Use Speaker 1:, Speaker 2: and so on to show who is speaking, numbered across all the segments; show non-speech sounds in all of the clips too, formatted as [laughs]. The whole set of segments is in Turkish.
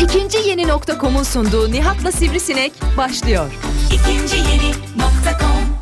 Speaker 1: İkinci yeni nokta.com'un sunduğu Nihat'la Sivrisinek başlıyor.
Speaker 2: İkinci yeni nokta com.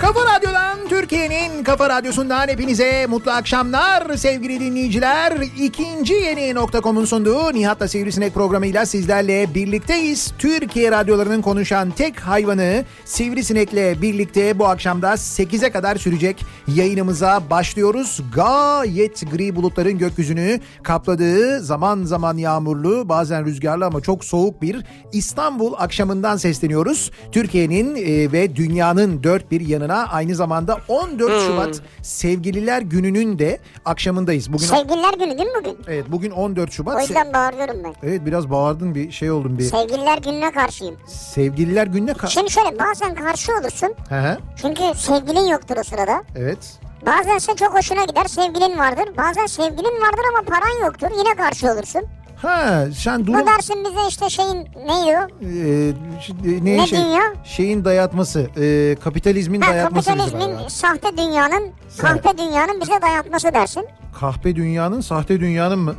Speaker 3: Kafa Radyo'dan Türkiye'nin Kafa Radyosu'ndan hepinize mutlu akşamlar sevgili dinleyiciler. İkinci yeni nokta.com'un sunduğu Nihat'la Sivrisinek programıyla sizlerle birlikteyiz. Türkiye radyolarının konuşan tek hayvanı Sivrisinek'le birlikte bu akşamda 8'e kadar sürecek yayınımıza başlıyoruz. Gayet gri bulutların gökyüzünü kapladığı zaman zaman yağmurlu bazen rüzgarlı ama çok soğuk bir İstanbul akşamından sesleniyoruz. Türkiye'nin e, ve dünyanın dört bir yanına aynı zamanda 14
Speaker 4: Hmm.
Speaker 3: Şubat Sevgililer Günü'nün de akşamındayız. Bugün
Speaker 4: Sevgililer günü değil mi bugün?
Speaker 3: Evet bugün 14 Şubat.
Speaker 4: O
Speaker 3: Se-
Speaker 4: yüzden bağırıyorum ben.
Speaker 3: Evet biraz bağırdın bir şey oldum bir.
Speaker 4: Sevgililer gününe karşıyım.
Speaker 3: Sevgililer Günü'ne ka-
Speaker 4: Şimdi şöyle bazen karşı olursun.
Speaker 3: Hı hı,
Speaker 4: Çünkü sevgilin yoktur o sırada.
Speaker 3: Evet.
Speaker 4: Bazen sen çok hoşuna gider sevgilin vardır. Bazen sevgilin vardır ama paran yoktur. Yine karşı olursun.
Speaker 3: Ha sen
Speaker 4: Bu
Speaker 3: durum
Speaker 4: dersin bize işte şeyin neydi o?
Speaker 3: Ee, şimdi ne,
Speaker 4: Ne
Speaker 3: şey,
Speaker 4: dünya?
Speaker 3: şeyin dayatması, ee, kapitalizmin
Speaker 4: Ha,
Speaker 3: dayatması bize
Speaker 4: kapitalizmin
Speaker 3: galiba.
Speaker 4: sahte dünyanın,
Speaker 3: Sen-
Speaker 4: kahpe dünyanın bize dayatması dersin.
Speaker 3: Kahpe dünyanın, sahte dünyanın mı?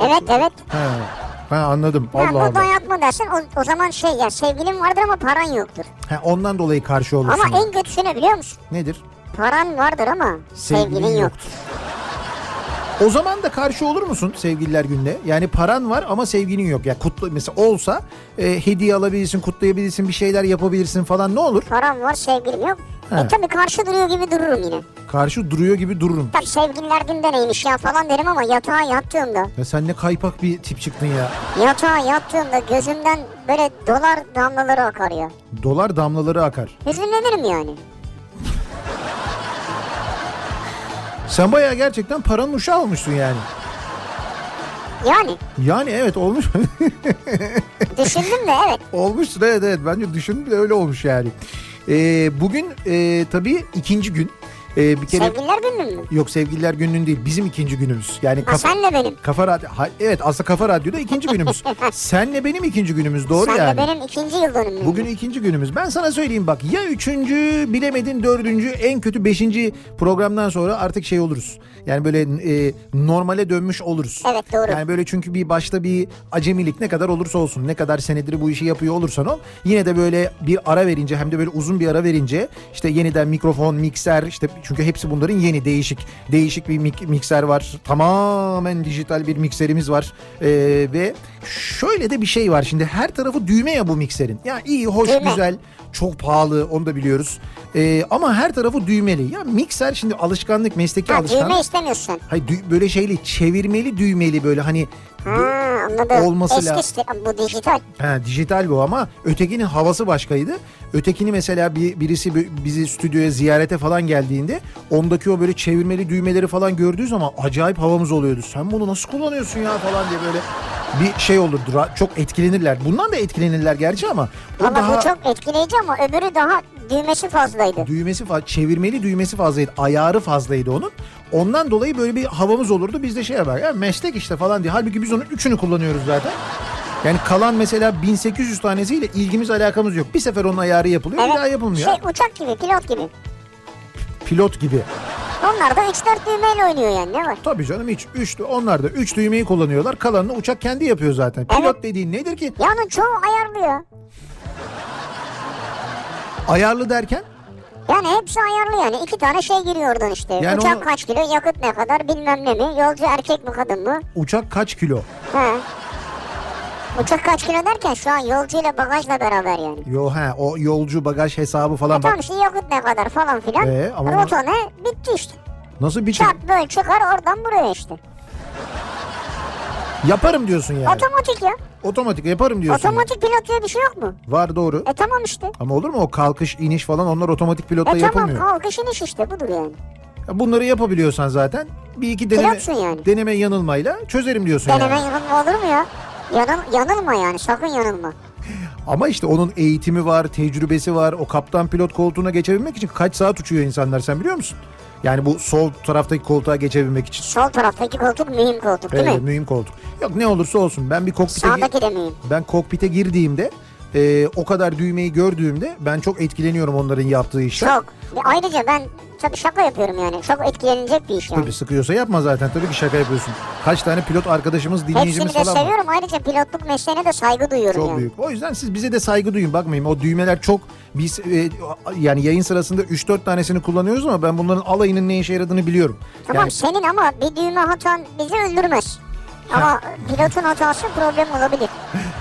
Speaker 4: Evet evet.
Speaker 3: He. Ha anladım.
Speaker 4: Ha,
Speaker 3: Allah
Speaker 4: bu
Speaker 3: Allah.
Speaker 4: dayatma dersin. O, o zaman şey ya sevgilin vardır ama paran yoktur.
Speaker 3: Ha, ondan dolayı karşı olursun.
Speaker 4: Ama en kötüsü ne biliyor musun?
Speaker 3: Nedir?
Speaker 4: Paran vardır ama sevgilin,
Speaker 3: Sevgilin
Speaker 4: yoktur.
Speaker 3: yoktur. O zaman da karşı olur musun sevgililer günde? Yani paran var ama sevgilin yok. Ya kutlu mesela olsa e, hediye alabilirsin, kutlayabilirsin, bir şeyler yapabilirsin falan ne olur?
Speaker 4: Param var sevgilim yok.
Speaker 3: He.
Speaker 4: E tabii karşı duruyor gibi dururum yine.
Speaker 3: Karşı duruyor gibi dururum.
Speaker 4: Tabii sevgililer günde neymiş ya falan derim ama yatağa yattığımda,
Speaker 3: Ya sen ne kaypak bir tip çıktın ya.
Speaker 4: yatağa yattığımda gözümden böyle dolar damlaları akar ya.
Speaker 3: Dolar damlaları akar.
Speaker 4: Hüzünlenirim yani.
Speaker 3: Sen bayağı gerçekten paranın uşağı olmuşsun yani. [laughs]
Speaker 4: Yani
Speaker 3: Yani evet olmuş. [laughs]
Speaker 4: düşündüm de evet.
Speaker 3: olmuşsun evet evet bence düşündüm de öyle olmuş yani. Ee, bugün e, tabii ikinci gün. Ee, bir kere
Speaker 4: Sevgililer günü mü?
Speaker 3: yok sevgililer gününün değil bizim ikinci günümüz. Yani
Speaker 4: Ha
Speaker 3: kafa,
Speaker 4: senle benim.
Speaker 3: kafa radyo ha, evet aslında kafa radyoda ikinci
Speaker 4: [laughs]
Speaker 3: günümüz. Senle benim ikinci günümüz doğru
Speaker 4: senle
Speaker 3: yani.
Speaker 4: benim ikinci yıl dönümüm.
Speaker 3: Bugün ikinci günümüz. Ben sana söyleyeyim bak ya üçüncü bilemedin dördüncü en kötü beşinci programdan sonra artık şey oluruz. Yani böyle e, normale dönmüş oluruz.
Speaker 4: Evet, doğru.
Speaker 3: Yani böyle çünkü bir başta bir acemilik ne kadar olursa olsun ne kadar senedir bu işi yapıyor olursan ol. Yine de böyle bir ara verince hem de böyle uzun bir ara verince işte yeniden mikrofon, mikser işte çünkü hepsi bunların yeni değişik. Değişik bir mik- mikser var. Tamamen dijital bir mikserimiz var. E, ve şöyle de bir şey var şimdi her tarafı düğme ya bu mikserin. Ya iyi hoş
Speaker 4: Düğme.
Speaker 3: güzel güzel, çok pahalı onu da biliyoruz. Ee, ama her tarafı düğmeli. Ya mikser şimdi alışkanlık, mesleki
Speaker 4: ha,
Speaker 3: alışkanlık.
Speaker 4: düğme istemiyorsun.
Speaker 3: Hayır dü- böyle şeyli çevirmeli düğmeli böyle hani
Speaker 4: Ha anladım.
Speaker 3: Olması
Speaker 4: Eski
Speaker 3: lazım.
Speaker 4: sti- Bu dijital.
Speaker 3: Ha, dijital bu ama ötekinin havası başkaydı. Ötekini mesela bir birisi bi- bizi stüdyoya ziyarete falan geldiğinde ondaki o böyle çevirmeli düğmeleri falan gördüğü zaman acayip havamız oluyordu. Sen bunu nasıl kullanıyorsun ya falan diye böyle bir şey olurdu. Ra- Çok etkilenirler. Bundan da etkilenirler gerçi ama o
Speaker 4: Ama
Speaker 3: daha
Speaker 4: bu çok etkileyici ama öbürü daha düğmesi fazlaydı.
Speaker 3: düğmesi fa- çevirmeli düğmesi fazlaydı. Ayarı fazlaydı onun. Ondan dolayı böyle bir havamız olurdu. Biz de şey yapar ya meslek işte falan diye. Halbuki biz onun üçünü kullanıyoruz zaten. Yani kalan mesela 1800 tanesiyle ilgimiz alakamız yok. Bir sefer onun ayarı yapılıyor bir daha yapılmıyor.
Speaker 4: Şey uçak gibi pilot gibi.
Speaker 3: Pilot gibi.
Speaker 4: Onlar da 3-4 düğmeyle oynuyor yani ne var?
Speaker 3: Tabii canım hiç. Üç, onlar da 3 düğmeyi kullanıyorlar. Kalanını uçak kendi yapıyor zaten. Pilot
Speaker 4: Evet.
Speaker 3: dediğin nedir ki?
Speaker 4: Ya onun çoğu ayarlıyor.
Speaker 3: Ayarlı derken
Speaker 4: Yani hepsi ayarlı yani. iki tane şey giriyor oradan işte.
Speaker 3: Yani
Speaker 4: Uçak
Speaker 3: o-
Speaker 4: kaç kilo, yakıt ne kadar, bilmem ne mi, yolcu erkek mi kadın mı?
Speaker 3: Uçak kaç kilo?
Speaker 4: He. Uçak kaç kilo derken şu an yolcuyla bagajla beraber yani.
Speaker 3: Yo he o yolcu bagaj hesabı
Speaker 4: E
Speaker 3: falan bak.
Speaker 4: tamam işte yakıt ne kadar falan filan.
Speaker 3: Ee, ama-
Speaker 4: Rota ne? Bitti işte.
Speaker 3: Nasıl bir
Speaker 4: Çarp böl çıkar oradan buraya işte.
Speaker 3: Yaparım diyorsun yani.
Speaker 4: Otomatik ya.
Speaker 3: Otomatik yaparım diyorsun. yani.
Speaker 4: Otomatik pilot diye bir şey yok mu?
Speaker 3: Var doğru.
Speaker 4: E tamam işte.
Speaker 3: Ama olur mu o kalkış iniş falan onlar otomatik pilotla
Speaker 4: E tamam
Speaker 3: yapılmıyor.
Speaker 4: kalkış iniş işte budur yani.
Speaker 3: Ya Bunları yapabiliyorsan zaten bir iki deneme,
Speaker 4: Pilotsun yani.
Speaker 3: deneme yanılmayla çözerim diyorsun
Speaker 4: Deneme
Speaker 3: yani.
Speaker 4: yanılma olur mu ya? Yanıl, yanılma yani sakın yanılma.
Speaker 3: Ama işte onun eğitimi var, tecrübesi var. O kaptan pilot koltuğuna geçebilmek için kaç saat uçuyor insanlar sen biliyor musun? Yani bu sol taraftaki koltuğa geçebilmek için.
Speaker 4: Sol taraftaki koltuk mühim koltuk değil
Speaker 3: Evet,
Speaker 4: mi?
Speaker 3: mühim koltuk. Yok ne olursa olsun ben bir kokpite gir-
Speaker 4: Sağdaki de mühim.
Speaker 3: ben kokpite girdiğimde e, o kadar düğmeyi gördüğümde ben çok etkileniyorum onların yaptığı işten.
Speaker 4: Çok. E, ayrıca ben tabii şaka yapıyorum yani. Çok etkilenecek bir iş yani.
Speaker 3: Tabii sıkıyorsa yapma zaten tabii ki şaka yapıyorsun. Kaç tane pilot arkadaşımız dinleyicimiz
Speaker 4: Hepsini de
Speaker 3: falan var.
Speaker 4: seviyorum. Ayrıca pilotluk mesleğine de saygı duyuyorum
Speaker 3: Çok
Speaker 4: yani.
Speaker 3: büyük. O yüzden siz bize de saygı duyun bakmayın. O düğmeler çok biz e, yani yayın sırasında 3-4 tanesini kullanıyoruz ama ben bunların alayının ne işe yaradığını biliyorum.
Speaker 4: Tamam
Speaker 3: Yani
Speaker 4: senin ama bir düğme hatan bizi öldürmez. Ama pilotun hatası problem olabilir.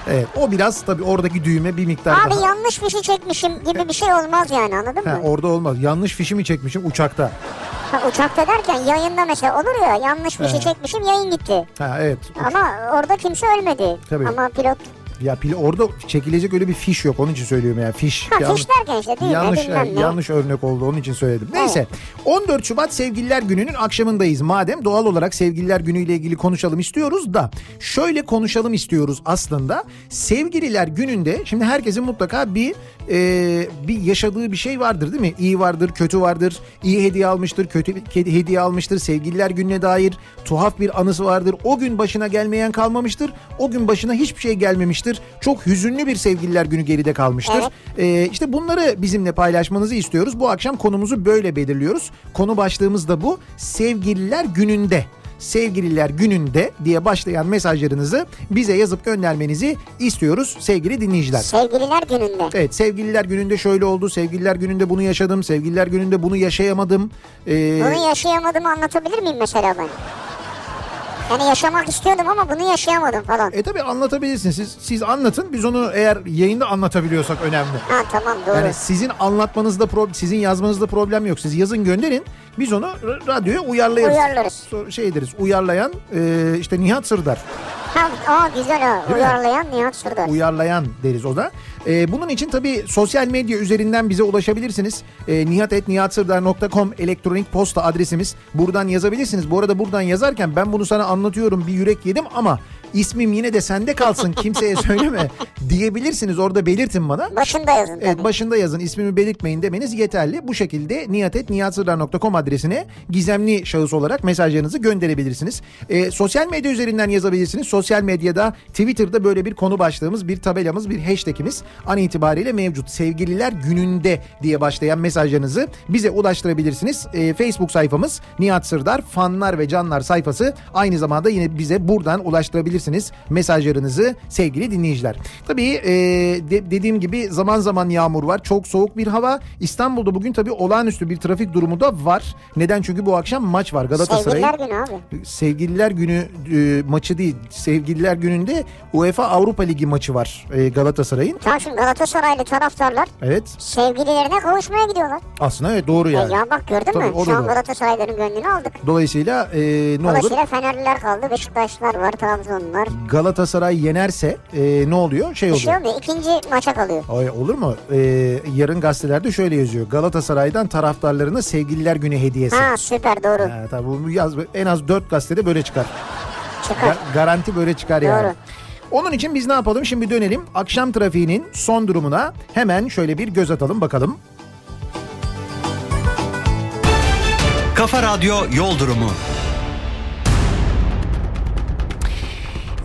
Speaker 3: evet, o biraz tabii oradaki düğme bir miktar
Speaker 4: Abi
Speaker 3: daha.
Speaker 4: yanlış fişi çekmişim gibi bir şey olmaz yani anladın
Speaker 3: Ha,
Speaker 4: mı?
Speaker 3: orada olmaz. Yanlış fişimi çekmişim uçakta.
Speaker 4: Ha, uçakta derken yayında mesela olur ya yanlış fişi
Speaker 3: Evet.
Speaker 4: çekmişim yayın gitti.
Speaker 3: Ha evet.
Speaker 4: Ama orada kimse ölmedi.
Speaker 3: Tabii.
Speaker 4: Ama pilot
Speaker 3: Ya pil orada çekilecek öyle bir fiş yok. Onun için söylüyorum ya fiş.
Speaker 4: ha,
Speaker 3: Yanlış-
Speaker 4: fiş derken işte düğme
Speaker 3: Yanlış
Speaker 4: bilmem ne.
Speaker 3: yanlış örnek oldu onun için söyledim. Neyse 14 Şubat Sevgililer Günü'nün akşamındayız. Madem doğal olarak Sevgililer Günü ile ilgili konuşalım istiyoruz da şöyle konuşalım istiyoruz aslında. Sevgililer Günü'nde şimdi herkesin mutlaka bir e, bir yaşadığı bir şey vardır değil mi? İyi vardır, kötü vardır. İyi hediye almıştır, kötü bir kedi- hediye almıştır. Sevgililer Günü'ne dair tuhaf bir anısı vardır. O gün başına gelmeyen kalmamıştır. O gün başına hiçbir şey gelmemiştir. Çok hüzünlü bir Sevgililer Günü geride kalmıştır.
Speaker 4: Evet.
Speaker 3: Ee, işte bunları bizimle paylaşmanızı istiyoruz. Bu akşam konumuzu böyle belirliyoruz. Konu başlığımız da bu. Sevgililer gününde. Sevgililer gününde diye başlayan mesajlarınızı bize yazıp göndermenizi istiyoruz sevgili dinleyiciler.
Speaker 4: Sevgililer gününde.
Speaker 3: Evet sevgililer gününde şöyle oldu. Sevgililer gününde bunu yaşadım. Sevgililer gününde bunu yaşayamadım. Ee,
Speaker 4: Bunu yaşayamadığımı anlatabilir miyim mesela ben? Yani yaşamak istiyordum ama bunu yaşayamadım falan.
Speaker 3: e tabi anlatabilirsiniz. Siz, siz anlatın. Biz onu eğer yayında anlatabiliyorsak önemli.
Speaker 4: Ha tamam doğru.
Speaker 3: Yani sizin anlatmanızda problem, sizin yazmanızda problem yok. Siz yazın gönderin. Biz onu r- radyoya uyarlayırız.
Speaker 4: Uyarlarız.
Speaker 3: So- Şey ederiz. Uyarlayan e, işte Nihat Sırdar.
Speaker 4: Ha, aa güzel ha.
Speaker 3: mi?
Speaker 4: Uyarlayan Nihat Sırdar.
Speaker 3: Uyarlayan deriz o da. E, bunun için tabii sosyal medya üzerinden bize ulaşabilirsiniz. E, nihat.nihatsırdar.com elektronik posta adresimiz. Buradan yazabilirsiniz. Bu arada buradan yazarken ben bunu sana anlatıyorum bir yürek yedim ama ismim yine de sende kalsın kimseye söyleme diyebilirsiniz. Orada belirtin bana.
Speaker 4: Başında yazın tabii.
Speaker 3: Evet başında yazın ismimi belirtmeyin demeniz yeterli. Bu şekilde niyatetniyatsırdar.com adresine gizemli şahıs olarak mesajlarınızı gönderebilirsiniz. Ee, sosyal medya üzerinden yazabilirsiniz. Sosyal medyada Twitter'da böyle bir konu başlığımız, bir tabelamız, bir hashtagimiz an itibariyle mevcut. Sevgililer gününde diye başlayan mesajlarınızı bize ulaştırabilirsiniz. Ee, Facebook sayfamız Nihat Sırdar fanlar ve canlar sayfası aynı zamanda yine bize buradan ulaştırabilirsiniz mesajlarınızı sevgili dinleyiciler. Tabii e, de- dediğim gibi zaman zaman yağmur var. Çok soğuk bir hava. İstanbul'da bugün tabii olağanüstü bir trafik durumu da var. Neden? Çünkü bu akşam maç var Galatasaray'ın.
Speaker 4: Sevgililer günü abi.
Speaker 3: Sevgililer Günü e, maçı değil. Sevgililer Günü'nde UEFA Avrupa Ligi maçı var e, Galatasaray'ın.
Speaker 4: Tamam şimdi Galatasaraylı taraftarlar
Speaker 3: Evet.
Speaker 4: sevgililerine kavuşmaya gidiyorlar.
Speaker 3: Aslında evet doğru
Speaker 4: E
Speaker 3: yani.
Speaker 4: ya bak gördün
Speaker 3: Tabii,
Speaker 4: mü?
Speaker 3: o da
Speaker 4: Şu an
Speaker 3: doğru.
Speaker 4: Galatasaraylıların gönlünü aldık.
Speaker 3: Dolayısıyla e, ne olur?
Speaker 4: Dolayısıyla Fenerliler kaldı, Beşiktaşlılar var, Trabzonlular.
Speaker 3: Galatasaray yenerse e, ne oluyor? Şey
Speaker 4: Bir şey
Speaker 3: oluyor.
Speaker 4: olmuyor. İkinci maça kalıyor.
Speaker 3: Ay olur mu? Ee, yarın gazetelerde şöyle yazıyor. Galatasaray'dan taraftarlarına sevgililer günü hediyesi.
Speaker 4: Ha süper doğru.
Speaker 3: Ha, tabii bunu yaz, en az 4 gazetede böyle çıkar.
Speaker 4: Çıkar.
Speaker 3: Ga- garanti böyle çıkar yani.
Speaker 4: Doğru.
Speaker 3: Onun için biz ne yapalım? Şimdi dönelim akşam trafiğinin son durumuna. Hemen şöyle bir göz atalım bakalım.
Speaker 5: Kafa Radyo Yol Durumu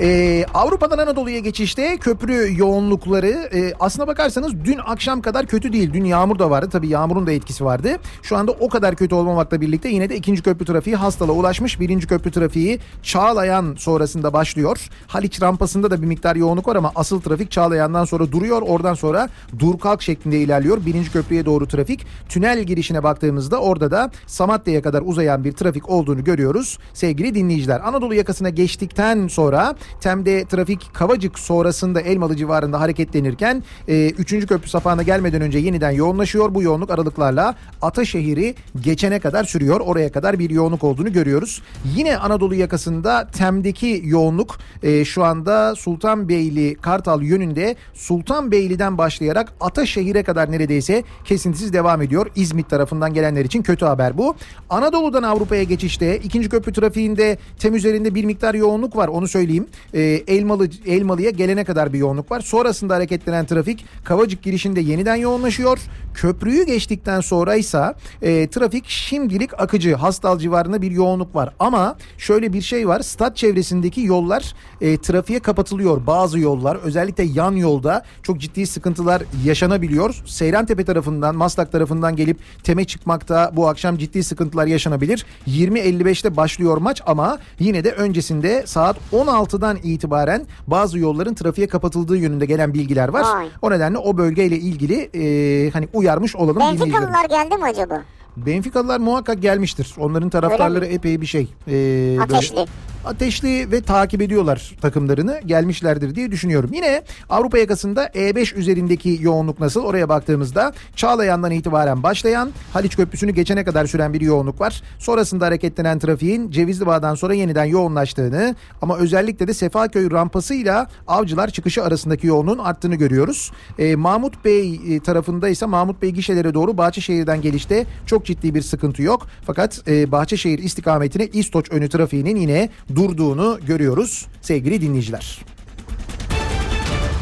Speaker 3: Ee, Avrupa'dan Anadolu'ya geçişte köprü yoğunlukları e, aslına bakarsanız dün akşam kadar kötü değil. Dün yağmur da vardı tabii yağmurun da etkisi vardı. Şu anda o kadar kötü olmamakla birlikte yine de ikinci köprü trafiği hastala ulaşmış. Birinci köprü trafiği Çağlayan sonrasında başlıyor. Haliç rampasında da bir miktar yoğunluk var ama asıl trafik Çağlayan'dan sonra duruyor. Oradan sonra dur kalk şeklinde ilerliyor. Birinci köprüye doğru trafik. Tünel girişine baktığımızda orada da Samatya'ya kadar uzayan bir trafik olduğunu görüyoruz. Sevgili dinleyiciler Anadolu yakasına geçtikten sonra Tem'de trafik Kavacık sonrasında Elmalı civarında hareketlenirken 3. köprü sapağına gelmeden önce yeniden yoğunlaşıyor. Bu yoğunluk aralıklarla Ataşehir'i geçene kadar sürüyor. Oraya kadar bir yoğunluk olduğunu görüyoruz. Yine Anadolu yakasında Tem'deki yoğunluk e, şu anda Sultanbeyli Kartal yönünde Sultanbeyli'den başlayarak Ataşehir'e kadar neredeyse kesintisiz devam ediyor. İzmit tarafından gelenler için kötü haber bu. Anadolu'dan Avrupa'ya geçişte ikinci köprü trafiğinde tem üzerinde bir miktar yoğunluk var onu söyleyeyim. E, Elmalı Elmalı'ya gelene kadar bir yoğunluk var. Sonrasında hareketlenen trafik Kavacık girişinde yeniden yoğunlaşıyor. Köprüyü geçtikten sonra ise e, trafik şimdilik akıcı. Hastal civarında bir yoğunluk var ama şöyle bir şey var. Stat çevresindeki yollar e, trafiğe kapatılıyor. Bazı yollar özellikle yan yolda çok ciddi sıkıntılar yaşanabiliyor. Seyrantepe tarafından, Maslak tarafından gelip teme çıkmakta bu akşam ciddi sıkıntılar yaşanabilir. 20.55'te başlıyor maç ama yine de öncesinde saat 16'dan itibaren bazı yolların trafiğe kapatıldığı yönünde gelen bilgiler var.
Speaker 4: Vay.
Speaker 3: O nedenle o bölgeyle ilgili e, hani uyarmış olalım dinleyicilerimize.
Speaker 4: Benfikalılar geldi mi acaba?
Speaker 3: Benfikalılar muhakkak gelmiştir. Onların taraftarları epey bir şey. Ee, böyle-
Speaker 4: Ateşli.
Speaker 3: ateşli ve takip ediyorlar takımlarını. Gelmişlerdir diye düşünüyorum. Yine Avrupa yakasında E5 üzerindeki yoğunluk nasıl? Oraya baktığımızda Çağlayan'dan itibaren başlayan Haliç Köprüsü'nü geçene kadar süren bir yoğunluk var. Sonrasında hareketlenen trafiğin Cevizli Bağ'dan sonra yeniden yoğunlaştığını ama özellikle de Sefaköy rampasıyla Avcılar çıkışı arasındaki yoğunluğun arttığını görüyoruz. Ee, Mahmut Bey e, tarafında ise Mahmut Bey gişelere doğru Bahçeşehir'den gelişte çok ciddi bir sıkıntı yok. Fakat e, Bahçeşehir istikametine İstoç önü trafiğinin yine durduğunu görüyoruz sevgili dinleyiciler.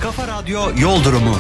Speaker 5: Kafa Radyo Yol Durumu.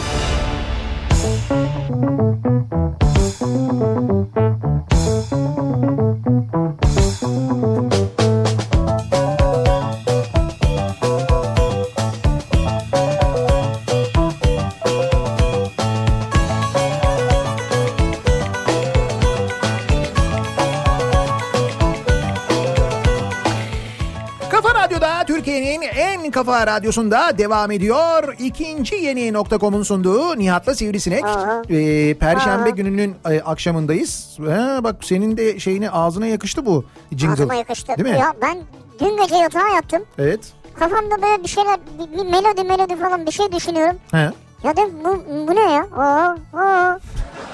Speaker 3: Kafa Radyo'da Türkiye'nin en kafa radyosunda devam ediyor. İkinci yeni nokta.com'un sunduğu Nihat'la Sivrisinek.
Speaker 4: Aha.
Speaker 3: Ee, Perşembe gününün e, akşamındayız. Ha, bak senin de şeyini ağzına yakıştı bu jingle.
Speaker 4: Aklıma yakıştı.
Speaker 3: Değil mi?
Speaker 4: Ya ben dün gece yatağa yattım.
Speaker 3: Evet.
Speaker 4: Kafamda böyle bir şeyler bir, bir melodi melodi falan bir şey düşünüyorum.
Speaker 3: He.
Speaker 4: Ya dedim bu, bu ne ya? Oo, oo,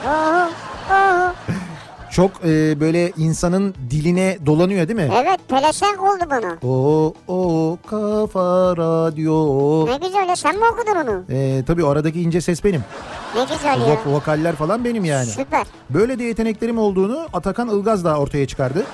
Speaker 4: oo, oo.
Speaker 3: Çok e, böyle insanın diline dolanıyor değil mi?
Speaker 4: Evet pelesenk oldu bana.
Speaker 3: O o kafa radyo.
Speaker 4: Ne güzel ya sen mi okudun onu?
Speaker 3: Ee, tabii aradaki ince ses benim.
Speaker 4: Ne güzel ya.
Speaker 3: Vok- vokaller falan benim yani.
Speaker 4: Süper.
Speaker 3: Böyle de yeteneklerim olduğunu Atakan Ilgaz da ortaya çıkardı.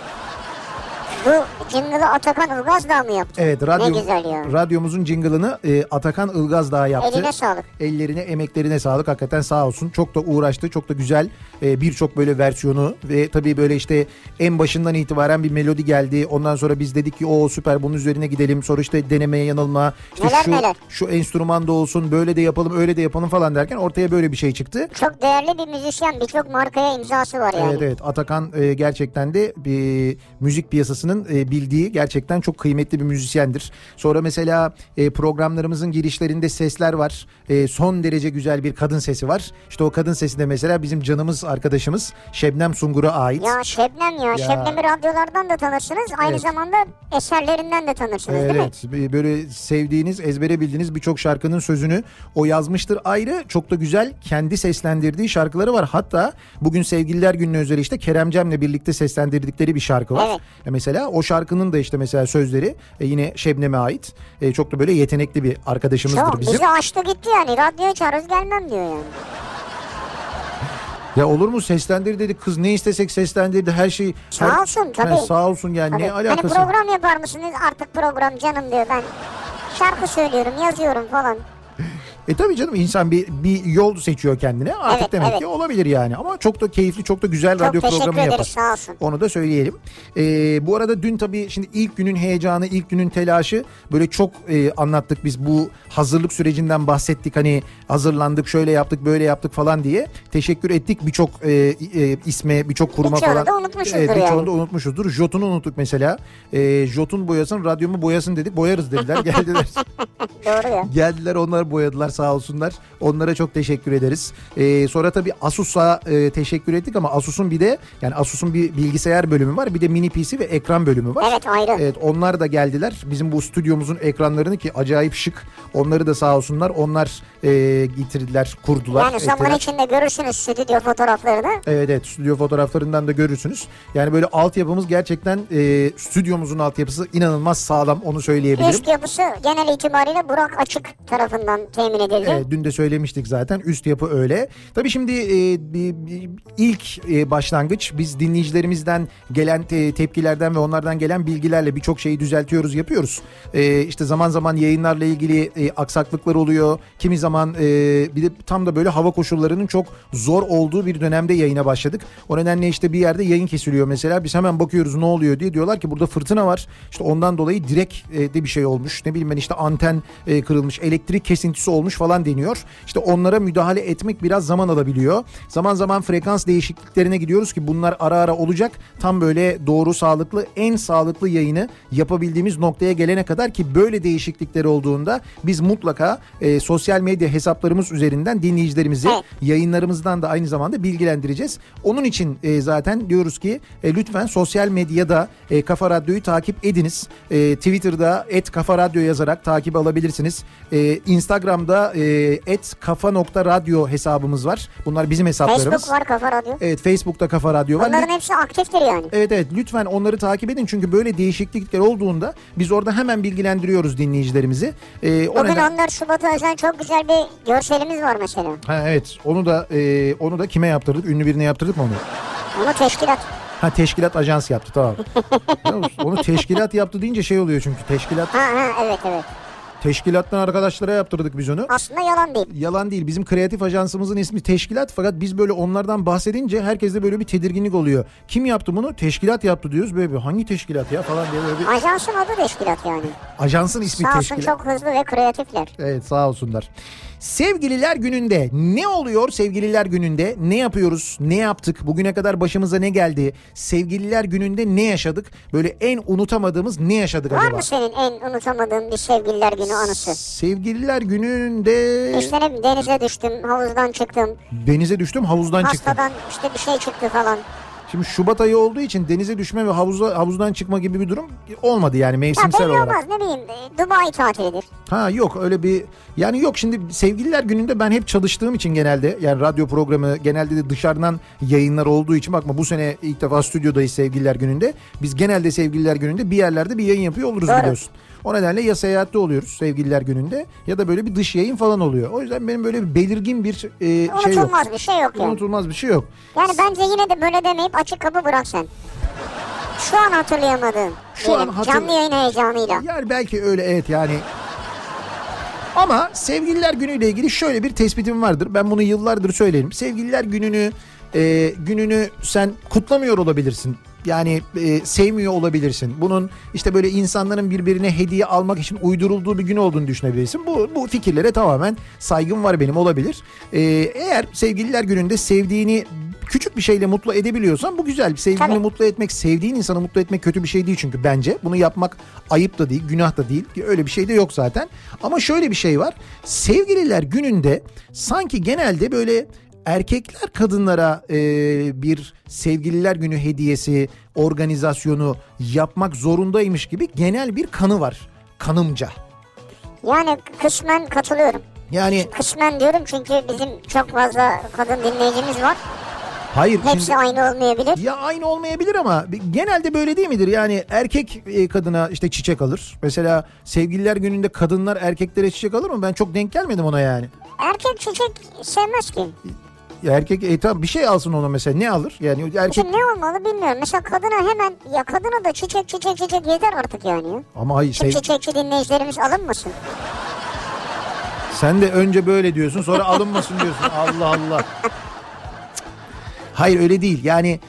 Speaker 4: Bu jingle'ı Atakan Ilgaz da mı yaptı?
Speaker 3: Evet radyo,
Speaker 4: Ne güzel ya.
Speaker 3: radyomuzun jingle'ını e, Atakan Ilgaz daha yaptı.
Speaker 4: Eline sağlık.
Speaker 3: Ellerine, emeklerine sağlık. Hakikaten sağ olsun. Çok da uğraştı. Çok da güzel e, birçok böyle versiyonu ve tabii böyle işte en başından itibaren bir melodi geldi. Ondan sonra biz dedik ki o süper bunun üzerine gidelim. Sonra işte denemeye yanılma. İşte
Speaker 4: Neler
Speaker 3: şu,
Speaker 4: neler.
Speaker 3: şu enstrüman da olsun böyle de yapalım öyle de yapalım falan derken ortaya böyle bir şey çıktı.
Speaker 4: Çok değerli bir müzisyen birçok markaya imzası var yani.
Speaker 3: Evet evet Atakan e, gerçekten de bir müzik piyasasının e, bildiği gerçekten çok kıymetli bir müzisyendir. Sonra mesela e, programlarımızın girişlerinde sesler var. E, son derece güzel bir kadın sesi var. İşte o kadın sesi de mesela bizim canımız arkadaşımız Şebnem Sungur'a ait.
Speaker 4: Ya Şebnem ya. Şebnem'i radyolardan da tanırsınız. Aynı
Speaker 3: Evet.
Speaker 4: zamanda eserlerinden de tanırsınız değil mi?
Speaker 3: Evet bir- böyle sevdiğiniz ezbere bildiğiniz birçok şarkının sözünü o yazmıştır ayrı çok da güzel kendi seslendirdiği şarkıları var. Hatta bugün sevgililer gününe özel işte Kerem Cem'le birlikte seslendirdikleri bir şarkı var.
Speaker 4: Evet.
Speaker 3: E Mesela o şarkının da işte mesela sözleri e, yine Şebnem'e ait E, çok da böyle yetenekli bir arkadaşımızdır
Speaker 4: Çok
Speaker 3: bizim.
Speaker 4: bizi açtı gitti yani. Radyoya çağırırız gelmem diyor yani.
Speaker 3: Ya olur mu seslendir dedi kız ne istesek seslendirdi her şey.
Speaker 4: Sağ
Speaker 3: her-
Speaker 4: olsun, tabii.
Speaker 3: Ha, sağ olsun yani
Speaker 4: Tabii.
Speaker 3: ne alakası?
Speaker 4: Hani program yapar mısınız? Artık program canım diyor ben. Şarkı söylüyorum, yazıyorum falan.
Speaker 3: E tabii canım insan bir, bir yol seçiyor kendine. Artık
Speaker 4: Evet,
Speaker 3: demek
Speaker 4: evet.
Speaker 3: ki olabilir yani. Ama çok da keyifli, çok da güzel
Speaker 4: Çok
Speaker 3: radyo
Speaker 4: teşekkür
Speaker 3: programı
Speaker 4: ederiz
Speaker 3: yapar.
Speaker 4: sağ olsun.
Speaker 3: Onu da söyleyelim. Ee, bu arada dün tabii şimdi ilk günün heyecanı, ilk günün telaşı böyle çok e, anlattık biz bu hazırlık sürecinden bahsettik. Hani hazırlandık, şöyle yaptık, böyle yaptık falan diye. Teşekkür ettik birçok e, e, isme, birçok kuruma
Speaker 4: Birçoğunu
Speaker 3: falan.
Speaker 4: da unutmuşuzdur
Speaker 3: Evet, birçoğunu
Speaker 4: yani.
Speaker 3: da unutmuşuzdur. Jot'unu unuttuk mesela. Ee, Jot'un boyasın, radyomu boyasın dedik. Boyarız dediler. [laughs] Geldiler.
Speaker 4: Doğru ya.
Speaker 3: Geldiler onlar boyadılar sağ olsunlar. Onlara çok teşekkür ederiz. Ee, sonra tabii Asus'a e, teşekkür ettik ama Asus'un bir de yani Asus'un bir bilgisayar bölümü var. Bir de mini PC ve ekran bölümü var.
Speaker 4: Evet ayrı.
Speaker 3: Evet onlar da geldiler. Bizim bu stüdyomuzun ekranlarını ki acayip şık. Onları da sağ olsunlar. Onlar e, getirdiler, kurdular.
Speaker 4: yani zaman
Speaker 3: ettiler.
Speaker 4: içinde görürsünüz stüdyo fotoğraflarını.
Speaker 3: Evet evet stüdyo fotoğraflarından da görürsünüz. Yani böyle altyapımız gerçekten e, stüdyomuzun altyapısı inanılmaz sağlam onu söyleyebilirim.
Speaker 4: Eski yapısı genel itibariyle Burak Açık tarafından temin edildi.
Speaker 3: Evet, dün de söylemiştik zaten üst yapı öyle. Tabii şimdi e, bi- bi- ilk e, başlangıç biz dinleyicilerimizden gelen te- tepkilerden ve onlardan gelen bilgilerle birçok şeyi düzeltiyoruz yapıyoruz. E, işte zaman zaman yayınlarla ilgili e, aksaklıklar oluyor. Kimi zaman e, bir de tam da böyle hava koşullarının çok zor olduğu bir dönemde yayına başladık. O nedenle işte bir yerde yayın kesiliyor mesela biz hemen bakıyoruz ne oluyor diye diyorlar ki burada fırtına var. İşte ondan dolayı direkt e, de bir şey olmuş. Ne bileyim ben işte anten e, kırılmış, elektrik kesintisi olmuş falan deniyor. İşte onlara müdahale etmek biraz zaman alabiliyor. Zaman zaman frekans değişikliklerine gidiyoruz ki bunlar ara ara olacak. Tam böyle doğru sağlıklı, en sağlıklı yayını yapabildiğimiz noktaya gelene kadar ki böyle değişiklikler olduğunda biz mutlaka e, sosyal medya hesaplarımız üzerinden dinleyicilerimizi
Speaker 4: Evet.
Speaker 3: yayınlarımızdan da aynı zamanda bilgilendireceğiz. Onun için e, zaten diyoruz ki e, lütfen sosyal medyada e, Kafa Radyo'yu takip ediniz. E, Twitter'da et Kafa Radyo yazarak takip alabilirsiniz. E, Instagram'da et kafa nokta radyo hesabımız var. Bunlar bizim hesaplarımız.
Speaker 4: Facebook var Kafa Radyo.
Speaker 3: Evet Facebook'ta Kafa Radyo var.
Speaker 4: Bunların hepsi aktiftir yani.
Speaker 3: Evet evet lütfen onları takip edin çünkü böyle değişiklikler olduğunda biz orada hemen bilgilendiriyoruz dinleyicilerimizi. E, o
Speaker 4: Bugün
Speaker 3: neden-
Speaker 4: 14 Şubat'a özel çok güzel bir görselimiz var mesela.
Speaker 3: Ha, evet onu da e, onu da kime yaptırdık? Ünlü birine yaptırdık mı onu?
Speaker 4: Onu teşkilat.
Speaker 3: Ha teşkilat ajans yaptı tamam. Ya Onu teşkilat yaptı deyince şey oluyor çünkü teşkilat
Speaker 4: Ha ha evet evet.
Speaker 3: teşkilattan arkadaşlara yaptırdık biz onu.
Speaker 4: Aslında yalan değil.
Speaker 3: Yalan değil bizim kreatif ajansımızın ismi teşkilat fakat biz böyle onlardan bahsedince herkeste böyle bir tedirginlik oluyor. Kim yaptı bunu? Teşkilat yaptı diyoruz böyle bir hangi teşkilat ya falan diye böyle bir
Speaker 4: Ajansın adı teşkilat yani.
Speaker 3: ajansın ismi
Speaker 4: Sağ olsun
Speaker 3: teşkilat.
Speaker 4: çok hızlı ve kreatifler.
Speaker 3: Evet sağ olsunlar. Sevgililer gününde ne oluyor sevgililer gününde? Ne yapıyoruz? Ne yaptık? Bugüne kadar başımıza ne geldi? Sevgililer gününde ne yaşadık? Böyle en unutamadığımız ne yaşadık
Speaker 4: Var
Speaker 3: acaba?
Speaker 4: mı senin en unutamadığın bir sevgililer günü anısı?
Speaker 3: Sevgililer gününde
Speaker 4: İşte ne bileyim, denize düştüm, havuzdan çıktım,
Speaker 3: denize düştüm havuzdan çıktım.
Speaker 4: hastadan işte bir şey çıktı falan.
Speaker 3: Şimdi Şubat ayı olduğu için denize düşme ve havuza, havuzdan çıkma gibi bir durum olmadı yani
Speaker 4: Ya
Speaker 3: mevsimsel
Speaker 4: belli
Speaker 3: olarak.
Speaker 4: olmaz ne bileyim e, Dubai tatilidir.
Speaker 3: Ha yok öyle bir yani yok şimdi sevgililer gününde ben hep çalıştığım için genelde yani radyo programı genelde de dışarıdan yayınlar olduğu için bakma bu sene ilk defa stüdyodayız sevgililer gününde. Biz genelde sevgililer gününde bir yerlerde bir yayın yapıyor oluruz
Speaker 4: Doğru.
Speaker 3: biliyorsun. O nedenle ya seyahatte oluyoruz sevgililer gününde ya da böyle bir dış yayın falan oluyor. O yüzden benim böyle bir belirgin bir e, şey yok.
Speaker 4: Unutulmaz bir şey yok yani.
Speaker 3: Unutulmaz bir şey yok.
Speaker 4: Yani bence yine de böyle demeyip açık kapı bırak sen. Şu an hatırlayamadığın.
Speaker 3: Şu an
Speaker 4: diyelim,
Speaker 3: hatır-
Speaker 4: Canlı yayın heyecanıyla.
Speaker 3: Yani belki öyle evet yani. Ama sevgililer günüyle ilgili şöyle bir tespitim vardır. Ben bunu yıllardır söylerim. Sevgililer gününü e, gününü sen kutlamıyor olabilirsin. Yani e, sevmiyor olabilirsin. Bunun işte böyle insanların birbirine hediye almak için uydurulduğu bir gün olduğunu düşünebilirsin. Bu bu fikirlere tamamen saygım var benim olabilir. E, eğer sevgililer gününde sevdiğini küçük bir şeyle mutlu edebiliyorsan bu güzel. Sevgilini
Speaker 4: Tabii.
Speaker 3: mutlu etmek, sevdiğin insanı mutlu etmek kötü bir şey değil çünkü bence. Bunu yapmak ayıp da değil, günah da değil. Ki Öyle bir şey de yok zaten. Ama şöyle bir şey var. Sevgililer gününde sanki genelde böyle erkekler kadınlara e, bir sevgililer günü hediyesi, organizasyonu yapmak zorundaymış gibi genel bir kanı var kanımca.
Speaker 4: Yani kısmen katılıyorum.
Speaker 3: Yani
Speaker 4: Kısmen diyorum çünkü bizim çok fazla kadın dinleyicimiz var.
Speaker 3: hayır
Speaker 4: Hepsi
Speaker 3: şimdi-
Speaker 4: aynı olmayabilir.
Speaker 3: Ya aynı olmayabilir ama bi- genelde böyle değil midir? Yani erkek e, kadına işte çiçek alır. Mesela sevgililer gününde kadınlar erkeklere çiçek alır mı? Ben çok denk gelmedim ona yani.
Speaker 4: Erkek çiçek sevmez ki.
Speaker 3: Ya erkek e, tamam bir şey alsın ona mesela ne alır? Yani erkek
Speaker 4: Şimdi ne olmalı bilmiyorum. Mesela kadına hemen ya kadına da çiçek çiçek çiçek yeter artık yani. ya.
Speaker 3: ama hayır
Speaker 4: Şu
Speaker 3: sev,
Speaker 4: çiçekçi dinleyicilerimiz alınmasın.
Speaker 3: Sen de önce böyle diyorsun sonra alınmasın diyorsun. Allah Allah. Hayır öyle değil yani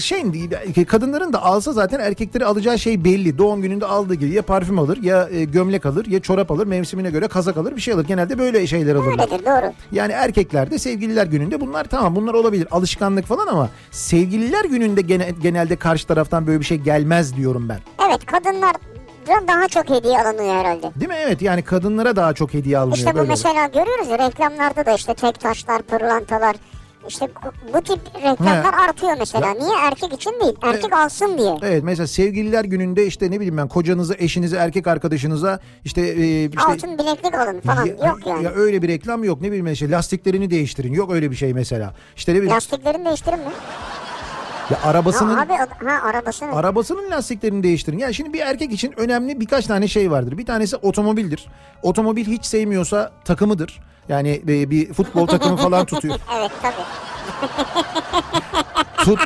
Speaker 3: şey değil kadınların da alsa zaten erkekleri alacağı şey belli. Doğum gününde aldığı gibi ya parfüm alır ya e, gömlek alır ya çorap alır mevsimine göre kazak alır bir şey alır. Genelde böyle şeyler alırlar.
Speaker 4: Öyledir doğru.
Speaker 3: Yani erkekler de sevgililer gününde bunlar tamam bunlar olabilir alışkanlık falan ama sevgililer gününde gene, genelde karşı taraftan böyle bir şey gelmez diyorum ben.
Speaker 4: Evet kadınlar daha çok hediye alınıyor herhalde.
Speaker 3: Değil mi? Evet yani kadınlara daha çok hediye alınıyor.
Speaker 4: İşte bu
Speaker 3: böyle.
Speaker 4: mesela görüyoruz ya reklamlarda da işte tek taşlar, pırlantalar işte bu- bu tip reklamlar artıyor mesela. Niye erkek için değil? Erkek alsın diye.
Speaker 3: Evet mesela sevgililer gününde işte ne bileyim ben kocanıza, eşinize, erkek arkadaşınıza işte, e, işte
Speaker 4: Altın bileklik alın falan. Yok yani.
Speaker 3: ya öyle bir reklam yok ne bileyim ben işte lastiklerini değiştirin yok öyle bir şey mesela. İşte ne bileyim
Speaker 4: Lastiklerini değiştirin mi?
Speaker 3: ya arabasının
Speaker 4: Ha, abi o- ha arabasını.
Speaker 3: arabasının lastiklerini değiştirin. Yani şimdi bir erkek için önemli birkaç tane şey vardır. Bir tanesi otomobildir. Otomobil hiç sevmiyorsa takımıdır. Yani e, bir futbol takımı falan
Speaker 4: [laughs]
Speaker 3: tutuyor.
Speaker 4: evet tabii.
Speaker 3: Tut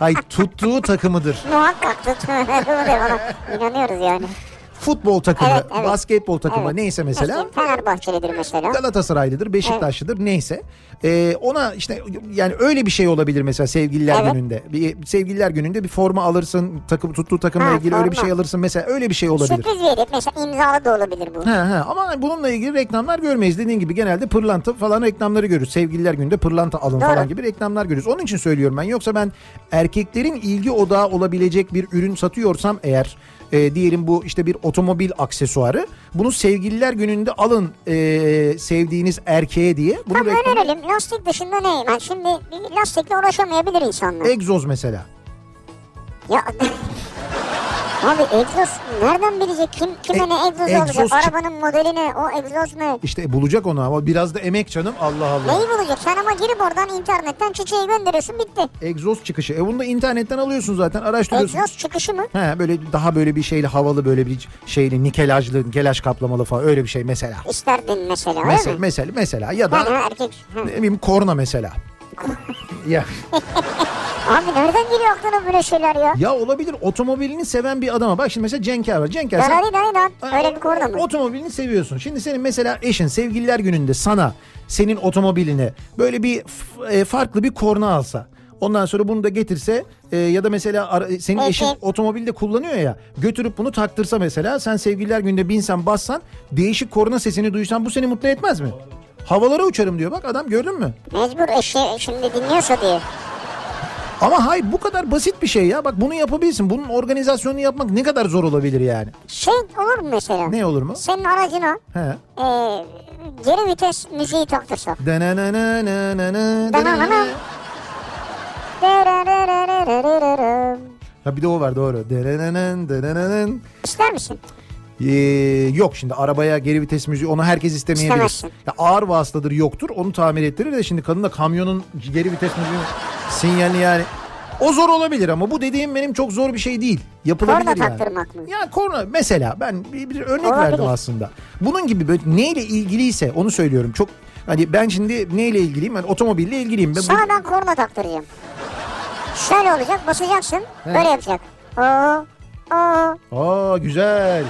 Speaker 3: Ay tuttuğu takımıdır.
Speaker 4: Muhakkak tut. [laughs] İnanıyoruz yani.
Speaker 3: Futbol takımı,
Speaker 4: Evet, evet.
Speaker 3: basketbol takımı
Speaker 4: Evet.
Speaker 3: neyse mesela.
Speaker 4: Eşim Fenerbahçelidir mesela.
Speaker 3: Galatasaraylıdır, Beşiktaşlıdır neyse. Ee, ona işte yani öyle bir şey olabilir mesela sevgililer
Speaker 4: Evet.
Speaker 3: gününde. Bir sevgililer gününde bir forma alırsın, takım tuttuğu takımla
Speaker 4: Ha,
Speaker 3: ilgili öyle bir
Speaker 4: forma.
Speaker 3: şey alırsın mesela öyle bir şey olabilir.
Speaker 4: Sürpriz bir hediye. Mesela imzalı da olabilir bu.
Speaker 3: He he ama bununla ilgili reklamlar görmeyiz. Dediğin gibi genelde pırlanta falan reklamları görürüz. Sevgililer gününde pırlanta alın
Speaker 4: Doğru.
Speaker 3: falan gibi reklamlar görürüz. Onun için söylüyorum ben. Yoksa ben erkeklerin ilgi odağı olabilecek bir ürün satıyorsam eğer e, diyelim bu işte bir otomobil aksesuarı. Bunu sevgililer gününde alın e, sevdiğiniz erkeğe diye. Bunu
Speaker 4: Tam
Speaker 3: reklam-
Speaker 4: önerelim. Lastik dışında ne? Yani şimdi bir lastikle uğraşamayabilir insanlar.
Speaker 3: egzoz mesela.
Speaker 4: Ya [laughs] Abi egzoz nereden bilecek kim kime
Speaker 3: E-
Speaker 4: ne egzoz
Speaker 3: egzoz
Speaker 4: olacak?
Speaker 3: çık-
Speaker 4: Arabanın modeli ne? O egzoz ne?
Speaker 3: İşte e, bulacak onu ama biraz da emek canım. Allah Allah.
Speaker 4: Neyi bulacak? Sen ama girip oradan internetten çiçeği gönderiyorsun bitti.
Speaker 3: Egzoz çıkışı. E bunu da internetten alıyorsun zaten. Araştırıyorsun.
Speaker 4: Egzoz çıkışı mı?
Speaker 3: He böyle daha böyle bir şeyle havalı böyle bir şeyle nikelajlı, nikelaj kaplamalı falan öyle bir şey mesela.
Speaker 4: İsterdin mesela öyle
Speaker 3: Mesela,
Speaker 4: mi?
Speaker 3: mesela, mesela ya
Speaker 4: Ha,
Speaker 3: da
Speaker 4: ha, erkek. Ha.
Speaker 3: ne bileyim korna mesela. ya
Speaker 4: Abi nereden geliyor aklına böyle şeyler ya?
Speaker 3: ya olabilir otomobilini seven bir adama bak şimdi mesela Cenk var. Cenk Er sen-
Speaker 4: Darari dayı lan. Öyle bir korna mı?
Speaker 3: Otomobilini seviyorsun. Şimdi senin mesela eşin sevgililer gününde sana senin otomobiline böyle bir f- e, farklı bir korna alsa. Ondan sonra bunu da getirse e, ya da mesela ara- e, senin
Speaker 4: Evet,
Speaker 3: eşin
Speaker 4: evet.
Speaker 3: otomobilde kullanıyor ya götürüp bunu taktırsa mesela sen sevgililer günde binsen bassan değişik korna sesini duysan bu seni mutlu etmez mi? Havalara uçarım diyor bak adam gördün mü?
Speaker 4: Mecbur eşi şimdi dinliyorsa diye.
Speaker 3: Ama hayır bu kadar basit bir şey ya bak bunu yapabilsin bunun organizasyonunu yapmak ne kadar zor olabilir yani?
Speaker 4: Şey olur mu mesela?
Speaker 3: Ne olur mu?
Speaker 4: Senin aracına
Speaker 3: He.
Speaker 4: e, geri vites müziği taktırsak.
Speaker 3: Danananananana-
Speaker 4: Dananana. Derererererererem.
Speaker 3: Ha bir de o var doğru. Derenenen, derenenen.
Speaker 4: İster misin?
Speaker 3: Ee, yok şimdi arabaya geri vites müziği onu herkes istemeyebilir.
Speaker 4: İstemezsin.
Speaker 3: Ya ağır vasıtadır yoktur onu tamir ettirir de şimdi kadın da kamyonun geri vites müziği sinyali yani. O zor olabilir ama bu dediğim benim çok zor bir şey değil. Yapılabilir
Speaker 4: Korna
Speaker 3: yani.
Speaker 4: taktırmak mı?
Speaker 3: Ya korna mesela ben bir, bir örnek
Speaker 4: Olabilir.
Speaker 3: verdim aslında. Bunun gibi böyle neyle ilgiliyse onu söylüyorum. Çok hani ben şimdi neyle ilgiliyim? Hani otomobille ilgiliyim. Ben bu-
Speaker 4: Sana ben korna taktıracağım. Şöyle olacak basacaksın böyle yapacak. Oo, oo.
Speaker 3: Aa güzel.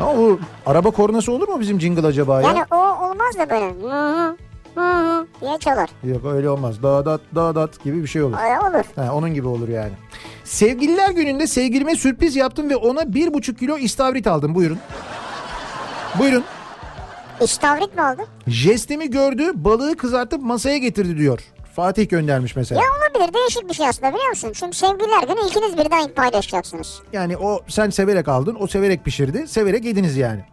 Speaker 3: Ama bu araba kornası olur mu bizim jingle acaba ya?
Speaker 4: Yani o olmaz da böyle. Hı hı, hı hı diye çalar.
Speaker 3: Yok öyle olmaz. Dadat dadat gibi bir şey olur.
Speaker 4: Öyle olur.
Speaker 3: Ha, onun gibi olur yani. Sevgililer gününde sevgilime sürpriz yaptım ve ona bir buçuk kilo istavrit aldım. Buyurun. Buyurun.
Speaker 4: İstavrit mi oldu?
Speaker 3: Jestimi gördü balığı kızartıp masaya getirdi diyor. Fatih göndermiş mesela.
Speaker 4: Ya olabilir değişik bir şey aslında biliyor musun? Çünkü sevgililer günü ikiniz birden paylaşacaksınız.
Speaker 3: Yani o sen severek aldın, o severek pişirdi, severek yediniz yani.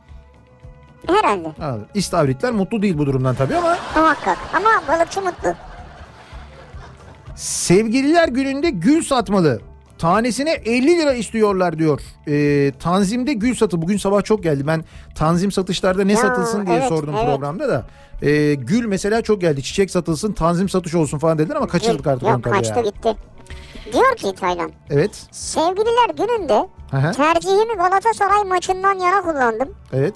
Speaker 4: Herhalde
Speaker 3: Ha, İstavritler mutlu değil bu durumdan tabii ama
Speaker 4: muhakkak. Ama balıkçı mutlu.
Speaker 3: Sevgililer gününde gül satmalı. Tanesine 50 lira istiyorlar diyor. Ee, tanzim'de gül satı. Bugün sabah çok geldi. Ben Tanzim satışlarda ne
Speaker 4: Ya,
Speaker 3: satılsın diye
Speaker 4: evet,
Speaker 3: sordum
Speaker 4: evet.
Speaker 3: programda da. Ee, gül mesela çok geldi. Çiçek satılsın, Tanzim satış olsun falan dediler ama kaçırdık artık onu
Speaker 4: Yok
Speaker 3: tabii
Speaker 4: kaçtı
Speaker 3: ya.
Speaker 4: gitti. Diyor ki Taylan.
Speaker 3: Evet.
Speaker 4: Sevgililer gününde
Speaker 3: Hı hı.
Speaker 4: tercihimi Galatasaray maçından yana kullandım.
Speaker 3: Evet.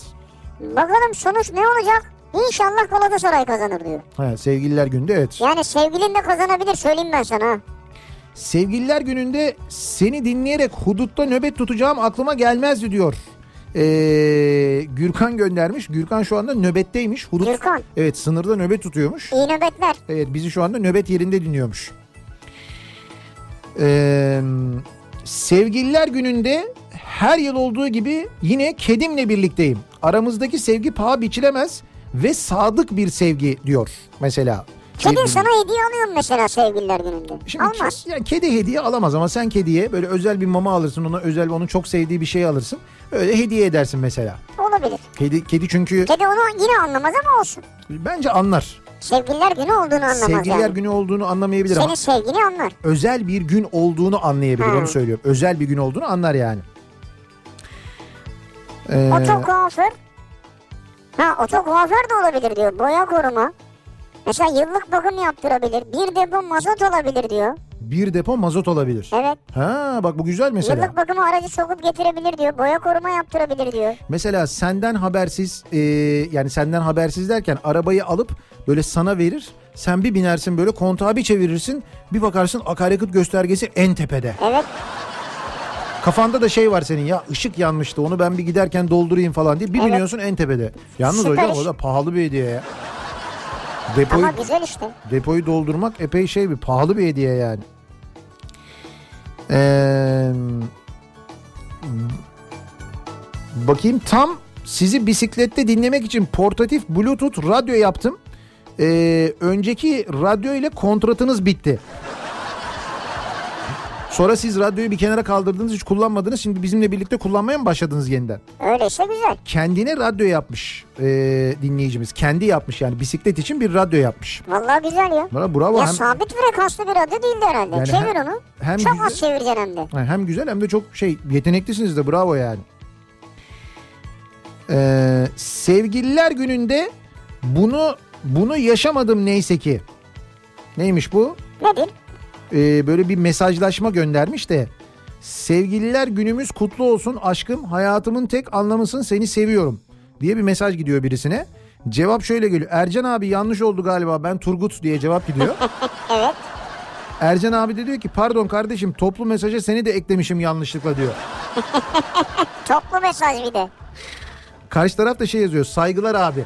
Speaker 4: Bakalım sonuç ne olacak? İnşallah Galatasaray kazanır diyor.
Speaker 3: Ha, sevgililer gününde evet.
Speaker 4: Yani sevgilin de kazanabilir söyleyeyim ben sana. ha.
Speaker 3: Sevgililer gününde seni dinleyerek hudutta nöbet tutacağım aklıma gelmezdi diyor. Ee, Gürkan göndermiş. Gürkan şu anda nöbetteymiş. Hurut.
Speaker 4: Gürkan.
Speaker 3: Evet sınırda nöbet tutuyormuş.
Speaker 4: İyi nöbetler.
Speaker 3: Evet bizi şu anda nöbet yerinde dinliyormuş. Ee, sevgililer gününde her yıl olduğu gibi yine kedimle birlikteyim. Aramızdaki sevgi paha biçilemez ve sadık bir sevgi diyor mesela.
Speaker 4: Kedi
Speaker 3: Sevgili-
Speaker 4: sana hediye alıyorum mesela sevgililer gününde.
Speaker 3: Şimdi ke-
Speaker 4: Almaz.
Speaker 3: yani kedi hediye alamaz ama sen kediye böyle özel bir mama alırsın ona özel onun çok sevdiği bir şey alırsın. Öyle hediye edersin mesela.
Speaker 4: Olabilir.
Speaker 3: Kedi kedi çünkü
Speaker 4: Kedi onu yine anlamaz ama olsun.
Speaker 3: bence anlar.
Speaker 4: Sevgililer günü olduğunu anlamaz
Speaker 3: Sevgililer
Speaker 4: yani.
Speaker 3: günü olduğunu anlamayabilir ama
Speaker 4: Senin sevgini anlar.
Speaker 3: özel bir gün olduğunu anlayabilir
Speaker 4: Ha.
Speaker 3: onu söylüyorum. Özel bir gün olduğunu anlar yani. Ee,
Speaker 4: Oto kuaför. Ha oto kuaför de olabilir diyor. Boya koruma. Mesela yıllık bakım yaptırabilir. Bir depo mazot olabilir diyor.
Speaker 3: bir depo mazot olabilir.
Speaker 4: Evet.
Speaker 3: Ha bak bu güzel mesela.
Speaker 4: Yıllık bakımı aracı sokup getirebilir diyor. Boya koruma yaptırabilir diyor.
Speaker 3: Mesela senden habersiz e, yani senden habersiz derken arabayı alıp böyle sana verir. Sen bir binersin böyle kontağı bir çevirirsin. Bir bakarsın akaryakıt göstergesi en tepede.
Speaker 4: Evet.
Speaker 3: Kafanda da şey var senin ya ışık yanmıştı onu ben bir giderken doldurayım falan diye. Bir
Speaker 4: Evet.
Speaker 3: biniyorsun en tepede. Yalnız
Speaker 4: Süper
Speaker 3: hocam
Speaker 4: iş.
Speaker 3: o da pahalı bir hediye ya. Depoyu,
Speaker 4: Ama güzel işte.
Speaker 3: depoyu doldurmak epey şey bir pahalı bir hediye yani. Ee, bakayım tam sizi bisiklette dinlemek için portatif bluetooth radyo yaptım. Ee, önceki radyo ile kontratınız bitti. Sonra siz radyoyu bir kenara kaldırdınız hiç kullanmadınız. Şimdi bizimle birlikte kullanmaya mı başladınız yeniden?
Speaker 4: Öyleyse güzel.
Speaker 3: Kendine radyo yapmış ee, dinleyicimiz. Kendi yapmış yani bisiklet için bir radyo yapmış.
Speaker 4: Vallahi güzel ya.
Speaker 3: Bana bravo.
Speaker 4: Ya
Speaker 3: hem-
Speaker 4: sabit frekanslı bir radyo değildi herhalde.
Speaker 3: Yani
Speaker 4: Çevir
Speaker 3: hem-
Speaker 4: onu.
Speaker 3: hem
Speaker 4: Çok
Speaker 3: güzel-
Speaker 4: az çevireceksin hem de.
Speaker 3: Yani hem güzel hem de çok şey yeteneklisiniz de bravo yani. Ee, sevgililer gününde bunu bunu yaşamadım neyse ki. Neymiş bu?
Speaker 4: Nedir?
Speaker 3: Ee, böyle bir mesajlaşma göndermiş de. Sevgililer günümüz kutlu olsun aşkım hayatımın tek anlamısın seni seviyorum diye bir mesaj gidiyor birisine. Cevap şöyle geliyor. Ercan abi yanlış oldu galiba ben Turgut diye cevap gidiyor.
Speaker 4: [laughs] Evet.
Speaker 3: Ercan abi de diyor ki pardon kardeşim toplu mesaja seni de eklemişim yanlışlıkla diyor.
Speaker 4: Toplu mesaj bir de.
Speaker 3: Karşı taraf da şey yazıyor saygılar abi.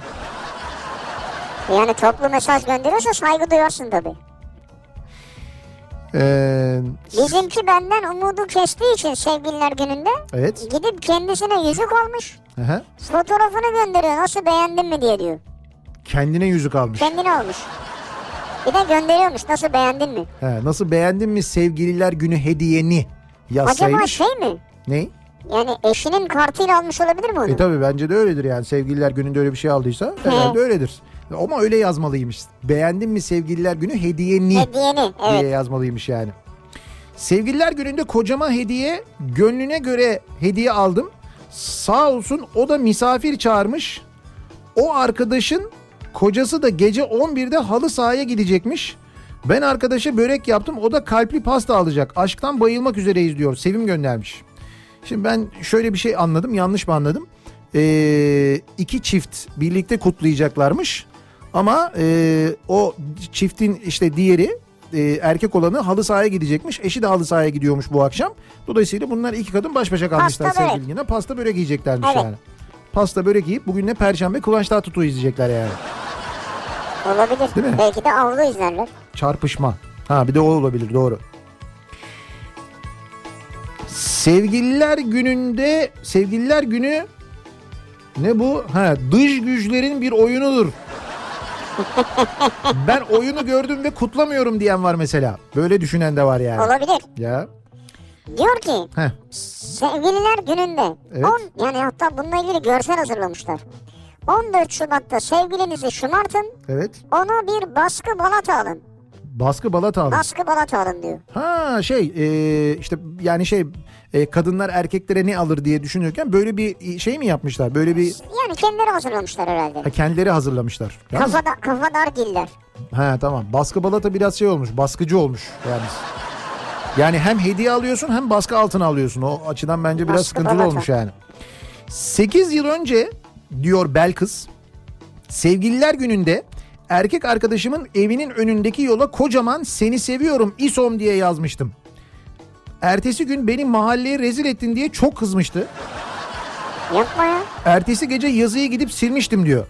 Speaker 4: Yani toplu mesaj gönderiyorsa saygı duyarsın tabii.
Speaker 3: Ee,
Speaker 4: Bizimki benden umudu kestiği için sevgililer gününde
Speaker 3: evet.
Speaker 4: gidip kendisine yüzük almış.
Speaker 3: Aha.
Speaker 4: Fotoğrafını gönderiyor nasıl beğendin mi diye diyor.
Speaker 3: Kendine yüzük almış.
Speaker 4: Kendini almış. Bir de gönderiyormuş nasıl beğendin mi?
Speaker 3: He, nasıl beğendin mi sevgililer günü hediyeni
Speaker 4: Acaba
Speaker 3: yazsaymış.
Speaker 4: şey mi?
Speaker 3: Ne?
Speaker 4: Yani eşinin kartıyla almış olabilir mi onu?
Speaker 3: E tabi bence de öyledir yani sevgililer gününde öyle bir şey aldıysa herhalde öyledir. Ama öyle yazmalıymış. Beğendin mi sevgililer günü hediyeni
Speaker 4: Hediyeni evet.
Speaker 3: diye yazmalıymış yani. Sevgililer gününde kocama hediye gönlüne göre hediye aldım. Sağ olsun o da misafir çağırmış. O arkadaşın kocası da gece 11'de halı sahaya gidecekmiş. Ben arkadaşa börek yaptım o da kalpli pasta alacak. Aşktan bayılmak üzereyiz diyor. Sevim göndermiş. Şimdi ben şöyle bir şey anladım yanlış mı anladım? Ee, iki çift birlikte kutlayacaklarmış. Ama e, o çiftin işte diğeri e, erkek olanı halı sahaya gidecekmiş. Eşi de halı sahaya gidiyormuş bu akşam. Dolayısıyla bunlar iki kadın baş başa kalmışlar
Speaker 4: Pasta börek.
Speaker 3: sevgili yine. Pasta börek yiyeceklermiş
Speaker 4: Evet.
Speaker 3: yani. Pasta börek yiyip bugün ne perşembe Kıvanç Tatlıtuğ izleyecekler yani.
Speaker 4: Olabilir.
Speaker 3: Değil mi?
Speaker 4: Belki de avlu izlerler.
Speaker 3: Çarpışma. Ha bir de o olabilir doğru. Sevgililer gününde sevgililer günü ne bu? Ha dış güçlerin bir oyunudur. ben oyunu gördüm ve kutlamıyorum diyen var mesela. Böyle düşünen de var yani.
Speaker 4: Olabilir.
Speaker 3: Ya.
Speaker 4: Diyor ki
Speaker 3: Heh.
Speaker 4: sevgililer gününde
Speaker 3: Evet.
Speaker 4: on, yani hatta bununla ilgili görsel hazırlamışlar. 14 Şubat'ta sevgilinizi şımartın
Speaker 3: Evet.
Speaker 4: ona bir baskı balata alın.
Speaker 3: Baskı balata almış.
Speaker 4: Baskı balata alın diyor.
Speaker 3: Ha şey e, işte yani şey e, kadınlar erkeklere ne alır diye düşünürken böyle bir şey mi yapmışlar? Böyle bir
Speaker 4: Yani kendileri hazırlamışlar herhalde.
Speaker 3: ha, kendileri hazırlamışlar. Yalnız-
Speaker 4: Kafada, kafadar diller.
Speaker 3: Ha tamam. Baskı balata biraz şey olmuş. Baskıcı olmuş yani. Yani hem hediye alıyorsun hem baskı altına alıyorsun. O açıdan bence biraz
Speaker 4: Baskı
Speaker 3: sıkıntılı
Speaker 4: balata.
Speaker 3: olmuş yani. 8 yıl önce diyor Belkıs. Sevgililer gününde erkek arkadaşımın evinin önündeki yola kocaman seni seviyorum İsom diye yazmıştım. Ertesi gün beni mahalleye rezil ettin diye çok kızmıştı.
Speaker 4: Yapma ya.
Speaker 3: Ertesi gece yazıyı gidip silmiştim diyor.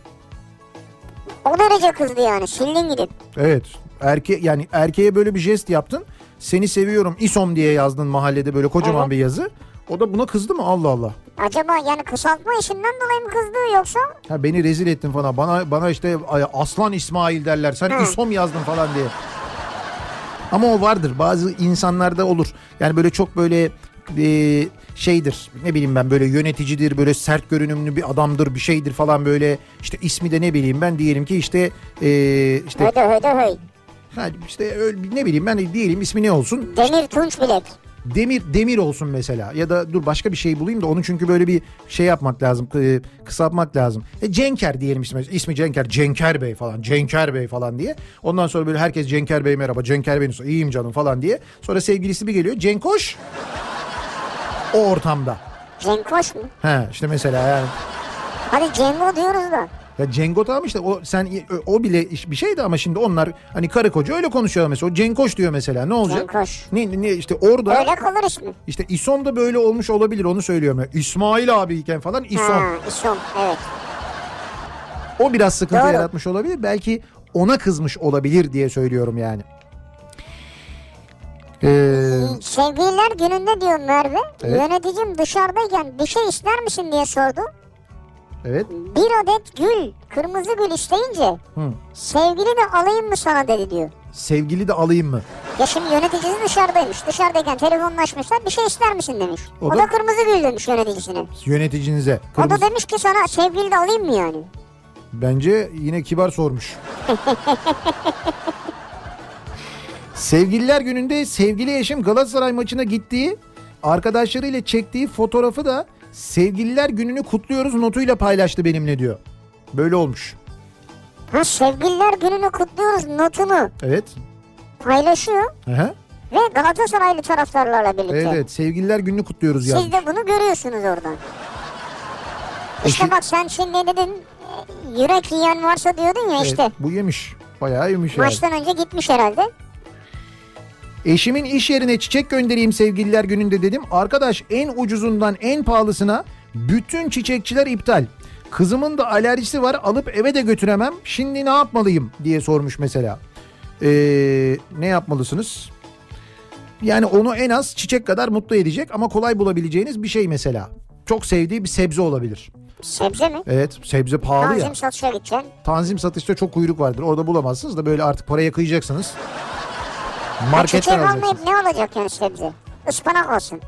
Speaker 4: O derece kızdı yani. Sildin gidip.
Speaker 3: Evet. Erke yani erkeğe böyle bir jest yaptın. Seni seviyorum İsom diye yazdın mahallede böyle kocaman
Speaker 4: Evet.
Speaker 3: bir yazı. O da buna kızdı mı? Allah Allah.
Speaker 4: Acaba yani kısaltma işinden dolayı mı kızdı yoksa?
Speaker 3: Ha beni rezil ettin falan. Bana bana işte ay, Aslan İsmail derler. Sen
Speaker 4: Hı.
Speaker 3: İsom yazdın falan diye. Ama o vardır. Bazı insanlarda olur. Yani böyle çok böyle e, şeydir. Ne bileyim ben böyle yöneticidir, böyle sert görünümlü bir adamdır, bir şeydir falan böyle. İşte ismi de ne bileyim ben diyelim ki işte e, işte
Speaker 4: Hödö hödö höy.
Speaker 3: ha, işte öyle ne bileyim ben diyelim ismi ne olsun?
Speaker 4: Demir tunç bilek.
Speaker 3: Demir demir olsun mesela ya da dur başka bir şey bulayım da onu çünkü böyle bir şey yapmak lazım kı- kısaltmak lazım. E, Cenker diyelim ismi, ismi Cenker Cenker Bey falan Cenker Bey falan diye ondan sonra böyle herkes Cenker Bey merhaba Cenker Bey nasıl iyiyim canım falan diye sonra sevgilisi bir geliyor Cenkoş o ortamda.
Speaker 4: Cenkoş mu?
Speaker 3: He işte mesela yani
Speaker 4: Hadi Cengo diyoruz da.
Speaker 3: ya Cengo tamam işte o sen o bile iş- bir şeydi ama şimdi onlar hani karı koca öyle konuşuyorlar mesela o Cenkoş diyor mesela ne olacak?
Speaker 4: Cenkoş.
Speaker 3: Ne, ne işte orada
Speaker 4: Öyle kalır ismi.
Speaker 3: İşte İson da böyle olmuş olabilir onu söylüyorum. ya. İsmail abiyken falan İson.
Speaker 4: Ha, İson evet.
Speaker 3: O biraz sıkıntı
Speaker 4: Doğru.
Speaker 3: yaratmış olabilir. Belki ona kızmış olabilir diye söylüyorum yani. Ee,
Speaker 4: Sevgililer gününde diyor Merve. Yöneticim dışarıdayken bir şey ister misin diye sordu.
Speaker 3: evet.
Speaker 4: Bir adet gül, kırmızı gül isteyince sevgili de alayım mı sana dedi diyor.
Speaker 3: Sevgili de alayım mı?
Speaker 4: Ya şimdi yöneticisi dışarıdaymış. Dışarıdayken telefonlaşmışlar bir şey ister misin demiş.
Speaker 3: O
Speaker 4: O, da...
Speaker 3: da
Speaker 4: kırmızı gül demiş yöneticisine.
Speaker 3: Yöneticinize.
Speaker 4: O da
Speaker 3: Kırmızı-
Speaker 4: demiş ki sana sevgili de alayım mı yani?
Speaker 3: Bence yine kibar sormuş. Sevgililer gününde sevgili eşim Galatasaray maçına gittiği arkadaşlarıyla çektiği fotoğrafı da sevgililer gününü kutluyoruz notuyla paylaştı benimle diyor. Böyle olmuş.
Speaker 4: Ha sevgililer gününü kutluyoruz notunu
Speaker 3: Evet.
Speaker 4: paylaşıyor
Speaker 3: Aha.
Speaker 4: ve Galatasaraylı taraftarlarla birlikte.
Speaker 3: Evet, E evet sevgililer gününü kutluyoruz ya.
Speaker 4: Siz de bunu görüyorsunuz oradan. İşte
Speaker 3: Eşi-
Speaker 4: bak sen şimdi ne dedin? E, Yürek yiyen varsa diyordun ya işte.
Speaker 3: bu yemiş. Bayağı yemiş yani.
Speaker 4: Maçtan önce gitmiş herhalde.
Speaker 3: Eşimin iş yerine çiçek göndereyim sevgililer gününde dedim. Arkadaş en ucuzundan en pahalısına bütün çiçekçiler iptal. Kızımın da alerjisi var alıp eve de götüremem. Şimdi ne yapmalıyım diye sormuş mesela. Ee, ne yapmalısınız? Yani onu en az çiçek kadar mutlu edecek ama kolay bulabileceğiniz bir şey mesela. Çok sevdiği bir sebze olabilir.
Speaker 4: Sebze mi?
Speaker 3: Evet sebze pahalı ya.
Speaker 4: Tanzim satışa gideceksin.
Speaker 3: Tanzim satışta çok kuyruk vardır. Orada bulamazsınız da böyle artık paraya kıyacaksınız.
Speaker 4: Çiçek
Speaker 3: Marketten alacaksınız.
Speaker 4: almayıp ne olacak yani sebze? Ispanak olsun.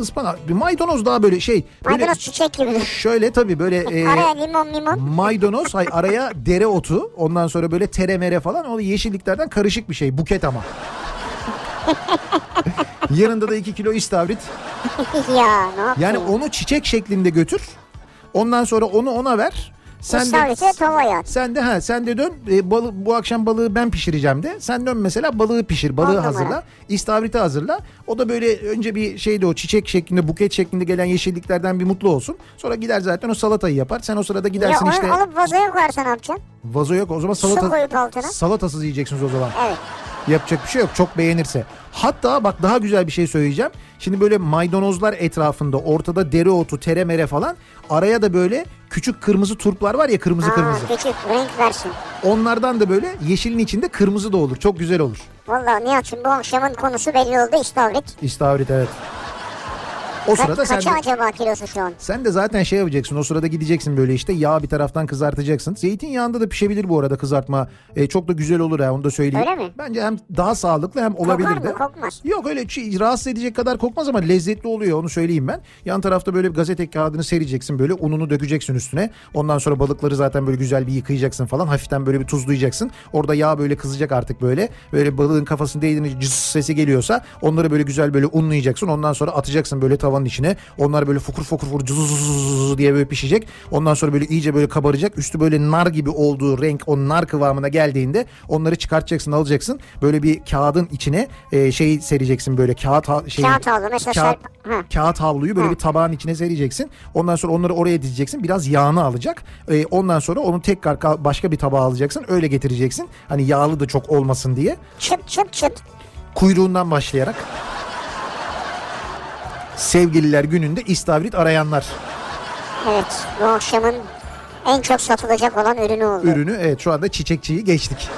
Speaker 3: Ispanak, bir maydanoz daha böyle şey. Böyle
Speaker 4: Maydanoz çiçek gibi.
Speaker 3: şöyle tabii böyle e,
Speaker 4: Araya limon limon.
Speaker 3: maydanoz hay araya dereotu ondan sonra böyle teremere falan o yeşilliklerden karışık bir şey buket ama. Yanında da 2 kilo istavrit.
Speaker 4: [laughs] ya ne yapayım?
Speaker 3: Yani onu çiçek şeklinde götür. Ondan sonra onu ona ver. Sen
Speaker 4: İstavrite tavaya at.
Speaker 3: Sen de ha sen de dön e, balı, bu akşam balığı ben pişireceğim de. Sen dön mesela balığı pişir, balığı
Speaker 4: Tamam,
Speaker 3: hazırla.
Speaker 4: tamam.
Speaker 3: İstavriti hazırla. O da böyle önce bir şeyde o çiçek şeklinde, buket şeklinde gelen yeşilliklerden bir mutlu olsun. Sonra gider zaten o salatayı yapar. Sen o sırada
Speaker 4: Ya
Speaker 3: gidersin
Speaker 4: onu
Speaker 3: işte
Speaker 4: alıp vazoya koyarsan ne yapacaksın?
Speaker 3: vazo yok o zaman
Speaker 4: Su
Speaker 3: salata
Speaker 4: koyup altına.
Speaker 3: salatasız yiyeceksiniz o zaman.
Speaker 4: Evet.
Speaker 3: Yapacak bir şey yok çok beğenirse. Hatta bak daha güzel bir şey söyleyeceğim. Şimdi böyle maydanozlar etrafında ortada dereotu, teremere falan araya da böyle küçük kırmızı turplar var ya kırmızı
Speaker 4: Aa,
Speaker 3: kırmızı.
Speaker 4: küçük renk versin.
Speaker 3: Onlardan da böyle yeşilin içinde kırmızı da olur. Çok güzel olur.
Speaker 4: Valla Nihat'cığım bu akşamın konusu belli oldu istavrit.
Speaker 3: İstavrit evet. O
Speaker 4: Ka-
Speaker 3: sırada sen
Speaker 4: kaça
Speaker 3: de,
Speaker 4: acaba kilosu şu an?
Speaker 3: sen de zaten şey yapacaksın. O sırada gideceksin böyle işte yağ bir taraftan kızartacaksın. Zeytinyağında da pişebilir bu arada kızartma. E, çok da güzel olur ha onu da söyleyeyim.
Speaker 4: Öyle mi?
Speaker 3: Bence hem daha sağlıklı hem olabilir
Speaker 4: Kokar
Speaker 3: de.
Speaker 4: mı kokmaz?
Speaker 3: Yok öyle çi- rahatsız edecek kadar kokmaz ama lezzetli oluyor onu söyleyeyim ben. Yan tarafta böyle bir gazete kağıdını sereceksin böyle ununu dökeceksin üstüne. Ondan sonra balıkları zaten böyle güzel bir yıkayacaksın falan. Hafiften böyle bir tuzlayacaksın. Orada yağ böyle kızacak artık böyle. Böyle balığın kafasını değdiğinde cız sesi geliyorsa onları böyle güzel böyle unlayacaksın. Ondan sonra atacaksın böyle tavanın içine. Onlar böyle fokur fokur fokur cız diye böyle pişecek. Ondan sonra böyle iyice böyle kabaracak. Üstü böyle nar gibi olduğu renk o nar kıvamına geldiğinde onları çıkartacaksın alacaksın. Böyle bir kağıdın içine e, şey sereceksin böyle kağıt ha- şey
Speaker 4: Kağıt havlu mesela
Speaker 3: kağıt,
Speaker 4: serp- ha.
Speaker 3: kağıt havluyu böyle bir tabağın içine sereceksin. Ondan sonra onları oraya dizeceksin. Biraz yağını alacak. E, ondan sonra onu tekrar ka- başka bir tabağa alacaksın. Öyle getireceksin. Hani yağlı da çok olmasın diye.
Speaker 4: Çıt çıt çıt.
Speaker 3: Kuyruğundan başlayarak. Sevgililer gününde istavrit arayanlar.
Speaker 4: Evet bu akşamın en çok satılacak olan ürünü oldu.
Speaker 3: ürünü evet şu anda çiçekçiyi geçtik.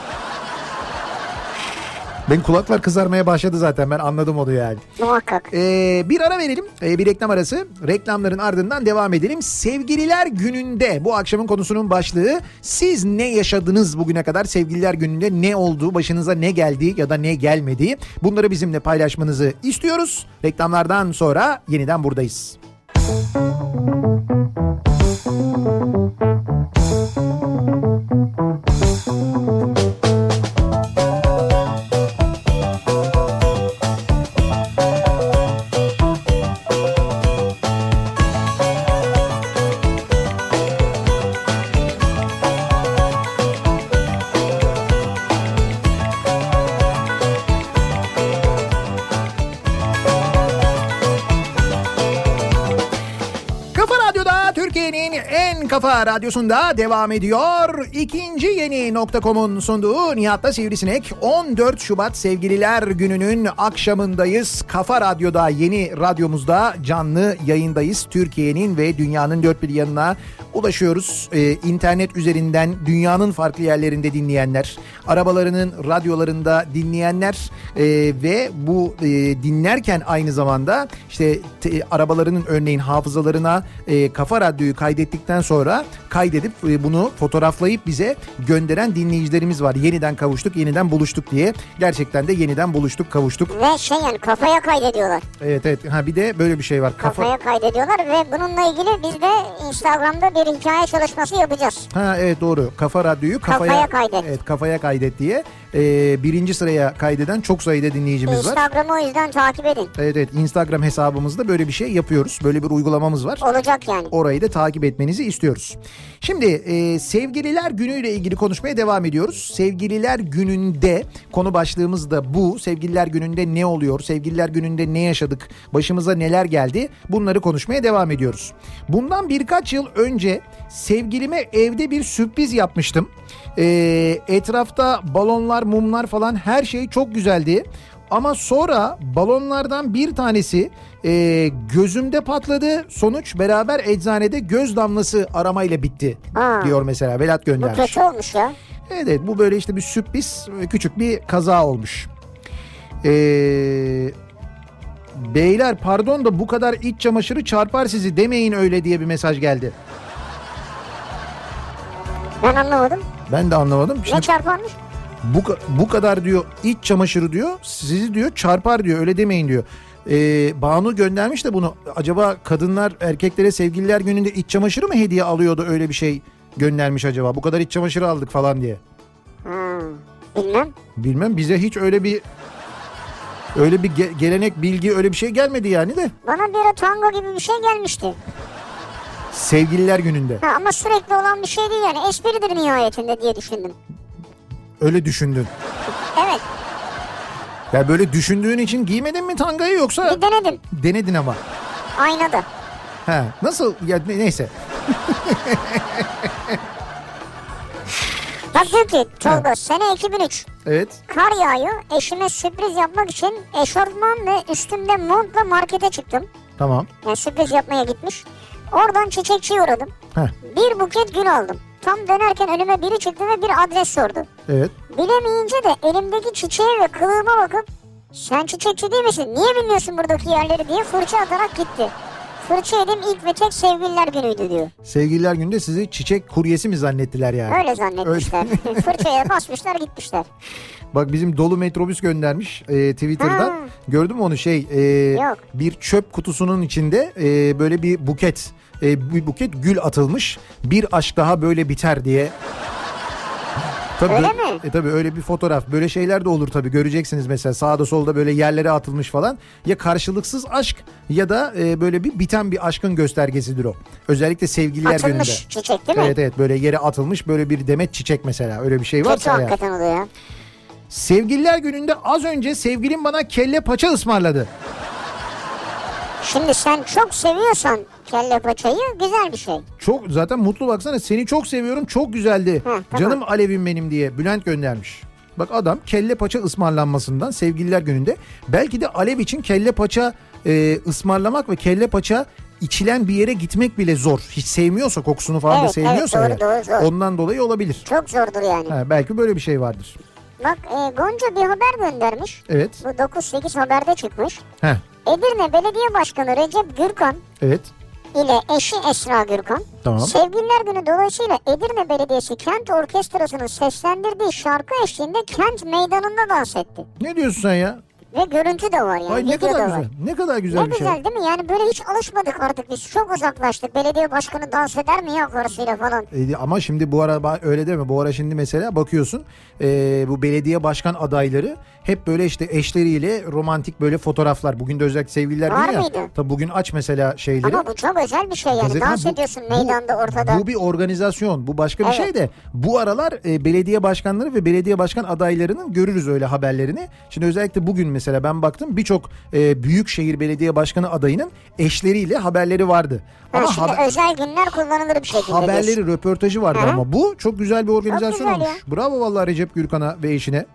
Speaker 3: Benim kulaklar kızarmaya başladı zaten ben anladım onu yani.
Speaker 4: Muhakkak.
Speaker 3: Ee, bir ara verelim. Ee, bir reklam arası. Reklamların ardından devam edelim. Sevgililer gününde bu akşamın konusunun başlığı siz ne yaşadınız bugüne kadar sevgililer gününde ne oldu başınıza ne geldi ya da ne gelmedi bunları bizimle paylaşmanızı istiyoruz. Reklamlardan sonra yeniden buradayız. Kafa Radyo'da Türkiye'nin en kafa radyosunda devam ediyor. İkinci yeni nokta.com'un sunduğu Nihat'la Sivrisinek 14 Şubat Sevgililer Günü'nün akşamındayız. Kafa Radyo'da yeni radyomuzda canlı yayındayız. Türkiye'nin ve dünyanın dört bir yanına ulaşıyoruz. Ee, internet üzerinden dünyanın farklı yerlerinde dinleyenler, arabalarının radyolarında dinleyenler e, ve bu e, dinlerken aynı zamanda işte te- arabalarının örneğin hafızalarına e, kafa radyoyu kaydettikten sonra kaydedip e, bunu fotoğraflayıp bize gönderen dinleyicilerimiz var. Yeniden kavuştuk, yeniden buluştuk diye. Gerçekten de yeniden buluştuk, kavuştuk.
Speaker 4: Ve şey yani kafaya kaydediyorlar.
Speaker 3: Evet evet. Ha bir de böyle bir şey var. Kafa
Speaker 4: Kafaya kaydediyorlar ve bununla ilgili biz de Instagram'da bir hikaye çalışması yapacağız.
Speaker 3: Ha evet doğru. Kafa radyoyu kafaya,
Speaker 4: Kafaya kaydet.
Speaker 3: Evet kafaya kaydet diye. Ee, birinci sıraya kaydeden çok sayıda dinleyicimiz var.
Speaker 4: Instagram'ı o yüzden takip edin.
Speaker 3: Evet evet Instagram hesabımızda böyle bir şey yapıyoruz. Böyle bir uygulamamız var.
Speaker 4: Olacak yani.
Speaker 3: Orayı da takip etmenizi istiyoruz. Şimdi e, sevgililer günüyle ilgili konuşmaya devam ediyoruz. Sevgililer gününde konu başlığımız da bu. Sevgililer gününde ne oluyor? Sevgililer gününde ne yaşadık? Başımıza neler geldi? Bunları konuşmaya devam ediyoruz. Bundan birkaç yıl önce sevgilime evde bir sürpriz yapmıştım. E, etrafta balonlar, mumlar falan her şey çok güzeldi. Ama sonra balonlardan bir tanesi e, gözümde patladı. Sonuç beraber eczanede göz damlası aramayla bitti
Speaker 4: Aa.
Speaker 3: diyor mesela Velat
Speaker 4: Bu
Speaker 3: göndermiş.
Speaker 4: kötü olmuş ya.
Speaker 3: Evet, evet bu böyle işte bir sürpriz küçük bir kaza olmuş. Ee, beyler pardon da bu kadar iç çamaşırı çarpar sizi demeyin öyle diye bir mesaj geldi.
Speaker 4: Ben anlamadım.
Speaker 3: Ben de anlamadım.
Speaker 4: Ne
Speaker 3: Şimdi
Speaker 4: çarpanmış?
Speaker 3: bu, ka- bu kadar diyor iç çamaşırı diyor sizi diyor çarpar diyor öyle demeyin diyor. Ee, Banu göndermiş de bunu acaba kadınlar erkeklere sevgililer gününde iç çamaşırı mı hediye alıyordu öyle bir şey göndermiş acaba bu kadar iç çamaşırı aldık falan diye.
Speaker 4: Ha, bilmem.
Speaker 3: Bilmem bize hiç öyle bir öyle bir ge- gelenek bilgi öyle bir şey gelmedi yani de
Speaker 4: Bana bir ara tango gibi bir şey gelmişti.
Speaker 3: sevgililer gününde
Speaker 4: Ha, ama sürekli olan bir şey değil yani. Espridir nihayetinde diye düşündüm.
Speaker 3: öyle düşündün.
Speaker 4: Evet
Speaker 3: Ya böyle düşündüğün için giymedin mi tangayı yoksa
Speaker 4: bir denedim.
Speaker 3: denedin ama.
Speaker 4: Aynada.
Speaker 3: He, nasıl ya ne- neyse.
Speaker 4: Bak diyor ki Tolga sene 2003.
Speaker 3: Evet.
Speaker 4: Kar yağıyor. Eşime sürpriz yapmak için eşofman ve üstümde montla markete çıktım.
Speaker 3: Tamam.
Speaker 4: Yani sürpriz yapmaya gitmiş. Oradan çiçekçiye uğradım.
Speaker 3: Heh,
Speaker 4: Bir buket gül aldım. Tam dönerken önüme biri çıktı ve bir adres sordu.
Speaker 3: evet.
Speaker 4: Bilemeyince de elimdeki çiçeğe ve kılığıma bakıp sen çiçekçi değil misin? Niye bilmiyorsun buradaki yerleri diye fırça atarak gitti. Fırça yedim ilk ve tek sevgililer günüydü diyor.
Speaker 3: Sevgililer günde sizi çiçek kuryesi mi zannettiler yani?
Speaker 4: Öyle zannetmişler. [laughs] Fırçaya basmışlar
Speaker 3: [laughs]
Speaker 4: gitmişler.
Speaker 3: Bak bizim dolu metrobüs göndermiş e, Twitter'dan.
Speaker 4: Ha.
Speaker 3: Gördün mü onu şey? e,
Speaker 4: Yok.
Speaker 3: Bir çöp kutusunun içinde e, böyle bir buket e, bir buket gül atılmış. Bir aşk daha böyle biter diye. [laughs] Tabii
Speaker 4: Öyle
Speaker 3: böyle-
Speaker 4: mi?
Speaker 3: E, tabii öyle bir fotoğraf. Böyle şeyler de olur tabii. Göreceksiniz mesela sağda solda böyle yerlere atılmış falan. Ya karşılıksız aşk ya da e, böyle bir biten bir aşkın göstergesidir o. Özellikle sevgililer
Speaker 4: Atılmış
Speaker 3: gününde.
Speaker 4: çiçek değil mi?
Speaker 3: Evet evet böyle yere atılmış böyle bir demet çiçek mesela. Öyle bir şey
Speaker 4: Kötü
Speaker 3: varsa ya.
Speaker 4: hakikaten oluyor ya.
Speaker 3: Sevgililer gününde az önce sevgilim bana kelle paça ısmarladı.
Speaker 4: Şimdi sen çok seviyorsan kelle paçayı güzel bir şey.
Speaker 3: Çok zaten mutlu baksana seni çok seviyorum çok güzeldi.
Speaker 4: tamam.
Speaker 3: Canım Alevim benim diye Bülent göndermiş. Bak adam kelle paça ısmarlanmasından sevgililer gününde belki de Alev için kelle paça e, ısmarlamak ve kelle paça içilen bir yere gitmek bile zor. Hiç sevmiyorsa kokusunu falan da
Speaker 4: Evet, evet,
Speaker 3: sevmiyorsa
Speaker 4: doğru,
Speaker 3: eğer,
Speaker 4: doğru, doğru.
Speaker 3: ondan dolayı olabilir.
Speaker 4: Çok zordur yani.
Speaker 3: Ha, belki böyle bir şey vardır.
Speaker 4: Bak e, Gonca bir haber göndermiş.
Speaker 3: Evet.
Speaker 4: Bu 9-8 haberde çıkmış.
Speaker 3: Heh,
Speaker 4: Edirne Belediye Başkanı Recep Gürkan
Speaker 3: evet.
Speaker 4: ile eşi Esra Gürkan.
Speaker 3: Tamam.
Speaker 4: Sevgililer Günü dolayısıyla Edirne Belediyesi Kent Orkestrası'nın seslendirdiği şarkı eşliğinde kent meydanında dans etti.
Speaker 3: Ne diyorsun sen ya?
Speaker 4: Ve görüntü de var yani.
Speaker 3: Ay ne
Speaker 4: video
Speaker 3: kadar
Speaker 4: da var.
Speaker 3: güzel. Ne kadar güzel bir
Speaker 4: Ne
Speaker 3: şey.
Speaker 4: güzel değil mi? Yani böyle hiç alışmadık artık biz. Çok uzaklaştık. Belediye başkanı dans eder mi ya karısıyla falan.
Speaker 3: E, Ama şimdi bu ara ba- öyle deme. Bu ara şimdi mesela bakıyorsun e, bu belediye başkan adayları hep böyle işte eşleriyle romantik böyle fotoğraflar. Bugün de özellikle sevgililer
Speaker 4: Var
Speaker 3: günü ya.
Speaker 4: mıydı?
Speaker 3: Tabii bugün aç mesela şeyleri.
Speaker 4: Ama bu çok özel bir şey yani.
Speaker 3: Gazete-
Speaker 4: dans
Speaker 3: bu-
Speaker 4: ediyorsun
Speaker 3: bu-
Speaker 4: meydanda ortada.
Speaker 3: Bu bir organizasyon. Bu başka bir
Speaker 4: Evet.
Speaker 3: şey de bu aralar e, belediye başkanları ve belediye başkan adaylarının görürüz öyle haberlerini. Şimdi özellikle bugün mesela ben baktım birçok e, büyükşehir belediye başkanı adayının eşleriyle haberleri vardı.
Speaker 4: Ha,
Speaker 3: Ama
Speaker 4: şimdi
Speaker 3: haber-
Speaker 4: özel günler kullanılır bir şekilde. diyorsun.
Speaker 3: haberleri, röportajı vardı
Speaker 4: Hı hı.
Speaker 3: ama bu çok güzel bir organizasyon
Speaker 4: güzel
Speaker 3: olmuş. Bravo vallahi Recep Gürkan'a ve eşine.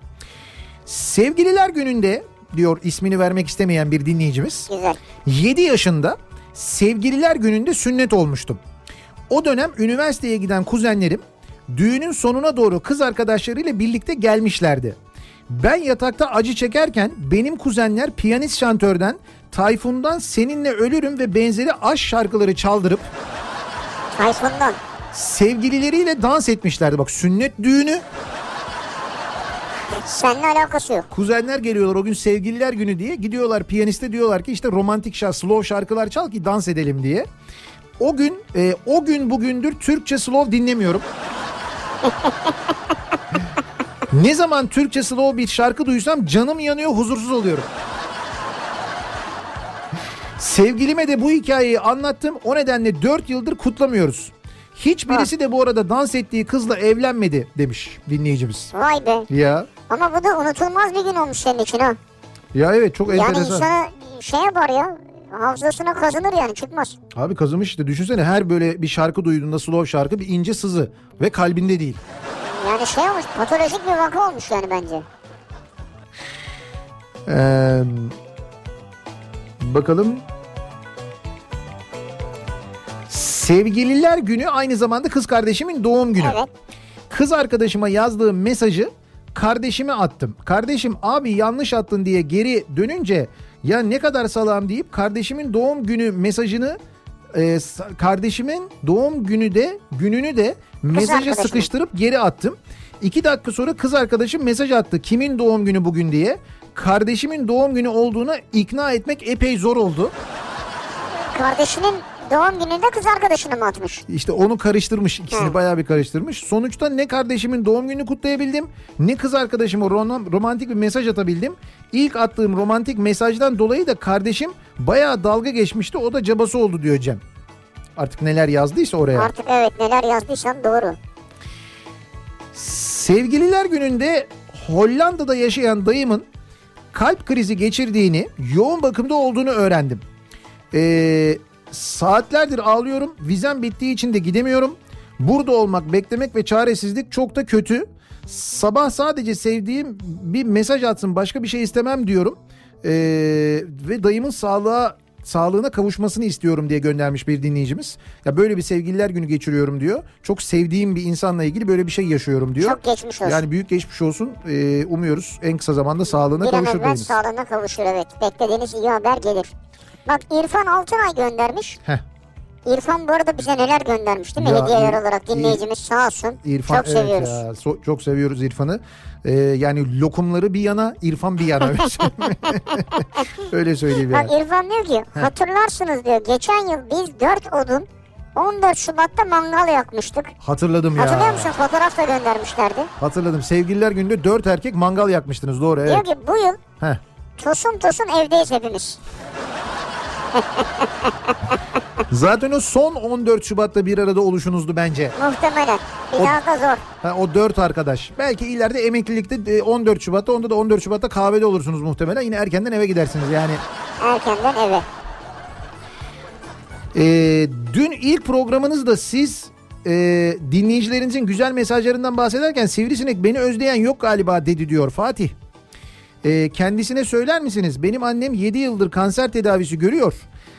Speaker 3: Sevgililer gününde diyor ismini vermek istemeyen bir dinleyicimiz.
Speaker 4: Güzel.
Speaker 3: 7 yaşında sevgililer gününde sünnet olmuştum. O dönem üniversiteye giden kuzenlerim düğünün sonuna doğru kız arkadaşlarıyla birlikte gelmişlerdi. Ben yatakta acı çekerken benim kuzenler piyanist şantörden Tayfun'dan Seninle Ölürüm ve benzeri aşk şarkıları çaldırıp
Speaker 4: Tayfun'dan.
Speaker 3: sevgilileriyle dans etmişlerdi. Bak sünnet düğünü
Speaker 4: Seninle alakası yok.
Speaker 3: kuzenler geliyorlar o gün sevgililer günü diye gidiyorlar piyaniste diyorlar ki işte romantik şarkı slow şarkılar çal ki dans edelim diye. O gün e, o gün bugündür Türkçe slow dinlemiyorum. [laughs] ne zaman Türkçe slow bir şarkı duysam canım yanıyor huzursuz oluyorum. Sevgilime de bu hikayeyi anlattım. O nedenle 4 yıldır kutlamıyoruz. Hiçbirisi de bu arada dans ettiği kızla evlenmedi demiş dinleyicimiz.
Speaker 4: Vay be.
Speaker 3: Ya
Speaker 4: Ama bu da unutulmaz bir gün olmuş senin için ha.
Speaker 3: ya evet çok
Speaker 4: Yani
Speaker 3: enteresan.
Speaker 4: insana şey yapar ya. Hafızasına kazınır yani çıkmaz.
Speaker 3: Abi kazımış işte düşünsene her böyle bir şarkı duyduğunda slow şarkı bir ince sızı ve kalbinde değil.
Speaker 4: Yani şey olmuş patolojik bir vaka olmuş yani bence.
Speaker 3: Ee, bakalım. Sevgililer günü aynı zamanda kız kardeşimin doğum günü.
Speaker 4: Evet.
Speaker 3: Kız arkadaşıma yazdığım mesajı kardeşime attım. Kardeşim abi yanlış attın diye geri dönünce ya ne kadar salam deyip kardeşimin doğum günü mesajını e, sa- kardeşimin doğum günü de gününü de mesaja
Speaker 4: arkadaşına.
Speaker 3: sıkıştırıp geri attım. İki dakika sonra kız arkadaşım mesaj attı. Kimin doğum günü bugün diye. Kardeşimin doğum günü olduğuna ikna etmek epey zor oldu.
Speaker 4: Kardeşinin doğum gününde kız arkadaşını mı atmış?
Speaker 3: İşte onu karıştırmış ikisini
Speaker 4: Hı.
Speaker 3: bayağı bir karıştırmış. Sonuçta ne kardeşimin doğum gününü kutlayabildim ne kız arkadaşıma rom- romantik bir mesaj atabildim. İlk attığım romantik mesajdan dolayı da kardeşim bayağı dalga geçmişti o da cabası oldu diyor Cem. Artık neler yazdıysa oraya.
Speaker 4: Artık evet neler yazdıysan doğru.
Speaker 3: Sevgililer gününde Hollanda'da yaşayan dayımın kalp krizi geçirdiğini, yoğun bakımda olduğunu öğrendim. Ee, saatlerdir ağlıyorum. Vizem bittiği için de gidemiyorum. Burada olmak, beklemek ve çaresizlik çok da kötü. Sabah sadece sevdiğim bir mesaj atsın, başka bir şey istemem diyorum. Ee, ve dayımın sağlığa sağlığına kavuşmasını istiyorum diye göndermiş bir dinleyicimiz. Ya böyle bir sevgililer günü geçiriyorum diyor. Çok sevdiğim bir insanla ilgili böyle bir şey yaşıyorum diyor.
Speaker 4: Çok geçmiş olsun.
Speaker 3: Yani büyük geçmiş olsun. Ee, umuyoruz en kısa zamanda sağlığına
Speaker 4: Bir an
Speaker 3: kavuşur
Speaker 4: evvel
Speaker 3: dayımız.
Speaker 4: sağlığına kavuşur evet. Beklediğiniz iyi haber gelir. Bak İrfan Altınay göndermiş.
Speaker 3: Heh.
Speaker 4: İrfan bu arada bize neler göndermiş değil mi?
Speaker 3: Ya,
Speaker 4: Hediyeler
Speaker 3: İr-
Speaker 4: olarak dinleyicimiz sağ olsun.
Speaker 3: İrfan
Speaker 4: Çok
Speaker 3: evet
Speaker 4: seviyoruz.
Speaker 3: ya, so- çok seviyoruz İrfan'ı. Ee, yani lokumları bir yana, İrfan bir yana. [laughs] Öyle söyleyeyim yani.
Speaker 4: Bak İrfan diyor ki hatırlarsınız diyor. Geçen yıl biz 4 odun 14 Şubat'ta mangal yakmıştık.
Speaker 3: Hatırladım
Speaker 4: Hatırlıyor
Speaker 3: ya.
Speaker 4: musun? Fotoğraf da göndermişlerdi.
Speaker 3: Hatırladım. Sevgililer gününde dört erkek mangal yakmıştınız. Doğru evet.
Speaker 4: Diyor ki bu yıl
Speaker 3: Heh.
Speaker 4: tosun tosun evdeyiz hepimiz.
Speaker 3: Zaten o son 14 Şubat'ta bir arada oluşunuzdu bence.
Speaker 4: Muhtemelen. Bir
Speaker 3: O-
Speaker 4: daha da zor.
Speaker 3: Ha, o dört arkadaş. Belki ileride emeklilikte e, 14 Şubat'ta onda da 14 Şubat'ta kahvede olursunuz muhtemelen. Yine erkenden eve gidersiniz yani.
Speaker 4: Erkenden eve.
Speaker 3: Ee, dün ilk programınızda siz e, dinleyicilerinizin güzel mesajlarından bahsederken Sivrisinek beni özleyen yok galiba dedi diyor Fatih. Ee, kendisine söyler misiniz? Benim annem 7 yıldır kanser tedavisi görüyor.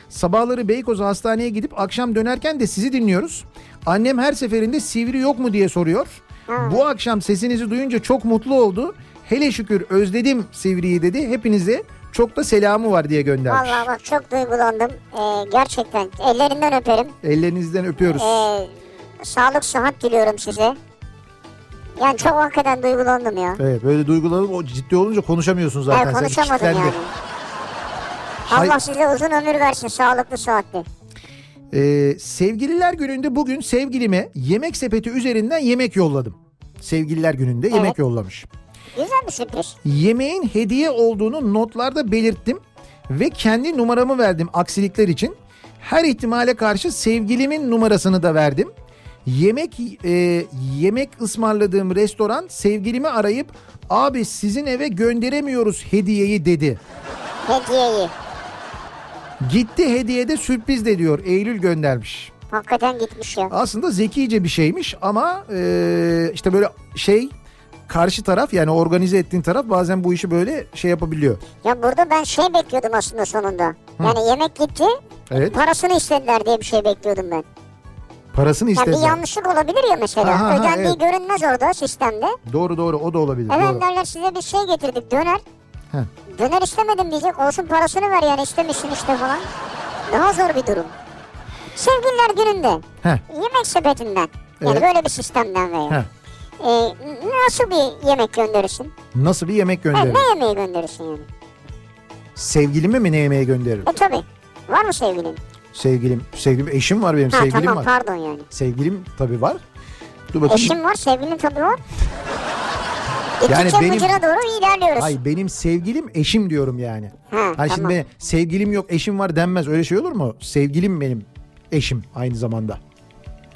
Speaker 3: Sabahları Beykoz'a hastaneye gidip akşam dönerken de sizi dinliyoruz. Annem her seferinde sivri yok mu diye soruyor.
Speaker 4: Hmm.
Speaker 3: Bu akşam sesinizi duyunca çok mutlu oldu. Hele şükür özledim sivriyi dedi. Hepinize çok da selamı var diye göndermiş.
Speaker 4: Vallahi bak çok duygulandım. Ee, gerçekten ellerinden öperim.
Speaker 3: Ellerinizden öpüyoruz.
Speaker 4: Ee, sağlık sıhhat diliyorum size. Yani çok hakikaten duygulandım ya.
Speaker 3: Evet böyle duygulanıp o ciddi olunca konuşamıyorsun zaten.
Speaker 4: Ben
Speaker 3: sen,
Speaker 4: konuşamadım
Speaker 3: kitlendi.
Speaker 4: yani.
Speaker 3: Hay-
Speaker 4: Allah size uzun ömür versin sağlıklı sıhhatli.
Speaker 3: Ee, sevgililer gününde bugün sevgilime yemek sepeti üzerinden yemek yolladım. Sevgililer gününde yemek yollamış.
Speaker 4: Güzel bir sürpriz.
Speaker 3: Yemeğin hediye olduğunu notlarda belirttim ve kendi numaramı verdim aksilikler için. Her ihtimale karşı sevgilimin numarasını da verdim. Yemek e, yemek ısmarladığım restoran sevgilimi arayıp abi sizin eve gönderemiyoruz hediyeyi dedi.
Speaker 4: Hediyeyi.
Speaker 3: Gitti hediyede sürpriz de diyor Eylül göndermiş.
Speaker 4: Hakikaten gitmiş ya.
Speaker 3: Aslında zekice bir şeymiş ama e, işte böyle şey karşı taraf yani organize ettiğin taraf bazen bu işi böyle şey yapabiliyor.
Speaker 4: Ya burada ben şey bekliyordum aslında sonunda. Yani yemek gitti
Speaker 3: Evet
Speaker 4: parasını istediler diye bir şey bekliyordum ben.
Speaker 3: parasını
Speaker 4: Yani bir
Speaker 3: istediler.
Speaker 4: yanlışlık olabilir ya mesela.
Speaker 3: Aha, aha,
Speaker 4: Ödendiği
Speaker 3: evet.
Speaker 4: görünmez orada sistemde.
Speaker 3: Doğru doğru o da olabilir.
Speaker 4: Evet
Speaker 3: doğru.
Speaker 4: derler size bir şey getirdik döner.
Speaker 3: Heh.
Speaker 4: Döner istemedim diyecek. Olsun parasını ver yani istemişsin işte falan. Daha zor bir durum. Sevgililer gününde
Speaker 3: Heh,
Speaker 4: yemek sepetinden yani
Speaker 3: Evet.
Speaker 4: böyle bir sistemden veya
Speaker 3: heh.
Speaker 4: e, nasıl bir yemek gönderirsin?
Speaker 3: Nasıl bir yemek
Speaker 4: Ha,
Speaker 3: gönderir?
Speaker 4: ne yemeği gönderirsin yani?
Speaker 3: Sevgilimi mi ne yemeğe gönderirim?
Speaker 4: E tabi. Var mı sevgilin?
Speaker 3: Sevgilim, sevgilim eşim var benim
Speaker 4: Ha
Speaker 3: sevgilim var.
Speaker 4: tamam pardon yani.
Speaker 3: Sevgilim tabii var. Dur bakayım.
Speaker 4: Eşim var, sevgilin tabii var.
Speaker 3: Yani
Speaker 4: İkinci
Speaker 3: benim-
Speaker 4: hıcıra doğru ilerliyoruz.
Speaker 3: Hayır benim sevgilim eşim diyorum yani.
Speaker 4: Ha,
Speaker 3: Ha,
Speaker 4: tamam.
Speaker 3: şimdi sevgilim yok eşim var denmez öyle şey olur mu? Sevgilim benim eşim aynı zamanda.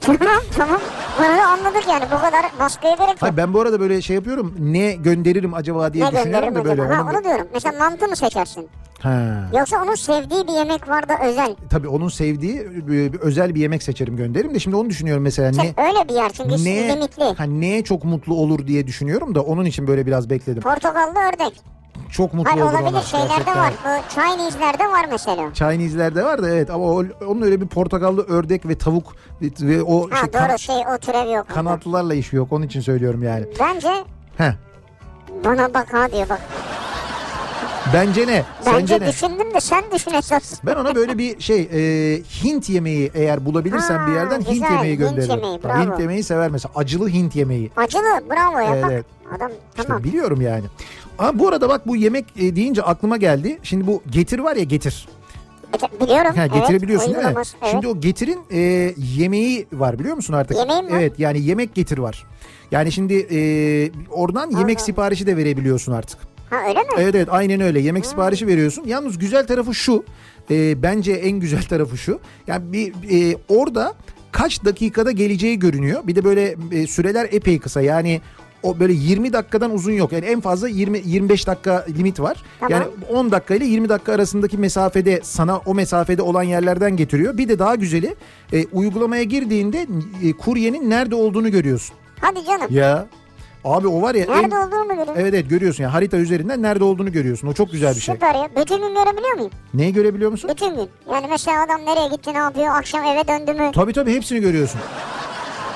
Speaker 4: Tamam tamam. Bunu da anladık yani bu kadar baskıya gerek yok.
Speaker 3: Hayır ben bu arada böyle şey yapıyorum. Ne gönderirim acaba diye
Speaker 4: ne
Speaker 3: düşünüyorum
Speaker 4: gönderirim
Speaker 3: da böyle.
Speaker 4: acaba? Ha
Speaker 3: onun-
Speaker 4: onu diyorum. Mesela mantı mı seçersin?
Speaker 3: Ha.
Speaker 4: Yoksa onun sevdiği bir yemek var da özel.
Speaker 3: Tabii onun sevdiği e, bir- özel bir yemek seçerim gönderirim de şimdi onu düşünüyorum mesela ne
Speaker 4: Sen öyle bir yer çünkü
Speaker 3: ne
Speaker 4: Şey, limitli.
Speaker 3: ha, neye çok mutlu olur diye düşünüyorum da onun için böyle biraz bekledim.
Speaker 4: Portakallı ördek.
Speaker 3: Çok mutlu
Speaker 4: Hayır
Speaker 3: olur
Speaker 4: olabilir
Speaker 3: ona.
Speaker 4: şeylerde
Speaker 3: gerçekten.
Speaker 4: var. Bu Chinese'lerde var mesela.
Speaker 3: Chinese'lerde var da evet ama o, onun öyle bir portakallı ördek ve tavuk ve, ve o
Speaker 4: Ha
Speaker 3: şey,
Speaker 4: doğru
Speaker 3: kan-
Speaker 4: şey o türev yok.
Speaker 3: kanatlılarla işi yok onun için söylüyorum yani.
Speaker 4: Bence
Speaker 3: Heh.
Speaker 4: bana bak ha diyor bak.
Speaker 3: Bence ne? Sence
Speaker 4: Bence
Speaker 3: ne?
Speaker 4: düşündüm de sen düşün esas.
Speaker 3: Ben ona böyle bir şey e, Hint yemeği eğer bulabilirsem
Speaker 4: Ha,
Speaker 3: bir yerden Hint
Speaker 4: güzel,
Speaker 3: yemeği
Speaker 4: Hint
Speaker 3: gönderirim.
Speaker 4: yemeği, bravo.
Speaker 3: Hint yemeği sever mesela acılı Hint yemeği.
Speaker 4: Acılı bravo ya bak.
Speaker 3: Evet.
Speaker 4: Adam
Speaker 3: İşte
Speaker 4: tamam.
Speaker 3: biliyorum yani. Ama bu arada bak bu yemek e, deyince aklıma geldi. Şimdi bu getir var ya getir.
Speaker 4: E, biliyorum.
Speaker 3: Ha, getirebiliyorsun
Speaker 4: evet,
Speaker 3: değil mi?
Speaker 4: uygulaması, Evet.
Speaker 3: Şimdi o getirin e, yemeği var biliyor musun artık?
Speaker 4: Yemeği mi var?
Speaker 3: Evet yani yemek getir var. Yani şimdi e, oradan yemek siparişi de verebiliyorsun artık.
Speaker 4: Ha öyle mi?
Speaker 3: Evet evet aynen öyle yemek siparişi veriyorsun. Yalnız güzel tarafı şu e, bence en güzel tarafı şu. Yani bir e, orada kaç dakikada geleceği görünüyor. Bir de böyle e, süreler epey kısa yani o böyle 20 dakikadan uzun yok. Yani en fazla 20 25 dakika limit var.
Speaker 4: Tamam.
Speaker 3: Yani 10 dakika ile 20 dakika arasındaki mesafede sana o mesafede olan yerlerden getiriyor. Bir de daha güzeli e, uygulamaya girdiğinde e, kuryenin nerede olduğunu görüyorsun.
Speaker 4: Hadi canım.
Speaker 3: Ya abi o var ya en-
Speaker 4: Nerede olduğumu görüyorum.
Speaker 3: Evet evet görüyorsun ya harita üzerinden nerede olduğunu görüyorsun. O çok güzel bir şey.
Speaker 4: Süper ya. Bütün gün görebiliyor muyum?
Speaker 3: Neyi görebiliyor musun?
Speaker 4: Bütün gün. Yani mesela adam nereye gitti ne yapıyor akşam eve döndü mü?
Speaker 3: Tabii tabii hepsini görüyorsun.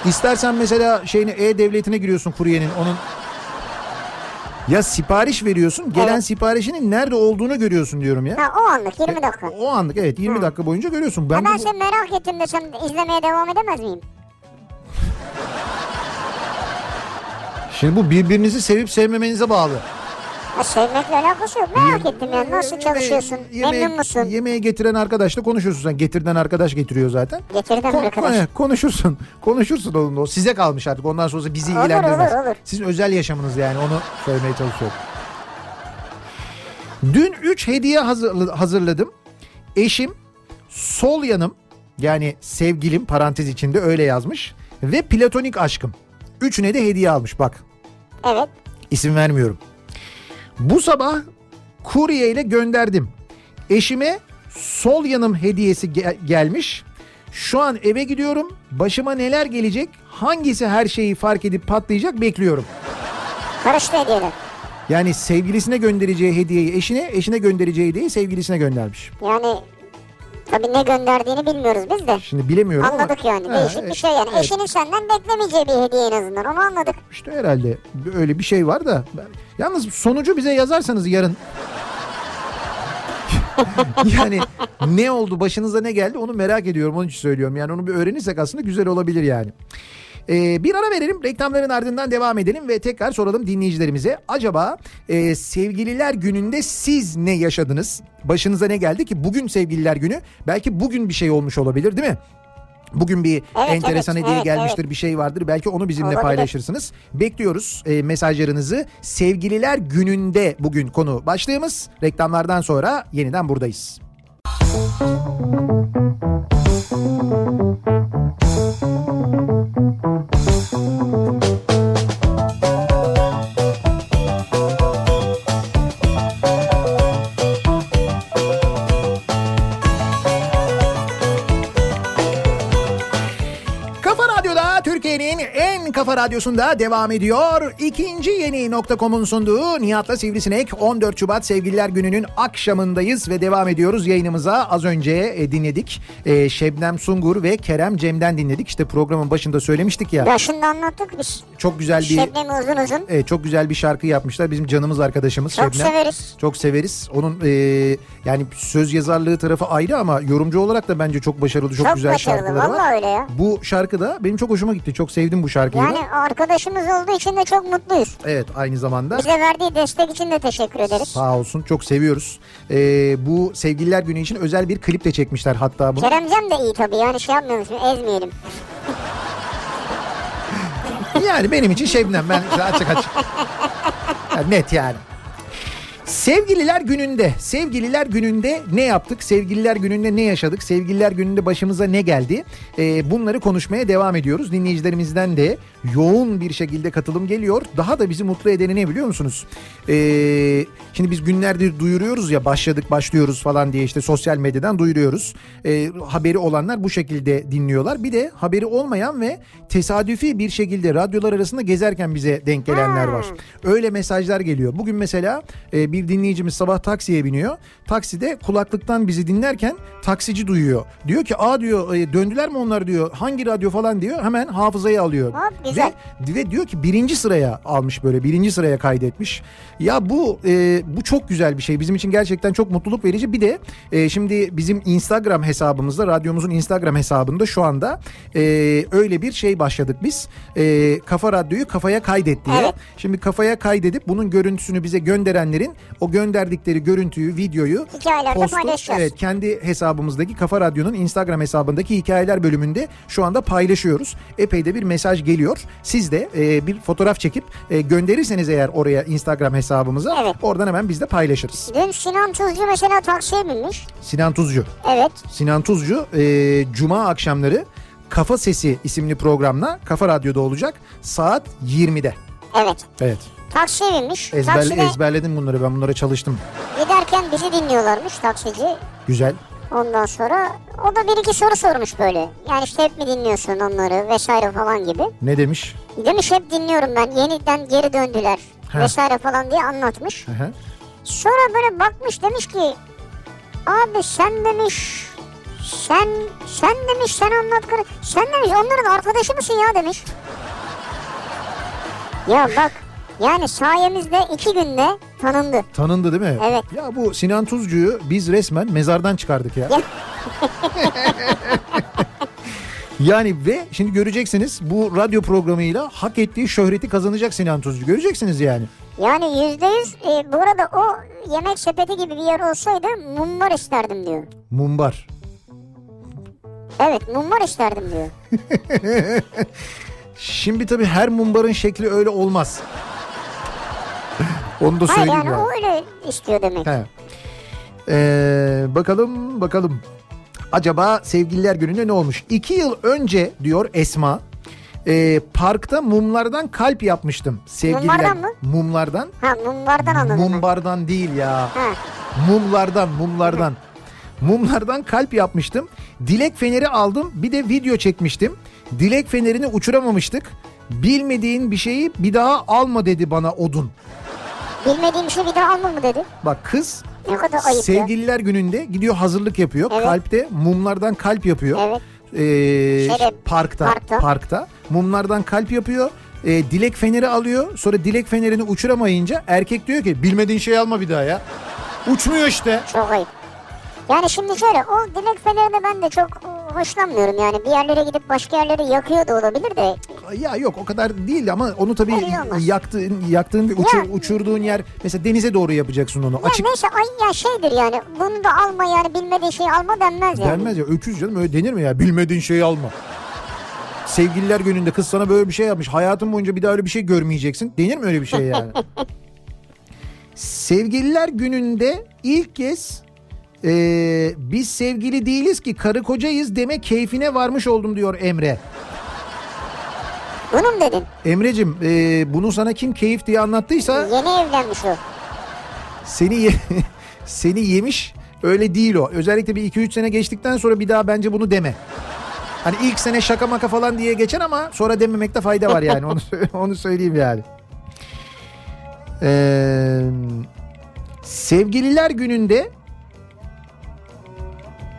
Speaker 3: İstersen mesela şeyini e-devletine giriyorsun kuryenin onun ya sipariş veriyorsun. Gelen
Speaker 4: Evet.
Speaker 3: siparişinin nerede olduğunu görüyorsun diyorum ya.
Speaker 4: Ha o anlık
Speaker 3: E,
Speaker 4: 20 dakika.
Speaker 3: O anlık evet 20 dakika boyunca görüyorsun.
Speaker 4: Ha,
Speaker 3: Ben,
Speaker 4: ben
Speaker 3: bu-
Speaker 4: şimdi merak ettim desem izlemeye devam edemez miyim?
Speaker 3: Şimdi bu birbirinizi sevip sevmemenize bağlı.
Speaker 4: Ha, sevmekle alakası yok. Merak ettim yani nasıl
Speaker 3: Yemeği-
Speaker 4: çalışıyorsun?
Speaker 3: yemeği-
Speaker 4: Memnun musun?
Speaker 3: Yemeği getiren arkadaşla konuşuyorsun sen. Getirden arkadaş getiriyor zaten.
Speaker 4: Getirden
Speaker 3: Kon-
Speaker 4: arkadaş.
Speaker 3: he, eh, Konuşursun. [laughs] Konuşursun onunla. O size kalmış artık. Ondan sonrası bizi
Speaker 4: Olur,
Speaker 3: ilgilendirmez.
Speaker 4: olur, olur.
Speaker 3: Sizin özel yaşamınız yani onu söylemeye çalışıyorum. Dün 3 hediye hazırla- hazırladım. Eşim, sol yanım yani sevgilim parantez içinde öyle yazmış ve platonik aşkım. Üçüne de hediye almış bak.
Speaker 4: Evet.
Speaker 3: İsim vermiyorum. Bu sabah kurye ile gönderdim. Eşime sol yanım hediyesi gel- gelmiş. Şu an eve gidiyorum. Başıma neler gelecek? Hangisi her şeyi fark edip patlayacak bekliyorum.
Speaker 4: Karıştı hediyeler.
Speaker 3: Yani sevgilisine göndereceği hediyeyi eşine, eşine göndereceği hediyeyi sevgilisine göndermiş.
Speaker 4: Yani Tabii ne gönderdiğini bilmiyoruz biz de.
Speaker 3: Şimdi bilemiyorum ama.
Speaker 4: Anladık yani.
Speaker 3: Ha,
Speaker 4: Değişik
Speaker 3: e,
Speaker 4: bir şey yani.
Speaker 3: evet.
Speaker 4: Eşinin senden beklemeyeceği bir hediye en azından. Onu anladık.
Speaker 3: İşte herhalde öyle bir şey var da. Ben- Yalnız sonucu bize yazarsanız yarın. [laughs] yani ne oldu başınıza ne geldi onu merak ediyorum onun için söylüyorum. Yani onu bir öğrenirsek aslında güzel olabilir yani. Ee, bir ara verelim reklamların ardından devam edelim ve tekrar soralım dinleyicilerimize. Acaba e, sevgililer gününde siz ne yaşadınız? Başınıza ne geldi ki bugün sevgililer günü? Belki bugün bir şey olmuş olabilir değil mi? Bugün bir
Speaker 4: Evet,
Speaker 3: enteresan
Speaker 4: evet,
Speaker 3: hediye
Speaker 4: evet,
Speaker 3: gelmiştir bir şey vardır. Belki onu bizimle
Speaker 4: Olabilir.
Speaker 3: paylaşırsınız. Bekliyoruz e, mesajlarınızı. Sevgililer gününde bugün konu başlığımız. Reklamlardan sonra yeniden buradayız. Kafa Radyo'da Türkiye'nin en kafa radyosunda devam ediyor. İkinci yeni nokta.com'un sunduğu Nihat'la Sivrisinek 14 Şubat Sevgililer Günü'nün akşamındayız ve devam ediyoruz yayınımıza. Az önce e, dinledik. E, Şebnem Sungur ve Kerem Cem'den dinledik. İşte programın başında söylemiştik ya.
Speaker 4: Yaşında anlattık biz.
Speaker 3: Çok güzel bir
Speaker 4: Şebnem'i uzun uzun.
Speaker 3: e, çok güzel bir şarkı yapmışlar. Bizim canımız arkadaşımız
Speaker 4: Çok
Speaker 3: Şebnem.
Speaker 4: severiz.
Speaker 3: Çok severiz. Onun e, yani söz yazarlığı tarafı ayrı ama yorumcu olarak da bence çok başarılı, çok,
Speaker 4: Çok
Speaker 3: güzel
Speaker 4: başarılı,
Speaker 3: şarkıları var.
Speaker 4: vallahi öyle ya.
Speaker 3: Bu şarkı da benim çok hoşuma gitti. Çok sevdim bu şarkıyı. da.
Speaker 4: Yani arkadaşımız olduğu için de çok mutluyuz.
Speaker 3: Evet aynı zamanda.
Speaker 4: Bize verdiği destek için de teşekkür ederiz.
Speaker 3: Sağ olsun çok seviyoruz. E, bu sevgililer günü için özel bir klip de çekmişler hatta bunu.
Speaker 4: Keremcem de iyi tabii yani şey yapmıyoruz ezmeyelim.
Speaker 3: Yani benim için Şebnem ben işte açık açık. Yani net yani. Sevgililer gününde, sevgililer gününde ne yaptık? Sevgililer gününde ne yaşadık? Sevgililer gününde başımıza ne geldi? Ee, bunları konuşmaya devam ediyoruz. Dinleyicilerimizden de yoğun bir şekilde katılım geliyor. Daha da bizi mutlu edeni ne biliyor musunuz? Ee, şimdi biz günlerdir duyuruyoruz ya başladık başlıyoruz falan diye işte sosyal medyadan duyuruyoruz. Ee, haberi olanlar bu şekilde dinliyorlar. Bir de haberi olmayan ve tesadüfi bir şekilde radyolar arasında gezerken bize denk gelenler var.
Speaker 4: Hmm.
Speaker 3: Öyle mesajlar geliyor. Bugün mesela e, bir dinleyicimiz sabah taksiye biniyor. Takside kulaklıktan bizi dinlerken taksici duyuyor. Diyor ki aa diyor e, döndüler mi onlar diyor. Hangi radyo falan diyor. Hemen hafızayı alıyor.
Speaker 4: Hop, güzel.
Speaker 3: Ve, ve diyor ki birinci sıraya almış böyle birinci sıraya kaydetmiş. Ya bu e, bu çok güzel bir şey. Bizim için gerçekten çok mutluluk verici. Bir de e, şimdi bizim Instagram hesabımızda radyomuzun Instagram hesabında şu anda e, öyle bir şey başladık biz. E, Kafa Radyo'yu kafaya kaydet diye.
Speaker 4: Evet.
Speaker 3: Şimdi kafaya kaydedip bunun görüntüsünü bize gönderenlerin o gönderdikleri görüntüyü, videoyu
Speaker 4: Hikayelerde
Speaker 3: postu-
Speaker 4: paylaşacağız.
Speaker 3: Evet kendi hesabımızdaki Kafa Radyo'nun Instagram hesabındaki hikayeler bölümünde şu anda paylaşıyoruz. Epey de bir mesaj geliyor. Siz de e, bir fotoğraf çekip e, gönderirseniz eğer oraya Instagram hesabımıza
Speaker 4: Evet.
Speaker 3: oradan hemen biz de paylaşırız.
Speaker 4: Dün Sinan Tuzcu mesela taksiye binmiş.
Speaker 3: Sinan Tuzcu.
Speaker 4: Evet.
Speaker 3: Sinan Tuzcu e, cuma akşamları Kafa Sesi isimli programla Kafa Radyo'da olacak saat 20'de.
Speaker 4: Evet.
Speaker 3: Evet.
Speaker 4: Taksiye binmiş.
Speaker 3: Ezberle,
Speaker 4: Takside
Speaker 3: Ezberledim bunları ben bunlara çalıştım.
Speaker 4: giderken bizi dinliyorlarmış taksici.
Speaker 3: Güzel.
Speaker 4: Ondan sonra o da bir iki soru sormuş böyle. Yani işte hep mi dinliyorsun onları vesaire falan gibi.
Speaker 3: Ne demiş?
Speaker 4: Demiş hep dinliyorum ben yeniden geri döndüler
Speaker 3: He.
Speaker 4: vesaire falan diye anlatmış.
Speaker 3: Hı hı.
Speaker 4: Sonra böyle bakmış demiş ki abi sen demiş sen sen demiş sen anlat kar- sen demiş onların arkadaşı mısın ya demiş. ya bak yani sayemizde iki günde tanındı.
Speaker 3: Tanındı değil mi?
Speaker 4: Evet.
Speaker 3: Ya bu Sinan Tuzcu'yu biz resmen mezardan çıkardık ya. [laughs] yani ve şimdi göreceksiniz bu radyo programıyla hak ettiği şöhreti kazanacak Sinan Tuzcu. Göreceksiniz yani.
Speaker 4: Yani yüzde yüz e, bu arada o yemek sepeti gibi bir yer olsaydı mumbar isterdim diyor.
Speaker 3: Mumbar.
Speaker 4: Evet mumbar isterdim diyor.
Speaker 3: Şimdi tabii her mumbarın şekli öyle olmaz. [laughs] Onu da
Speaker 4: Hayır
Speaker 3: söyleyeyim
Speaker 4: yani
Speaker 3: Şey yani.
Speaker 4: o öyle istiyor demek.
Speaker 3: He. Ee, bakalım bakalım. Acaba sevgililer gününde ne olmuş? İki yıl önce diyor Esma. ee, parkta mumlardan kalp yapmıştım. Sevgililer,
Speaker 4: Mumlardan mı?
Speaker 3: Mumlardan.
Speaker 4: Ha mumbardan anladım. ben.
Speaker 3: Mumbardan değil ya.
Speaker 4: Ha.
Speaker 3: Mumlardan mumlardan. Mumlardan kalp yapmıştım. Dilek feneri aldım. Bir de video çekmiştim. Dilek fenerini uçuramamıştık. Bilmediğin bir şeyi bir daha alma dedi bana odun.
Speaker 4: Bilmediğim şey bir daha alma mı dedi.
Speaker 3: Bak kız
Speaker 4: Ne kadar ayıp ya.
Speaker 3: Sevgililer gününde gidiyor hazırlık yapıyor.
Speaker 4: Evet.
Speaker 3: Kalpte mumlardan kalp yapıyor.
Speaker 4: Evet.
Speaker 3: Ee,
Speaker 4: Şeref,
Speaker 3: parkta,
Speaker 4: parkta.
Speaker 3: parkta mumlardan kalp yapıyor. Ee, dilek feneri alıyor. Sonra dilek fenerini uçuramayınca erkek diyor ki bilmediğin şey alma bir daha ya. Uçmuyor işte.
Speaker 4: Çok ayıp. Yani şimdi şöyle o dilek fenerine ben de çok e, hoşlanmıyorum yani bir yerlere gidip başka yerleri yakıyor da olabilir de
Speaker 3: Ya yok o kadar değil ama onu tabii
Speaker 4: Öyle olmaz.
Speaker 3: yaktığın yaktığın ve uçur-
Speaker 4: Ya.
Speaker 3: uçurduğun yer mesela denize doğru yapacaksın onu.
Speaker 4: ya
Speaker 3: Açık
Speaker 4: neyse ay ya şeydir yani bunu da alma yani bilmediğin şeyi alma denmez yani.
Speaker 3: Denmez ya öküz canım öyle denir mi ya bilmediğin şeyi alma. Sevgililer gününde kız sana böyle bir şey yapmış. Hayatın boyunca bir daha öyle bir şey görmeyeceksin. Denir mi öyle bir şey yani? Sevgililer gününde ilk kez eee, biz sevgili değiliz ki karı kocayız deme keyfine varmış oldum diyor Emre.
Speaker 4: Bunu mu dedin?
Speaker 3: Emre'cim eee, bunu sana kim keyif diye anlattıysa
Speaker 4: Yeni evlenmiş o.
Speaker 3: seni ye- [laughs] seni yemiş öyle değil o. Özellikle bir 2-3 sene geçtikten sonra bir daha bence bunu deme. Hani ilk sene şaka maka falan diye geçer ama sonra dememekte fayda var yani onu sö- [laughs] onu söyleyeyim yani. Ee, sevgililer gününde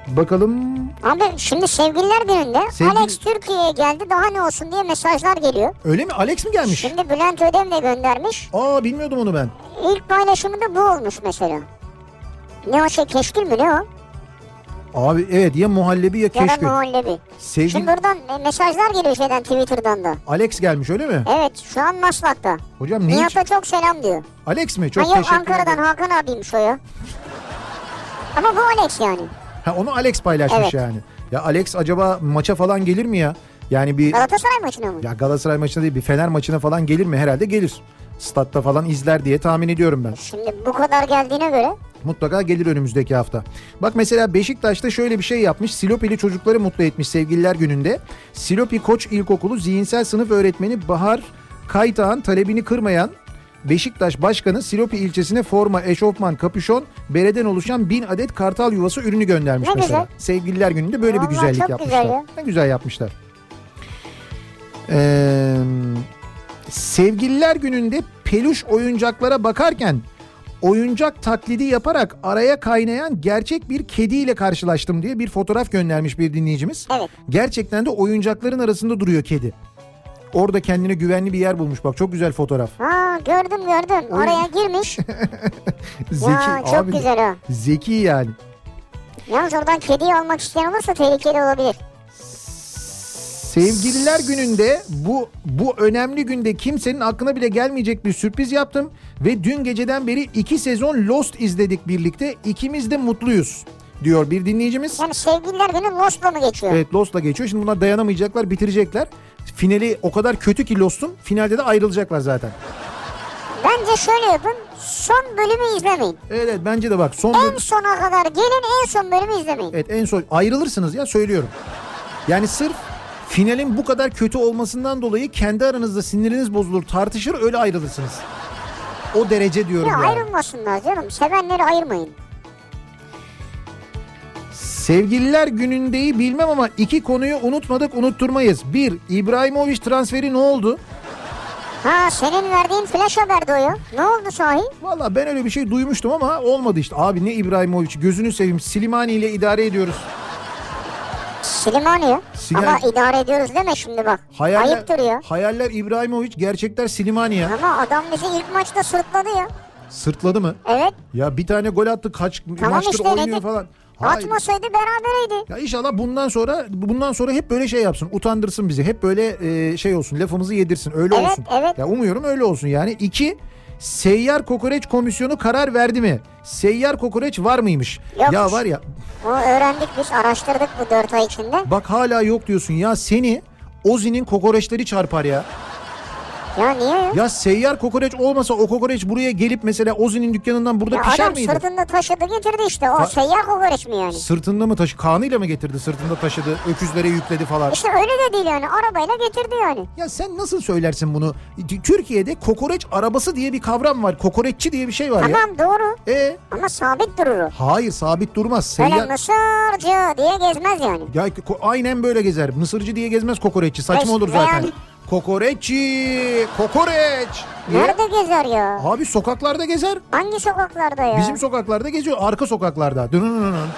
Speaker 3: bakalım
Speaker 4: Abi şimdi sevgililer gününde
Speaker 3: Sevgili-
Speaker 4: Alex Türkiye'ye geldi daha ne olsun diye mesajlar geliyor.
Speaker 3: öyle mi Alex mi gelmiş?
Speaker 4: Şimdi Bülent Ödem de göndermiş.
Speaker 3: Aa bilmiyordum onu ben.
Speaker 4: İlk paylaşımı da bu olmuş mesela. Ne o şey keşkül mü ne o?
Speaker 3: Abi evet ya muhallebi ya
Speaker 4: Ya da
Speaker 3: keşke.
Speaker 4: muhallebi.
Speaker 3: Sevgili
Speaker 4: Şimdi buradan e, mesajlar geliyor şeyden Twitter'dan da.
Speaker 3: Alex gelmiş öyle mi?
Speaker 4: Evet şu an Maslak'ta.
Speaker 3: Hocam ne için-
Speaker 4: Nihat'a çok selam diyor.
Speaker 3: Alex mi? Çok
Speaker 4: ha, yok
Speaker 3: teşekkür
Speaker 4: Ankara'dan
Speaker 3: ederim.
Speaker 4: Hakan abiymiş o ya. Ama bu Alex yani.
Speaker 3: Ha onu Alex paylaşmış
Speaker 4: Evet.
Speaker 3: yani. Ya Alex acaba maça falan gelir mi ya? Yani bir
Speaker 4: Galatasaray maçına mı?
Speaker 3: ya Galatasaray maçına değil bir Fener maçına falan gelir mi? Herhalde gelir. Statta falan izler diye tahmin ediyorum ben.
Speaker 4: Şimdi bu kadar geldiğine göre
Speaker 3: Mutlaka gelir önümüzdeki hafta. Bak mesela Beşiktaş'ta şöyle bir şey yapmış. Silopili çocukları mutlu etmiş sevgililer gününde. Silopi Koç İlkokulu zihinsel sınıf öğretmeni Bahar Kaytağ'ın talebini kırmayan Beşiktaş Başkanı Silopi ilçesine forma, eşofman, kapüşon, bereden oluşan bin adet kartal yuvası ürünü göndermiş
Speaker 4: Ne
Speaker 3: mesela.
Speaker 4: güzel.
Speaker 3: Sevgililer gününde böyle
Speaker 4: Vallahi
Speaker 3: bir güzellik
Speaker 4: çok
Speaker 3: yapmışlar.
Speaker 4: güzel ya.
Speaker 3: Ne güzel yapmışlar. Ee, sevgililer gününde peluş oyuncaklara bakarken oyuncak taklidi yaparak araya kaynayan gerçek bir kediyle karşılaştım diye bir fotoğraf göndermiş bir dinleyicimiz.
Speaker 4: Evet.
Speaker 3: Gerçekten de oyuncakların arasında duruyor kedi. Orada kendine güvenli bir yer bulmuş bak çok güzel fotoğraf.
Speaker 4: ha gördüm gördüm oraya
Speaker 3: [laughs]
Speaker 4: girmiş.
Speaker 3: Zeki
Speaker 4: ya çok
Speaker 3: abi de-
Speaker 4: güzel o.
Speaker 3: Zeki yani.
Speaker 4: Yalnız oradan kediyi almak isteyen olursa tehlikeli olabilir.
Speaker 3: Sevgililer gününde bu bu önemli günde kimsenin aklına bile gelmeyecek bir sürpriz yaptım ve dün geceden beri iki sezon Lost izledik birlikte. İkimiz de mutluyuz diyor bir dinleyicimiz.
Speaker 4: Yani sevgililer günü Lost'la mı geçiyor?
Speaker 3: Evet Lost'la geçiyor. Şimdi bunlar dayanamayacaklar, bitirecekler. Finali o kadar kötü ki Lost'un finalde de ayrılacaklar zaten.
Speaker 4: Bence şöyle yapın son bölümü izlemeyin.
Speaker 3: Evet, evet, bence de bak son böl-
Speaker 4: En sona kadar gelin en son bölümü izlemeyin.
Speaker 3: Evet en son ayrılırsınız ya söylüyorum. Yani sırf finalin bu kadar kötü olmasından dolayı kendi aranızda siniriniz bozulur, tartışır öyle ayrılırsınız. O derece diyorum
Speaker 4: Ya
Speaker 3: yani.
Speaker 4: ayrılmasınlar canım sevenleri ayırmayın.
Speaker 3: Sevgililer günündeyi bilmem ama iki konuyu unutmadık unutturmayız. Bir, İbrahimovic transferi ne oldu?
Speaker 4: Ha senin verdiğin flash haberde o ya. Ne oldu sahi?
Speaker 3: Valla ben öyle bir şey duymuştum ama olmadı işte. Abi ne İbrahimovic gözünü seveyim Silimani ile idare ediyoruz.
Speaker 4: Silimani ya.
Speaker 3: Sinan-
Speaker 4: Ama idare ediyoruz deme şimdi bak.
Speaker 3: Hayaller,
Speaker 4: Ayıptır ya.
Speaker 3: Hayaller İbrahimovic gerçekler Silimani ya.
Speaker 4: Ama adam bizi ilk maçta sırtladı ya.
Speaker 3: Sırtladı mı?
Speaker 4: Evet.
Speaker 3: Ya bir tane gol attı kaç maçtır
Speaker 4: işte,
Speaker 3: oynuyor
Speaker 4: Recep.
Speaker 3: falan. Hayır.
Speaker 4: Atmasaydı berabereydi.
Speaker 3: Ya inşallah bundan sonra bundan sonra hep böyle şey yapsın. Utandırsın bizi. Hep böyle e, şey olsun. Lafımızı yedirsin. Öyle
Speaker 4: Evet,
Speaker 3: olsun.
Speaker 4: evet.
Speaker 3: Ya umuyorum öyle olsun yani. İki, Seyyar Kokoreç Komisyonu karar verdi mi? Seyyar kokoreç var mıymış?
Speaker 4: Yokmuş.
Speaker 3: Ya var ya
Speaker 4: O öğrendik biz araştırdık bu 4 ay içinde.
Speaker 3: bak hala yok diyorsun. Ya seni Ozi'nin kokoreçleri çarpar ya.
Speaker 4: Ya niye ya?
Speaker 3: Ya seyyar kokoreç olmasa o kokoreç buraya gelip mesela Ozi'nin dükkanından burada
Speaker 4: Ya
Speaker 3: pişer
Speaker 4: adam
Speaker 3: miydi?
Speaker 4: sırtında taşıdı getirdi işte. O seyyar kokoreç mi yani?
Speaker 3: Sırtında mı taşı? Kanıyla mı getirdi? Sırtında taşıdı. Öküzlere yükledi falan.
Speaker 4: İşte öyle de değil yani. Arabayla getirdi yani.
Speaker 3: Ya sen nasıl söylersin bunu? T- Türkiye'de kokoreç arabası diye bir kavram var. Kokoreççi diye bir şey var ya.
Speaker 4: Tamam doğru.
Speaker 3: E
Speaker 4: Ama sabit durur o.
Speaker 3: hayır sabit durmaz.
Speaker 4: Böyle
Speaker 3: Seyyar
Speaker 4: mısırcı diye gezmez yani.
Speaker 3: ya ko- aynen böyle gezer. Mısırcı diye gezmez kokoreççi. Saçma
Speaker 4: Ve-
Speaker 3: olur
Speaker 4: veya
Speaker 3: zaten. Kokoreççi, kokoreç. diye.
Speaker 4: Nerede gezer ya?
Speaker 3: Abi sokaklarda gezer.
Speaker 4: Hangi sokaklarda ya?
Speaker 3: Bizim sokaklarda geziyor. Arka sokaklarda. Dönünününün.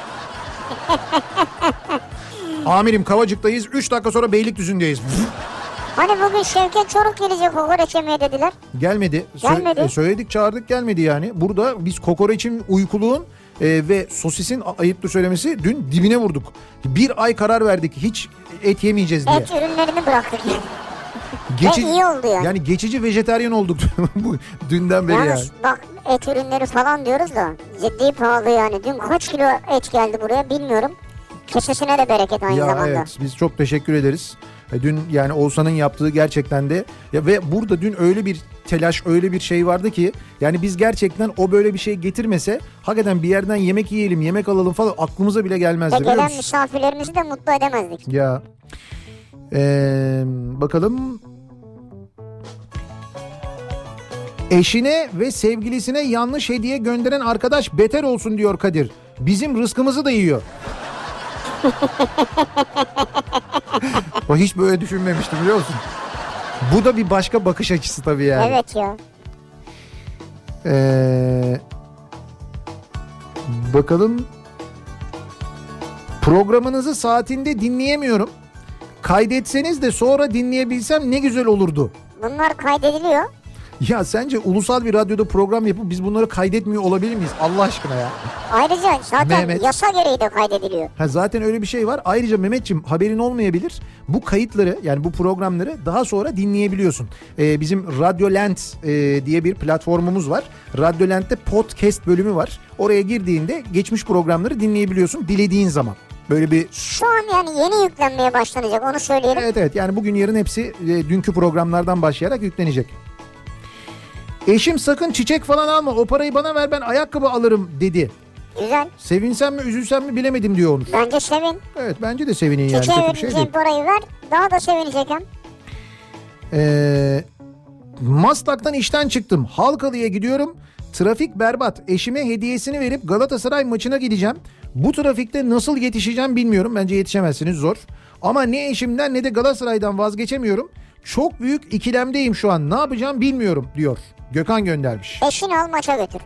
Speaker 3: Amirim Kavacık'tayız. 3 dakika sonra Beylikdüzü'ndeyiz.
Speaker 4: Hani bugün Şevket Çoruk gelecek kokoreç yemeye dediler.
Speaker 3: gelmedi. e,
Speaker 4: Gelmedi.
Speaker 3: söyledik çağırdık gelmedi yani. Burada biz kokoreçin uykuluğun e, ve sosisin a- ayıptır söylemesi dün dibine vurduk. Bir ay karar verdik hiç et yemeyeceğiz diye.
Speaker 4: Et ürünlerini bıraktık.
Speaker 3: Geçi-
Speaker 4: E, iyi oldu yani.
Speaker 3: Yani geçici vejetaryen olduk [laughs] bu dünden beri yani.
Speaker 4: Yalnız bak et ürünleri falan diyoruz da ciddi pahalı yani. Dün kaç kilo et geldi buraya bilmiyorum. Kesesine de bereket aynı
Speaker 3: ya
Speaker 4: zamanda.
Speaker 3: evet biz çok teşekkür ederiz. E, Dün yani Oğuzhan'ın yaptığı gerçekten de ya ve burada dün öyle bir telaş öyle bir şey vardı ki yani biz gerçekten o böyle bir şey getirmese hakikaten bir yerden yemek yiyelim yemek alalım falan aklımıza bile
Speaker 4: Ve
Speaker 3: gelmezdi biliyor
Speaker 4: gelen
Speaker 3: musun?
Speaker 4: misafirlerimizi de mutlu edemezdik.
Speaker 3: Ya Ee, bakalım Eşine ve sevgilisine yanlış hediye gönderen arkadaş beter olsun diyor Kadir. Bizim rızkımızı da yiyor. o hiç böyle düşünmemiştim biliyor musun? Bu da bir başka bakış açısı tabii yani.
Speaker 4: Evet ya.
Speaker 3: Ee, bakalım. Programınızı saatinde dinleyemiyorum. Kaydetseniz de sonra dinleyebilsem ne güzel olurdu.
Speaker 4: Bunlar kaydediliyor.
Speaker 3: Ya sence ulusal bir radyoda program yapıp biz bunları kaydetmiyor olabilir miyiz? Allah aşkına ya.
Speaker 4: Ayrıca zaten
Speaker 3: Mehmet.
Speaker 4: yasa gereği de kaydediliyor.
Speaker 3: Ha, zaten öyle bir şey var. Ayrıca Mehmetçim haberin olmayabilir. Bu kayıtları yani bu programları daha sonra dinleyebiliyorsun. Ee, bizim Radyolent e, diye bir platformumuz var. Radyolent'te podcast bölümü var. Oraya girdiğinde geçmiş programları dinleyebiliyorsun dilediğin zaman. Böyle bir
Speaker 4: Şu an yani yeni yüklenmeye başlanacak onu söyleyelim.
Speaker 3: Evet evet yani bugün yarın hepsi e, dünkü programlardan başlayarak yüklenecek. Eşim sakın çiçek falan alma o parayı bana ver ben ayakkabı alırım dedi.
Speaker 4: Güzel.
Speaker 3: Sevinsem mi üzülsem mi bilemedim diyor onu.
Speaker 4: Bence sevin.
Speaker 3: Evet bence de sevinin yani
Speaker 4: Çiçeğe
Speaker 3: kötü bir şey değil.
Speaker 4: verileceğin parayı ver. Daha da sevinecek hem.
Speaker 3: Ee, Maslak'tan işten çıktım. Halkalı'ya gidiyorum. Trafik berbat. Eşime hediyesini verip Galatasaray maçına gideceğim. Bu trafikte nasıl yetişeceğim bilmiyorum. Bence yetişemezsiniz zor. Ama ne eşimden ne de Galatasaray'dan vazgeçemiyorum. Çok büyük ikilemdeyim şu an. Ne yapacağım bilmiyorum diyor. Gökhan göndermiş.
Speaker 4: Eşini al maça götür.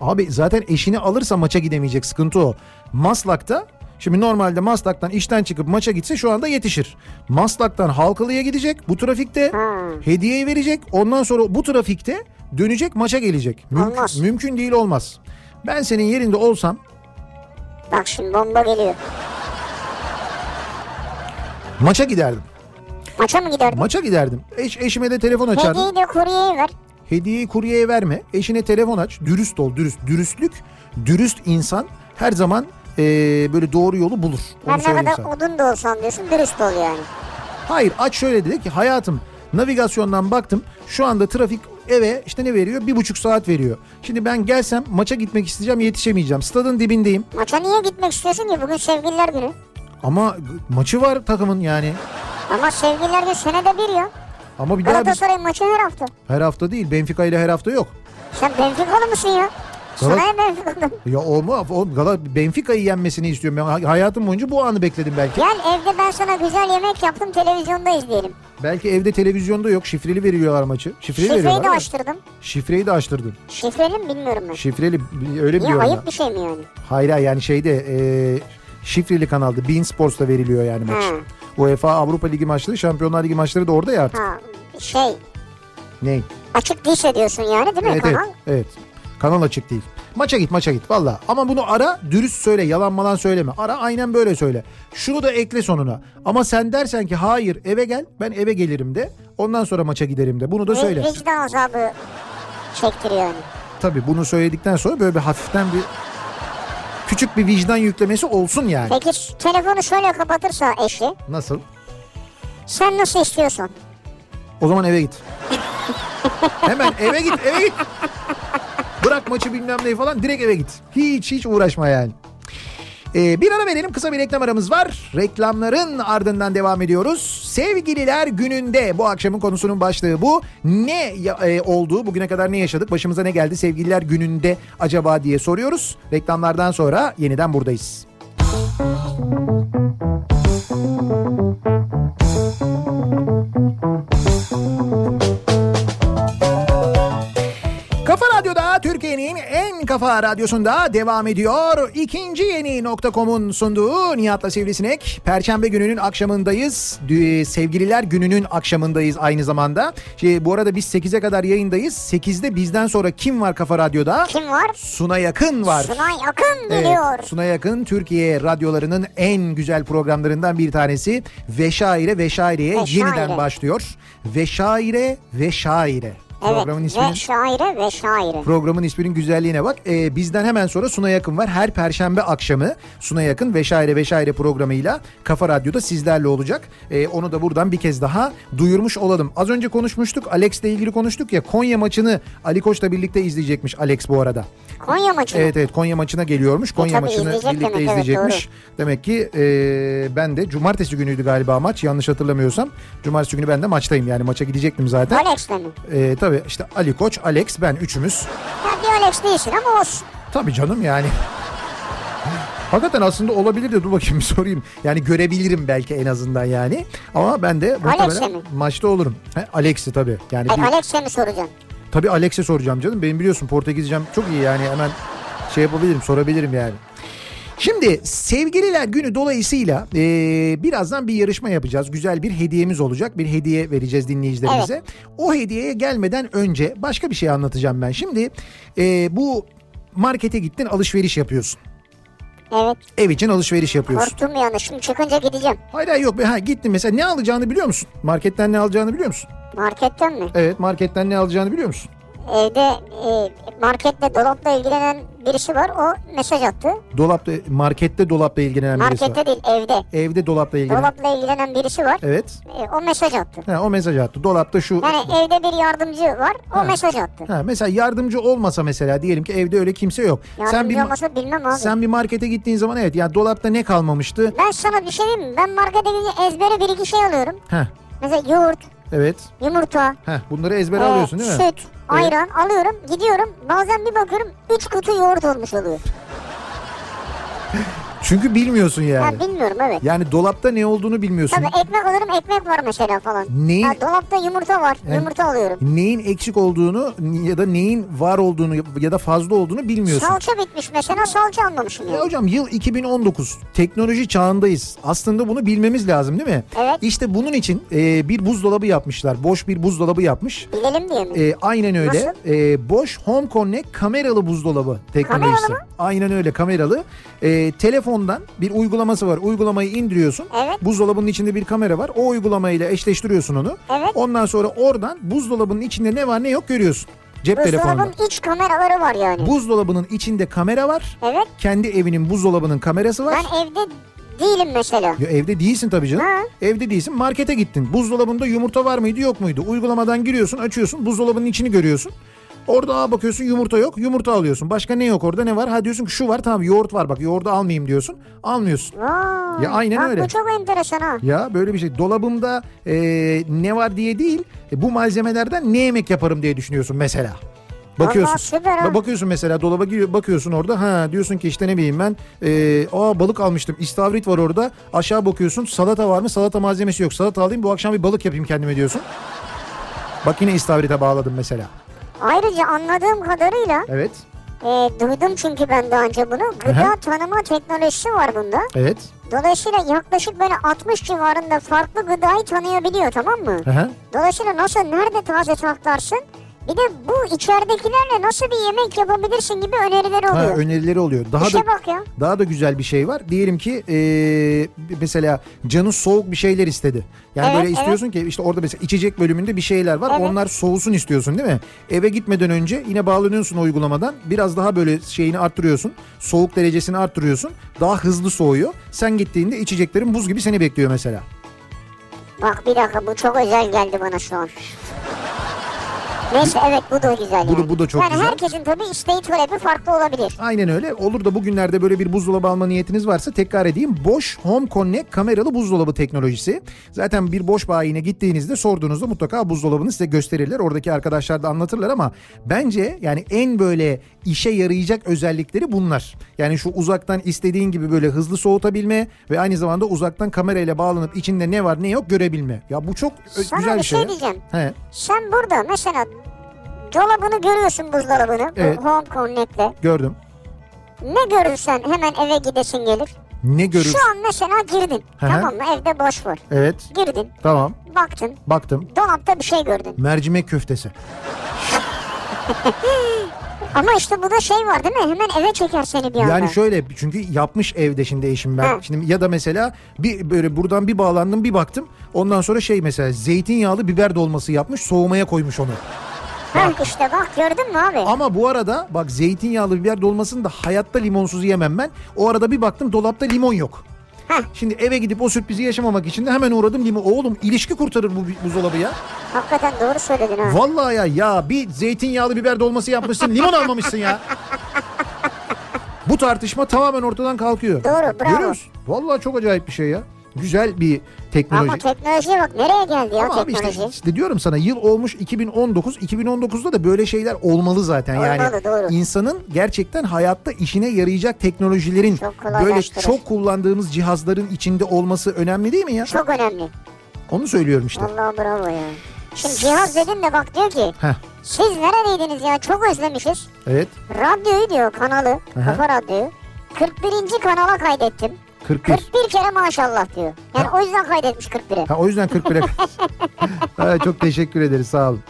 Speaker 3: Abi zaten eşini alırsa maça gidemeyecek sıkıntı o. Maslak'ta şimdi normalde Maslak'tan işten çıkıp maça gitse şu anda yetişir. Maslak'tan Halkalı'ya gidecek bu trafikte hediyeyi verecek ondan sonra bu trafikte dönecek maça gelecek. Mümkün,
Speaker 4: Olmaz.
Speaker 3: mümkün değil olmaz. Ben senin yerinde olsam
Speaker 4: Bak şimdi bomba geliyor.
Speaker 3: maça giderdim.
Speaker 4: Maça mı giderdin?
Speaker 3: Maça giderdim. Eş, eşime de telefon açardım.
Speaker 4: Hediyeyi de kuryeye ver.
Speaker 3: Hediyeyi kuryeye verme. Eşine telefon aç. Dürüst ol. Dürüst. Dürüstlük, dürüst insan her zaman eee, böyle doğru yolu bulur. Onu
Speaker 4: Her ne
Speaker 3: söyleyeyim
Speaker 4: kadar
Speaker 3: sana.
Speaker 4: odun da olsan diyorsun dürüst ol yani.
Speaker 3: Hayır aç şöyle dedi ki hayatım navigasyondan baktım şu anda trafik eve işte ne veriyor bir buçuk saat veriyor. Şimdi ben gelsem maça gitmek isteyeceğim yetişemeyeceğim stadın dibindeyim
Speaker 4: Maça niye gitmek istiyorsun ki? Bugün sevgililer günü.
Speaker 3: ama maçı var takımın yani
Speaker 4: Ama sevgililer günü senede bir ya.
Speaker 3: ama bir daha biz
Speaker 4: Galatasaray maçı her hafta.
Speaker 3: her hafta değil Benfica ile her hafta yok.
Speaker 4: Sen Benfica'lı mısın ya? Sana ya Benfica'lı.
Speaker 3: Ya olma o Gala- Benfica'yı yenmesini istiyorum ben hayatım boyunca bu anı bekledim belki.
Speaker 4: Gel evde ben sana güzel yemek yaptım televizyonda izleyelim.
Speaker 3: Belki evde televizyonda yok şifreli veriyorlar maçı. Şifreli
Speaker 4: Şifreyi
Speaker 3: Şey veriyorlar.
Speaker 4: de
Speaker 3: ama-
Speaker 4: açtırdım.
Speaker 3: Şifreyi de açtırdın.
Speaker 4: Şifreli mi bilmiyorum ben.
Speaker 3: Şifreli öyle
Speaker 4: Niye
Speaker 3: Şey diyorlar.
Speaker 4: ayıp bir şey mi yani?
Speaker 3: Hayır hayır, yani şeyde e, şifreli kanalda Bein Sports'ta veriliyor yani maç.
Speaker 4: Hmm.
Speaker 3: UEFA Avrupa Ligi maçları, Şampiyonlar Ligi maçları da orada ya artık.
Speaker 4: Ha şey
Speaker 3: Ney?
Speaker 4: açık değilse diyorsun yani değil mi
Speaker 3: Evet, evet,
Speaker 4: kanal?
Speaker 3: evet. Kanal açık değil. Maça git maça git valla. Ama bunu ara dürüst söyle yalan malan söyleme. Ara aynen böyle söyle. Şunu da ekle sonuna. Ama sen dersen ki hayır eve gel ben eve gelirim de. Ondan sonra maça giderim de. Bunu da
Speaker 4: Vic-
Speaker 3: söyle.
Speaker 4: Vicdan azabı çektiriyor yani.
Speaker 3: Tabii bunu söyledikten sonra böyle bir hafiften bir küçük bir vicdan yüklemesi olsun yani.
Speaker 4: Peki s- telefonu şöyle kapatırsa eşi
Speaker 3: Nasıl?
Speaker 4: sen nasıl istiyorsun?
Speaker 3: O zaman eve git. Hemen eve git eve git. Bırak maçı bilmem neyi falan direkt eve git. Hiç hiç uğraşma yani. Ee, bir ara verelim kısa bir reklam aramız var. Reklamların ardından devam ediyoruz. Sevgililer gününde bu akşamın konusunun başlığı bu. Ne ya- e, oldu bugüne kadar ne yaşadık başımıza ne geldi sevgililer gününde acaba diye soruyoruz. Reklamlardan sonra yeniden buradayız. Kafa Radyosu'nda devam ediyor. İkinci yeni nokta.com'un sunduğu Nihat'la Sivrisinek. Perşembe gününün akşamındayız. Dü- Sevgililer gününün akşamındayız aynı zamanda. Şey, bu arada biz 8'e kadar yayındayız. 8'de bizden sonra kim var Kafa Radyo'da?
Speaker 4: Kim var?
Speaker 3: Suna Yakın var.
Speaker 4: Sunay Akın
Speaker 3: Evet,
Speaker 4: geliyor.
Speaker 3: Suna Yakın Türkiye radyolarının en güzel programlarından bir tanesi. Veşaire Veşaire'ye
Speaker 4: Veşaire.
Speaker 3: yeniden başlıyor. Veşaire Veşaire. Programın
Speaker 4: evet
Speaker 3: isminin
Speaker 4: ve şaire ve şaire.
Speaker 3: Programın isminin güzelliğine bak. Ee, bizden hemen sonra Suna Yakın var. Her perşembe akşamı Suna Yakın veşaire veşaire programıyla Kafa Radyo'da sizlerle olacak. Ee, onu da buradan bir kez daha duyurmuş olalım. Az önce konuşmuştuk. Alex'le ilgili konuştuk ya. Konya maçını Ali Koç'la birlikte izleyecekmiş Alex bu arada.
Speaker 4: Konya maçı.
Speaker 3: Evet evet Konya maçına geliyormuş. Konya
Speaker 4: E, tabii
Speaker 3: maçını
Speaker 4: izleyecek
Speaker 3: birlikte
Speaker 4: demek, evet,
Speaker 3: izleyecekmiş. demek ki e, ben de cumartesi günüydü galiba maç. Yanlış hatırlamıyorsam. Cumartesi günü ben de maçtayım yani maça gidecektim zaten.
Speaker 4: Alex'le mi?
Speaker 3: E, tabii işte Ali Koç, Alex ben üçümüz.
Speaker 4: Tabii Alex değilsin ama olsun.
Speaker 3: Tabii canım yani. Hakikaten aslında olabilir de dur bakayım bir sorayım. Yani görebilirim belki en azından yani. Ama ben de muhtemelen
Speaker 4: mi?
Speaker 3: maçta olurum. He, Alex'i tabii. Yani
Speaker 4: Ay
Speaker 3: bir-
Speaker 4: Alex'e mi soracaksın?
Speaker 3: tabii Alex'e soracağım canım. Benim biliyorsun Portekizcem çok iyi yani hemen şey yapabilirim sorabilirim yani. Şimdi sevgililer günü dolayısıyla eee, birazdan bir yarışma yapacağız. Güzel bir hediyemiz olacak. Bir hediye vereceğiz dinleyicilerimize. O hediyeye gelmeden önce başka bir şey anlatacağım ben. Şimdi eee, bu markete gittin alışveriş yapıyorsun.
Speaker 4: Evet.
Speaker 3: Ev için alışveriş yapıyorsun.
Speaker 4: Korktum yani. Şimdi çıkınca gideceğim.
Speaker 3: Hayır hayır yok. be. Ha, gittin mesela ne alacağını biliyor musun? Marketten ne alacağını biliyor musun?
Speaker 4: Marketten mi?
Speaker 3: Evet marketten ne alacağını biliyor musun?
Speaker 4: Evde e, marketle dolapla ilgilenen birisi var. O mesaj attı.
Speaker 3: Dolapta markette dolapla ilgilenen birisi var.
Speaker 4: Markette değil evde.
Speaker 3: Evde dolapla ilgilenen.
Speaker 4: Dolapla ilgilenen birisi var.
Speaker 3: Evet.
Speaker 4: E, o mesaj attı.
Speaker 3: Ha, o mesaj attı. Dolapta şu.
Speaker 4: Yani evde bir yardımcı var. O mesaj attı.
Speaker 3: Ha, mesela yardımcı olmasa mesela diyelim ki evde öyle kimse yok. sen
Speaker 4: Yardımcı
Speaker 3: bir ma-
Speaker 4: olmasa bilmem abi.
Speaker 3: sen bir markete gittiğin zaman evet yani dolapta ne kalmamıştı?
Speaker 4: Ben sana bir şey diyeyim mi? Ben markete gidince ezbere bir iki şey alıyorum.
Speaker 3: Heh,
Speaker 4: Mesela yoğurt,
Speaker 3: evet.
Speaker 4: yumurta,
Speaker 3: Heh, bunları ezbere
Speaker 4: e,
Speaker 3: alıyorsun değil mi?
Speaker 4: süt, ayran alıyorum. Gidiyorum. Bazen bir bakıyorum 3 kutu yoğurt olmuş oluyor.
Speaker 3: Çünkü bilmiyorsun yani.
Speaker 4: Ben bilmiyorum evet.
Speaker 3: Yani dolapta ne olduğunu bilmiyorsun.
Speaker 4: Tabii ekmek alırım ekmek var mesela falan.
Speaker 3: Neyin-
Speaker 4: Ha, dolapta yumurta var. Yumurta alıyorum.
Speaker 3: Neyin eksik olduğunu ya da neyin var olduğunu ya da fazla olduğunu bilmiyorsun.
Speaker 4: Salça bitmiş mesela salça almamışım
Speaker 3: Ya
Speaker 4: yani.
Speaker 3: hocam yıl 2019 teknoloji çağındayız. Aslında bunu bilmemiz lazım değil mi?
Speaker 4: Evet.
Speaker 3: İşte bunun için e, bir buzdolabı yapmışlar. Boş bir buzdolabı yapmış.
Speaker 4: Bilelim diye mi?
Speaker 3: E, aynen öyle.
Speaker 4: Nasıl?
Speaker 3: E, Bosch Home Connect kameralı buzdolabı teknolojisi.
Speaker 4: Kameralı
Speaker 3: Aynen öyle kameralı. E, telefondan bir uygulaması var. Uygulamayı indiriyorsun.
Speaker 4: Evet.
Speaker 3: Buzdolabının içinde bir kamera var. O uygulamayla eşleştiriyorsun onu.
Speaker 4: Evet.
Speaker 3: Ondan sonra oradan buzdolabının içinde ne var ne yok görüyorsun. Cep telefonundan.
Speaker 4: Buzdolabın iç kameraları var yani.
Speaker 3: Buzdolabının içinde kamera var.
Speaker 4: Evet.
Speaker 3: Kendi evinin buzdolabının kamerası var.
Speaker 4: Ben evde değilim mesela.
Speaker 3: Ya evde değilsin tabii canım.
Speaker 4: Ha.
Speaker 3: Evde değilsin markete gittin. Buzdolabında yumurta var mıydı yok muydu? Uygulamadan giriyorsun açıyorsun buzdolabının içini görüyorsun. Orada aa bakıyorsun yumurta yok yumurta alıyorsun. Başka ne yok orada ne var? Ha diyorsun ki şu var tamam yoğurt var bak yoğurdu almayayım diyorsun. Almıyorsun.
Speaker 4: Vay.
Speaker 3: Ya aynen
Speaker 4: Bak,
Speaker 3: öyle.
Speaker 4: Bu çok enteresan ha.
Speaker 3: Ya böyle bir şey dolabımda e, ne var diye değil e, bu malzemelerden ne yemek yaparım diye düşünüyorsun mesela. Bakıyorsun.
Speaker 4: Vallahi süper ha.
Speaker 3: Ba- bakıyorsun mesela dolaba giriyor bakıyorsun orada ha diyorsun ki işte ne bileyim ben e, aa balık almıştım istavrit var orada aşağı bakıyorsun salata var mı salata malzemesi yok salata alayım bu akşam bir balık yapayım kendime diyorsun. Bak yine istavrite bağladım mesela.
Speaker 4: Ayrıca anladığım kadarıyla
Speaker 3: Evet.
Speaker 4: e, duydum çünkü ben daha önce bunu. Gıda
Speaker 3: Aha.
Speaker 4: tanıma teknolojisi var bunda.
Speaker 3: Evet.
Speaker 4: Dolayısıyla yaklaşık böyle 60 civarında farklı gıdayı tanıyabiliyor tamam mı?
Speaker 3: Aha.
Speaker 4: Dolayısıyla nasıl nerede taze saklarsın? Bir de bu içeridekilerle nasıl bir yemek yapabilirsin gibi önerileri
Speaker 3: Ha,
Speaker 4: oluyor.
Speaker 3: önerileri oluyor. Daha
Speaker 4: İşe
Speaker 3: da
Speaker 4: bak ya.
Speaker 3: daha da güzel bir şey var. Diyelim ki eee, mesela canı soğuk bir şeyler istedi. Yani
Speaker 4: Evet,
Speaker 3: böyle istiyorsun ki işte orada mesela içecek bölümünde bir şeyler var.
Speaker 4: Evet.
Speaker 3: Onlar soğusun istiyorsun değil mi? Eve gitmeden önce yine bağlanıyorsun o uygulamadan. Biraz daha böyle şeyini arttırıyorsun. Soğuk derecesini arttırıyorsun. Daha hızlı soğuyor. Sen gittiğinde içeceklerin buz gibi seni bekliyor mesela.
Speaker 4: Bak bir dakika bu çok özel geldi bana şu an. Neyse evet bu da güzel
Speaker 3: Bu da-
Speaker 4: yani.
Speaker 3: bu da çok
Speaker 4: yani
Speaker 3: güzel.
Speaker 4: herkesin tabii isteği talebi farklı olabilir.
Speaker 3: Aynen öyle. Olur da bugünlerde böyle bir buzdolabı alma niyetiniz varsa tekrar edeyim. Bosch Home Connect kameralı buzdolabı teknolojisi. Zaten bir Bosch bayine gittiğinizde sorduğunuzda mutlaka buzdolabını size gösterirler. Oradaki arkadaşlar da anlatırlar ama bence yani en böyle işe yarayacak özellikleri bunlar. Yani şu uzaktan istediğin gibi böyle hızlı soğutabilme ve aynı zamanda uzaktan kamerayla bağlanıp içinde ne var ne yok görebilme. Ya bu çok ö-
Speaker 4: Sana
Speaker 3: güzel
Speaker 4: bir
Speaker 3: bir şey.
Speaker 4: şey
Speaker 3: ya.
Speaker 4: diyeceğim.
Speaker 3: He.
Speaker 4: Sen burada mesela Dolabını görüyorsun buzdolabını. Bu
Speaker 3: Evet.
Speaker 4: Home Connect'le.
Speaker 3: Gördüm.
Speaker 4: Ne görürsen hemen eve gidesin gelir.
Speaker 3: Ne görürsün?
Speaker 4: Şu an mesela girdin.
Speaker 3: Hı hı.
Speaker 4: Tamam mı? Evde boş var.
Speaker 3: Evet.
Speaker 4: Girdin.
Speaker 3: Tamam.
Speaker 4: Baktın.
Speaker 3: Baktım.
Speaker 4: Dolapta bir şey gördün.
Speaker 3: Mercimek köftesi.
Speaker 4: Ama işte bu da şey var değil mi? Hemen eve çeker seni bir anda.
Speaker 3: Yani şöyle çünkü yapmış evde şimdi eşim ben.
Speaker 4: Hı.
Speaker 3: Şimdi ya da mesela bir böyle buradan bir bağlandım bir baktım. Ondan sonra şey mesela zeytinyağlı biber dolması yapmış soğumaya koymuş onu.
Speaker 4: Heh, işte bak gördün mü abi?
Speaker 3: Ama bu arada bak zeytinyağlı biber dolmasını da hayatta limonsuz yemem ben. O arada bir baktım dolapta limon yok.
Speaker 4: Heh.
Speaker 3: Şimdi eve gidip o sürprizi yaşamamak için de hemen uğradım limon. Oğlum ilişki kurtarır bu buzdolabı ya.
Speaker 4: Hakikaten doğru söyledin ha.
Speaker 3: Vallahi ya ya bir zeytinyağlı biber dolması yapmışsın
Speaker 4: [laughs]
Speaker 3: limon almamışsın ya. Bu tartışma tamamen ortadan kalkıyor.
Speaker 4: Doğru, bravo.
Speaker 3: Görüyor musun? Vallahi çok acayip bir şey ya. Güzel bir teknoloji.
Speaker 4: Ama teknolojiye bak nereye geldi ya
Speaker 3: Ama abi
Speaker 4: teknoloji.
Speaker 3: işte, işte diyorum sana yıl olmuş 2019. 2019'da da böyle şeyler olmalı zaten. yani
Speaker 4: Olmalı, doğru.
Speaker 3: insanın gerçekten hayatta işine yarayacak teknolojilerin
Speaker 4: Çok
Speaker 3: böyle
Speaker 4: kolaylaştırır.
Speaker 3: çok kullandığımız cihazların içinde olması önemli değil mi ya?
Speaker 4: Çok önemli.
Speaker 3: Onu söylüyorum işte.
Speaker 4: Vallahi bravo ya. Şimdi cihaz dedin de bak diyor ki
Speaker 3: Heh,
Speaker 4: siz neredeydiniz ya çok özlemişiz.
Speaker 3: evet.
Speaker 4: Radyoyu diyor kanalı,
Speaker 3: Aha.
Speaker 4: kafa radyoyu. 41. kanala kaydettim.
Speaker 3: 41.
Speaker 4: 41 kere maşallah diyor. Yani o yüzden kaydetmiş 41'e.
Speaker 3: Ha, o yüzden 41'e. ha, çok teşekkür ederiz sağ olun.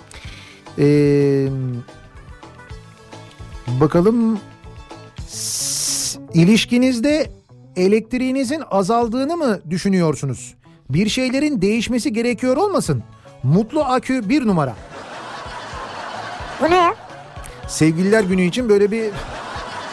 Speaker 3: Ee, bakalım S- ilişkinizde elektriğinizin azaldığını mı düşünüyorsunuz? Bir şeylerin değişmesi gerekiyor olmasın. Mutlu akü bir numara.
Speaker 4: Bu ne ya?
Speaker 3: Sevgililer günü için böyle bir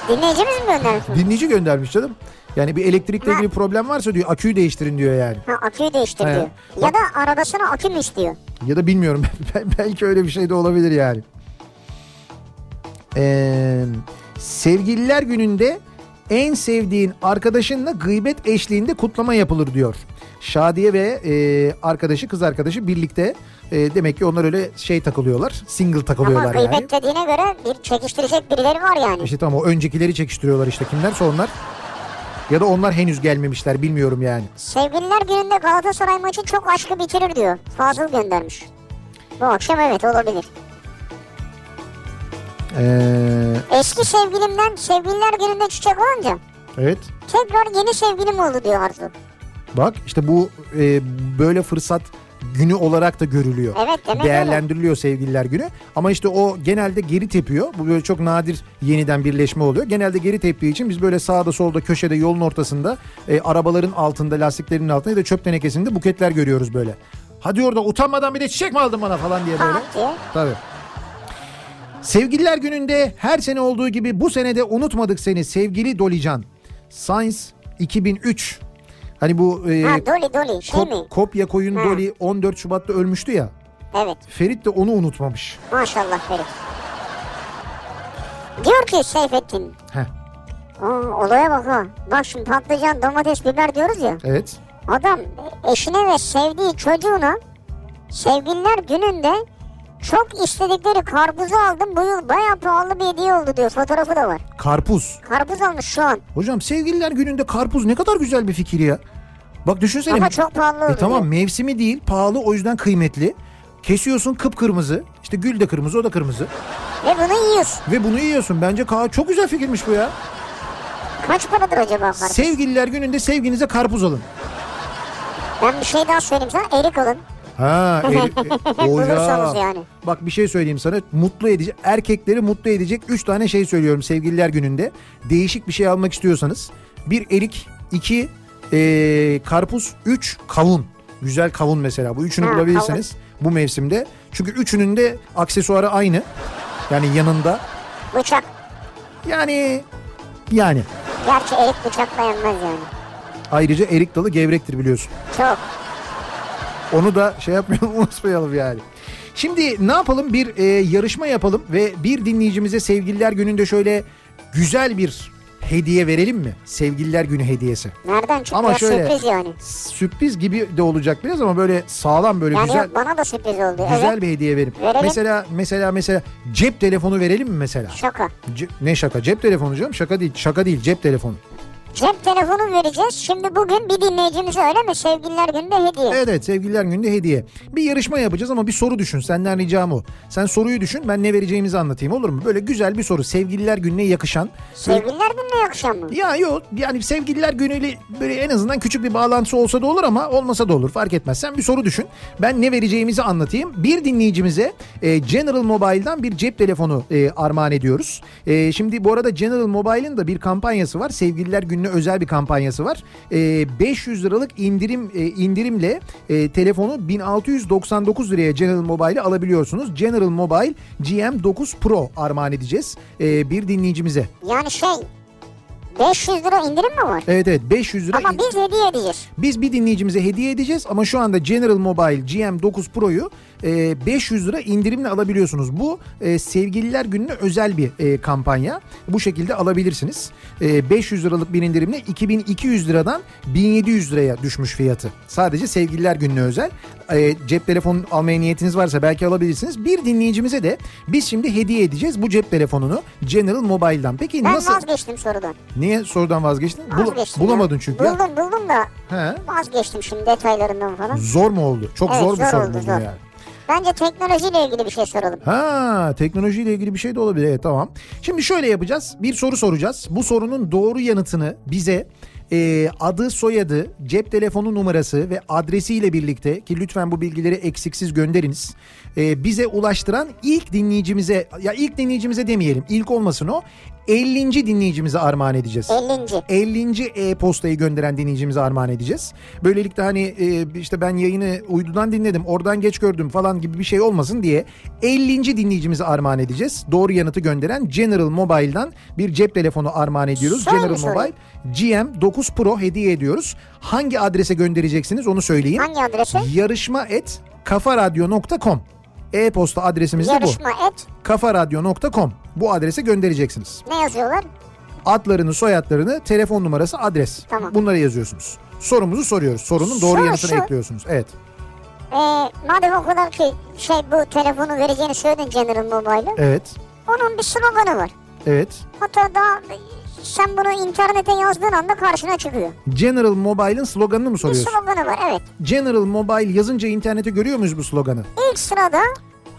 Speaker 4: Dinleyicimiz mi göndermiş? bunu?
Speaker 3: dinleyici göndermiş canım. Yani bir elektrikle ilgili problem varsa diyor aküyü değiştirin diyor yani.
Speaker 4: Ha aküyü değiştir
Speaker 3: He.
Speaker 4: diyor. Ya da arabasına akü mü istiyor?
Speaker 3: Ya da bilmiyorum. [laughs] Bel- Belki öyle bir şey de olabilir yani. Ee, sevgililer gününde en sevdiğin arkadaşınla gıybet eşliğinde kutlama yapılır diyor. Şadiye ve e, arkadaşı kız arkadaşı birlikte e, demek ki onlar öyle şey takılıyorlar. Single
Speaker 4: Ama
Speaker 3: takılıyorlar yani.
Speaker 4: gıybet dediğine göre bir çekiştirecek birileri var yani.
Speaker 3: İşte tamam o öncekileri çekiştiriyorlar işte kimlerse onlar. Ya da onlar henüz gelmemişler bilmiyorum yani.
Speaker 4: Sevgililer gününde Galatasaray maçı çok aşkı bitirir diyor. Fazıl göndermiş. Bu akşam evet olabilir.
Speaker 3: Ee,
Speaker 4: Eski sevgilimden sevgililer gününde çiçek alınca
Speaker 3: evet.
Speaker 4: tekrar yeni sevgilim oldu diyor Arzu.
Speaker 3: Bak işte bu e, böyle fırsat günü olarak da görülüyor.
Speaker 4: Evet, demek öyle.
Speaker 3: Değerlendiriliyor sevgililer günü. Ama işte o genelde geri tepiyor. Bu böyle çok nadir yeniden birleşme oluyor. Genelde geri teptiği için biz böyle sağda solda köşede yolun ortasında e, arabaların altında lastiklerinin altında ya da çöp tenekesinde buketler görüyoruz böyle. Hadi orada utanmadan bir de çiçek mi aldın bana falan diye böyle.
Speaker 4: Bak diyor.
Speaker 3: Tabii. Sevgililer gününde her sene olduğu gibi bu sene de unutmadık seni sevgili Dolican. Science 2003. Hani bu e,
Speaker 4: Ha Dolly Dolly şey
Speaker 3: kop-
Speaker 4: mi?
Speaker 3: kopya koyun
Speaker 4: Ha.
Speaker 3: Doli 14 Şubat'ta ölmüştü ya.
Speaker 4: Evet
Speaker 3: Ferit de onu unutmamış.
Speaker 4: maşallah Ferit. Diyor ki Seyfettin.
Speaker 3: Heh,
Speaker 4: Aa, olaya bak ha. Bak şimdi patlıcan domates biber diyoruz ya.
Speaker 3: evet.
Speaker 4: Adam eşine ve sevdiği çocuğuna sevgililer gününde çok istedikleri karpuzu aldım bu yıl bayağı pahalı bir hediye oldu diyor. Fotoğrafı da var.
Speaker 3: Karpuz.
Speaker 4: Karpuz almış şu an.
Speaker 3: Hocam sevgililer gününde karpuz ne kadar güzel bir fikir ya. Bak düşünsene.
Speaker 4: Ama çok pahalı
Speaker 3: E
Speaker 4: oldu.
Speaker 3: tamam mevsimi değil pahalı o yüzden kıymetli. Kesiyorsun kıpkırmızı. İşte gül de kırmızı o da kırmızı.
Speaker 4: Ve bunu yiyorsun.
Speaker 3: Ve bunu yiyorsun. Bence ka- çok güzel fikirmiş bu ya.
Speaker 4: Kaç paradır acaba karpuz?
Speaker 3: Sevgililer gününde sevginize karpuz alın.
Speaker 4: Ben bir şey daha söyleyeyim sana. Erik alın. [laughs]
Speaker 3: Ha, el- e- o
Speaker 4: Bulursanız
Speaker 3: ya.
Speaker 4: yani.
Speaker 3: Bak bir şey söyleyeyim sana. Mutlu edecek erkekleri mutlu edecek 3 tane şey söylüyorum sevgililer gününde. Değişik bir şey almak istiyorsanız bir erik, iki e, karpuz, 3 kavun. Güzel kavun mesela. Bu üçünü
Speaker 4: Ha,
Speaker 3: bulabilirseniz bu mevsimde. Çünkü üçünün de aksesuarı aynı. Yani yanında.
Speaker 4: Bıçak.
Speaker 3: Yani yani
Speaker 4: Gerçi erik bıçakla yenmez yani.
Speaker 3: ayrıca erik dalı gevrektir biliyorsun.
Speaker 4: Çok.
Speaker 3: Onu da şey yapmayalım [laughs] unutmayalım yani. Şimdi ne yapalım bir e, yarışma yapalım ve bir dinleyicimize sevgililer gününde şöyle güzel bir hediye verelim mi? Sevgililer günü hediyesi.
Speaker 4: Nereden çıktı
Speaker 3: Ama
Speaker 4: ya?
Speaker 3: şöyle-
Speaker 4: sürpriz yani.
Speaker 3: Sürpriz gibi de olacak biraz ama böyle sağlam böyle
Speaker 4: Yani
Speaker 3: güzel
Speaker 4: yok bana da sürpriz oldu.
Speaker 3: güzel
Speaker 4: evet.
Speaker 3: bir hediye verelim.
Speaker 4: Verelim.
Speaker 3: Mesela mesela mesela cep telefonu verelim mi mesela?
Speaker 4: Şaka.
Speaker 3: Ce- ne şaka? Cep telefonu canım şaka değil. Şaka değil cep telefonu.
Speaker 4: Cep telefonu vereceğiz. Şimdi bugün bir dinleyicimize öyle mi? Sevgililer gününde hediye.
Speaker 3: Evet evet sevgililer gününde hediye. Bir yarışma yapacağız ama bir soru düşün. Senden ricam o. Sen soruyu düşün ben ne vereceğimizi anlatayım olur mu? Böyle güzel bir soru. Sevgililer gününe yakışan.
Speaker 4: Sevgililer gününe yakışan mı?
Speaker 3: Ya yok yani sevgililer günüyle böyle en azından küçük bir bağlantısı olsa da olur ama olmasa da olur fark etmez. Sen bir soru düşün ben ne vereceğimizi anlatayım. Bir dinleyicimize e, General Mobile'dan bir cep telefonu e, armağan ediyoruz. E, şimdi bu arada General Mobile'ın da bir kampanyası var. Sevgililer gününe özel bir kampanyası var. E, 500 liralık indirim e, indirimle e, telefonu 1699 liraya General Mobile'i alabiliyorsunuz. General Mobile GM9 Pro armağan edeceğiz e, bir dinleyicimize.
Speaker 4: Yani şey 500 lira indirim mi var?
Speaker 3: Evet evet 500 lira.
Speaker 4: Ama biz hediye edeceğiz.
Speaker 3: Biz bir dinleyicimize hediye edeceğiz ama şu anda General Mobile GM9 Pro'yu e, 500 lira indirimle alabiliyorsunuz. Bu e, sevgililer gününe özel bir e, kampanya. Bu şekilde alabilirsiniz. E, 500 liralık bir indirimle 2200 liradan 1700 liraya düşmüş fiyatı. Sadece sevgililer gününe özel. E, cep telefonu almaya niyetiniz varsa belki alabilirsiniz. Bir dinleyicimize de biz şimdi hediye edeceğiz bu cep telefonunu General Mobile'dan. Peki
Speaker 4: Ben
Speaker 3: nasıl?
Speaker 4: vazgeçtim sorudan.
Speaker 3: Niye sorudan vazgeçtin? Bul-
Speaker 4: Vazgeçtim ya.
Speaker 3: bulamadın çünkü.
Speaker 4: Buldum buldum da
Speaker 3: He.
Speaker 4: vazgeçtim şimdi detaylarından falan.
Speaker 3: Zor mu oldu? Çok
Speaker 4: Evet,
Speaker 3: zor bir
Speaker 4: zor
Speaker 3: soru
Speaker 4: oldu,
Speaker 3: buldun
Speaker 4: zor.
Speaker 3: yani.
Speaker 4: Bence teknolojiyle ilgili bir şey soralım.
Speaker 3: Ha teknolojiyle ilgili bir şey de olabilir. Evet tamam. Şimdi şöyle yapacağız. Bir soru soracağız. Bu sorunun doğru yanıtını bize e, adı, soyadı, cep telefonu numarası ve adresiyle birlikte ki lütfen bu bilgileri eksiksiz gönderiniz. E, bize ulaştıran ilk dinleyicimize ya ilk dinleyicimize demeyelim. ilk olmasın o. 50. dinleyicimize armağan edeceğiz. E-
Speaker 4: 50.
Speaker 3: 50. e-postayı gönderen dinleyicimize armağan edeceğiz. Böylelikle hani e, işte ben yayını uydudan dinledim, oradan geç gördüm falan gibi bir şey olmasın diye 50. dinleyicimize armağan edeceğiz. Doğru yanıtı gönderen General Mobile'dan bir cep telefonu armağan ediyoruz.
Speaker 4: Şöyle
Speaker 3: General
Speaker 4: sorayım.
Speaker 3: Mobile GM9 Pro hediye ediyoruz. Hangi adrese göndereceksiniz onu söyleyeyim.
Speaker 4: Hangi adrese?
Speaker 3: Yarışma et kafaradyo.com e-posta adresimiz de bu.
Speaker 4: Yarışma et.
Speaker 3: kafaradyo.com bu adrese göndereceksiniz.
Speaker 4: Ne yazıyorlar?
Speaker 3: Adlarını, soyadlarını, telefon numarası, adres.
Speaker 4: Tamam.
Speaker 3: Bunları yazıyorsunuz. Sorumuzu soruyoruz. Sorunun doğru
Speaker 4: Soru
Speaker 3: yanıtını
Speaker 4: şu.
Speaker 3: ekliyorsunuz. Evet.
Speaker 4: Ee, madem o kadar ki şey bu telefonu vereceğini söyledin General Mobile'ı.
Speaker 3: Evet.
Speaker 4: Onun bir sloganı var.
Speaker 3: Evet.
Speaker 4: Hatta daha sen bunu internete yazdığın anda karşına çıkıyor.
Speaker 3: General Mobile'ın sloganını mı
Speaker 4: Bir
Speaker 3: soruyorsun?
Speaker 4: sloganı var evet.
Speaker 3: General Mobile yazınca internete görüyor muyuz bu sloganı?
Speaker 4: İlk sırada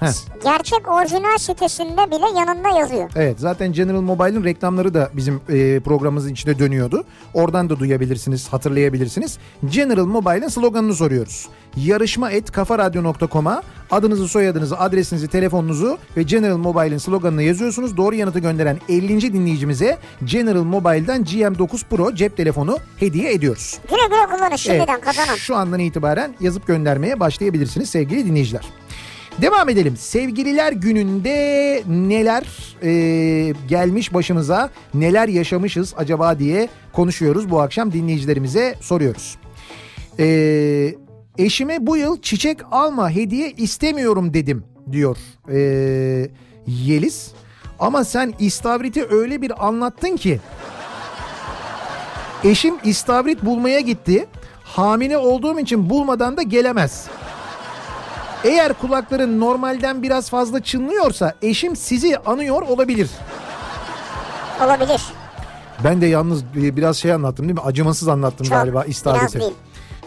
Speaker 3: Heh.
Speaker 4: gerçek orijinal sitesinde bile yanında yazıyor.
Speaker 3: Evet zaten General Mobile'ın reklamları da bizim e, programımızın içinde dönüyordu. Oradan da duyabilirsiniz, hatırlayabilirsiniz. General Mobile'ın sloganını soruyoruz. Yarışma et kafaradyo.com'a adınızı, soyadınızı, adresinizi, telefonunuzu ve General Mobile'ın sloganını yazıyorsunuz. Doğru yanıtı gönderen 50. dinleyicimize General Mobile'dan GM9 Pro cep telefonu hediye ediyoruz.
Speaker 4: Güle güle kullanın şimdiden
Speaker 3: Evet,
Speaker 4: kazanan.
Speaker 3: Şu andan itibaren yazıp göndermeye başlayabilirsiniz sevgili dinleyiciler. Devam edelim. Sevgililer gününde neler e, gelmiş başımıza, neler yaşamışız acaba diye konuşuyoruz bu akşam dinleyicilerimize soruyoruz. E, eşime bu yıl çiçek alma hediye istemiyorum dedim diyor e, Yeliz. Ama sen istavriti öyle bir anlattın ki Eşim istavrit bulmaya gitti. Hamile olduğum için bulmadan da gelemez. Eğer kulakların normalden biraz fazla çınlıyorsa eşim sizi anıyor olabilir.
Speaker 4: Olabilir.
Speaker 3: Ben de yalnız e, biraz şey anlattım değil mi? Acımasız anlattım
Speaker 4: Çok,
Speaker 3: galiba
Speaker 4: biraz
Speaker 3: istavriti.
Speaker 4: değil.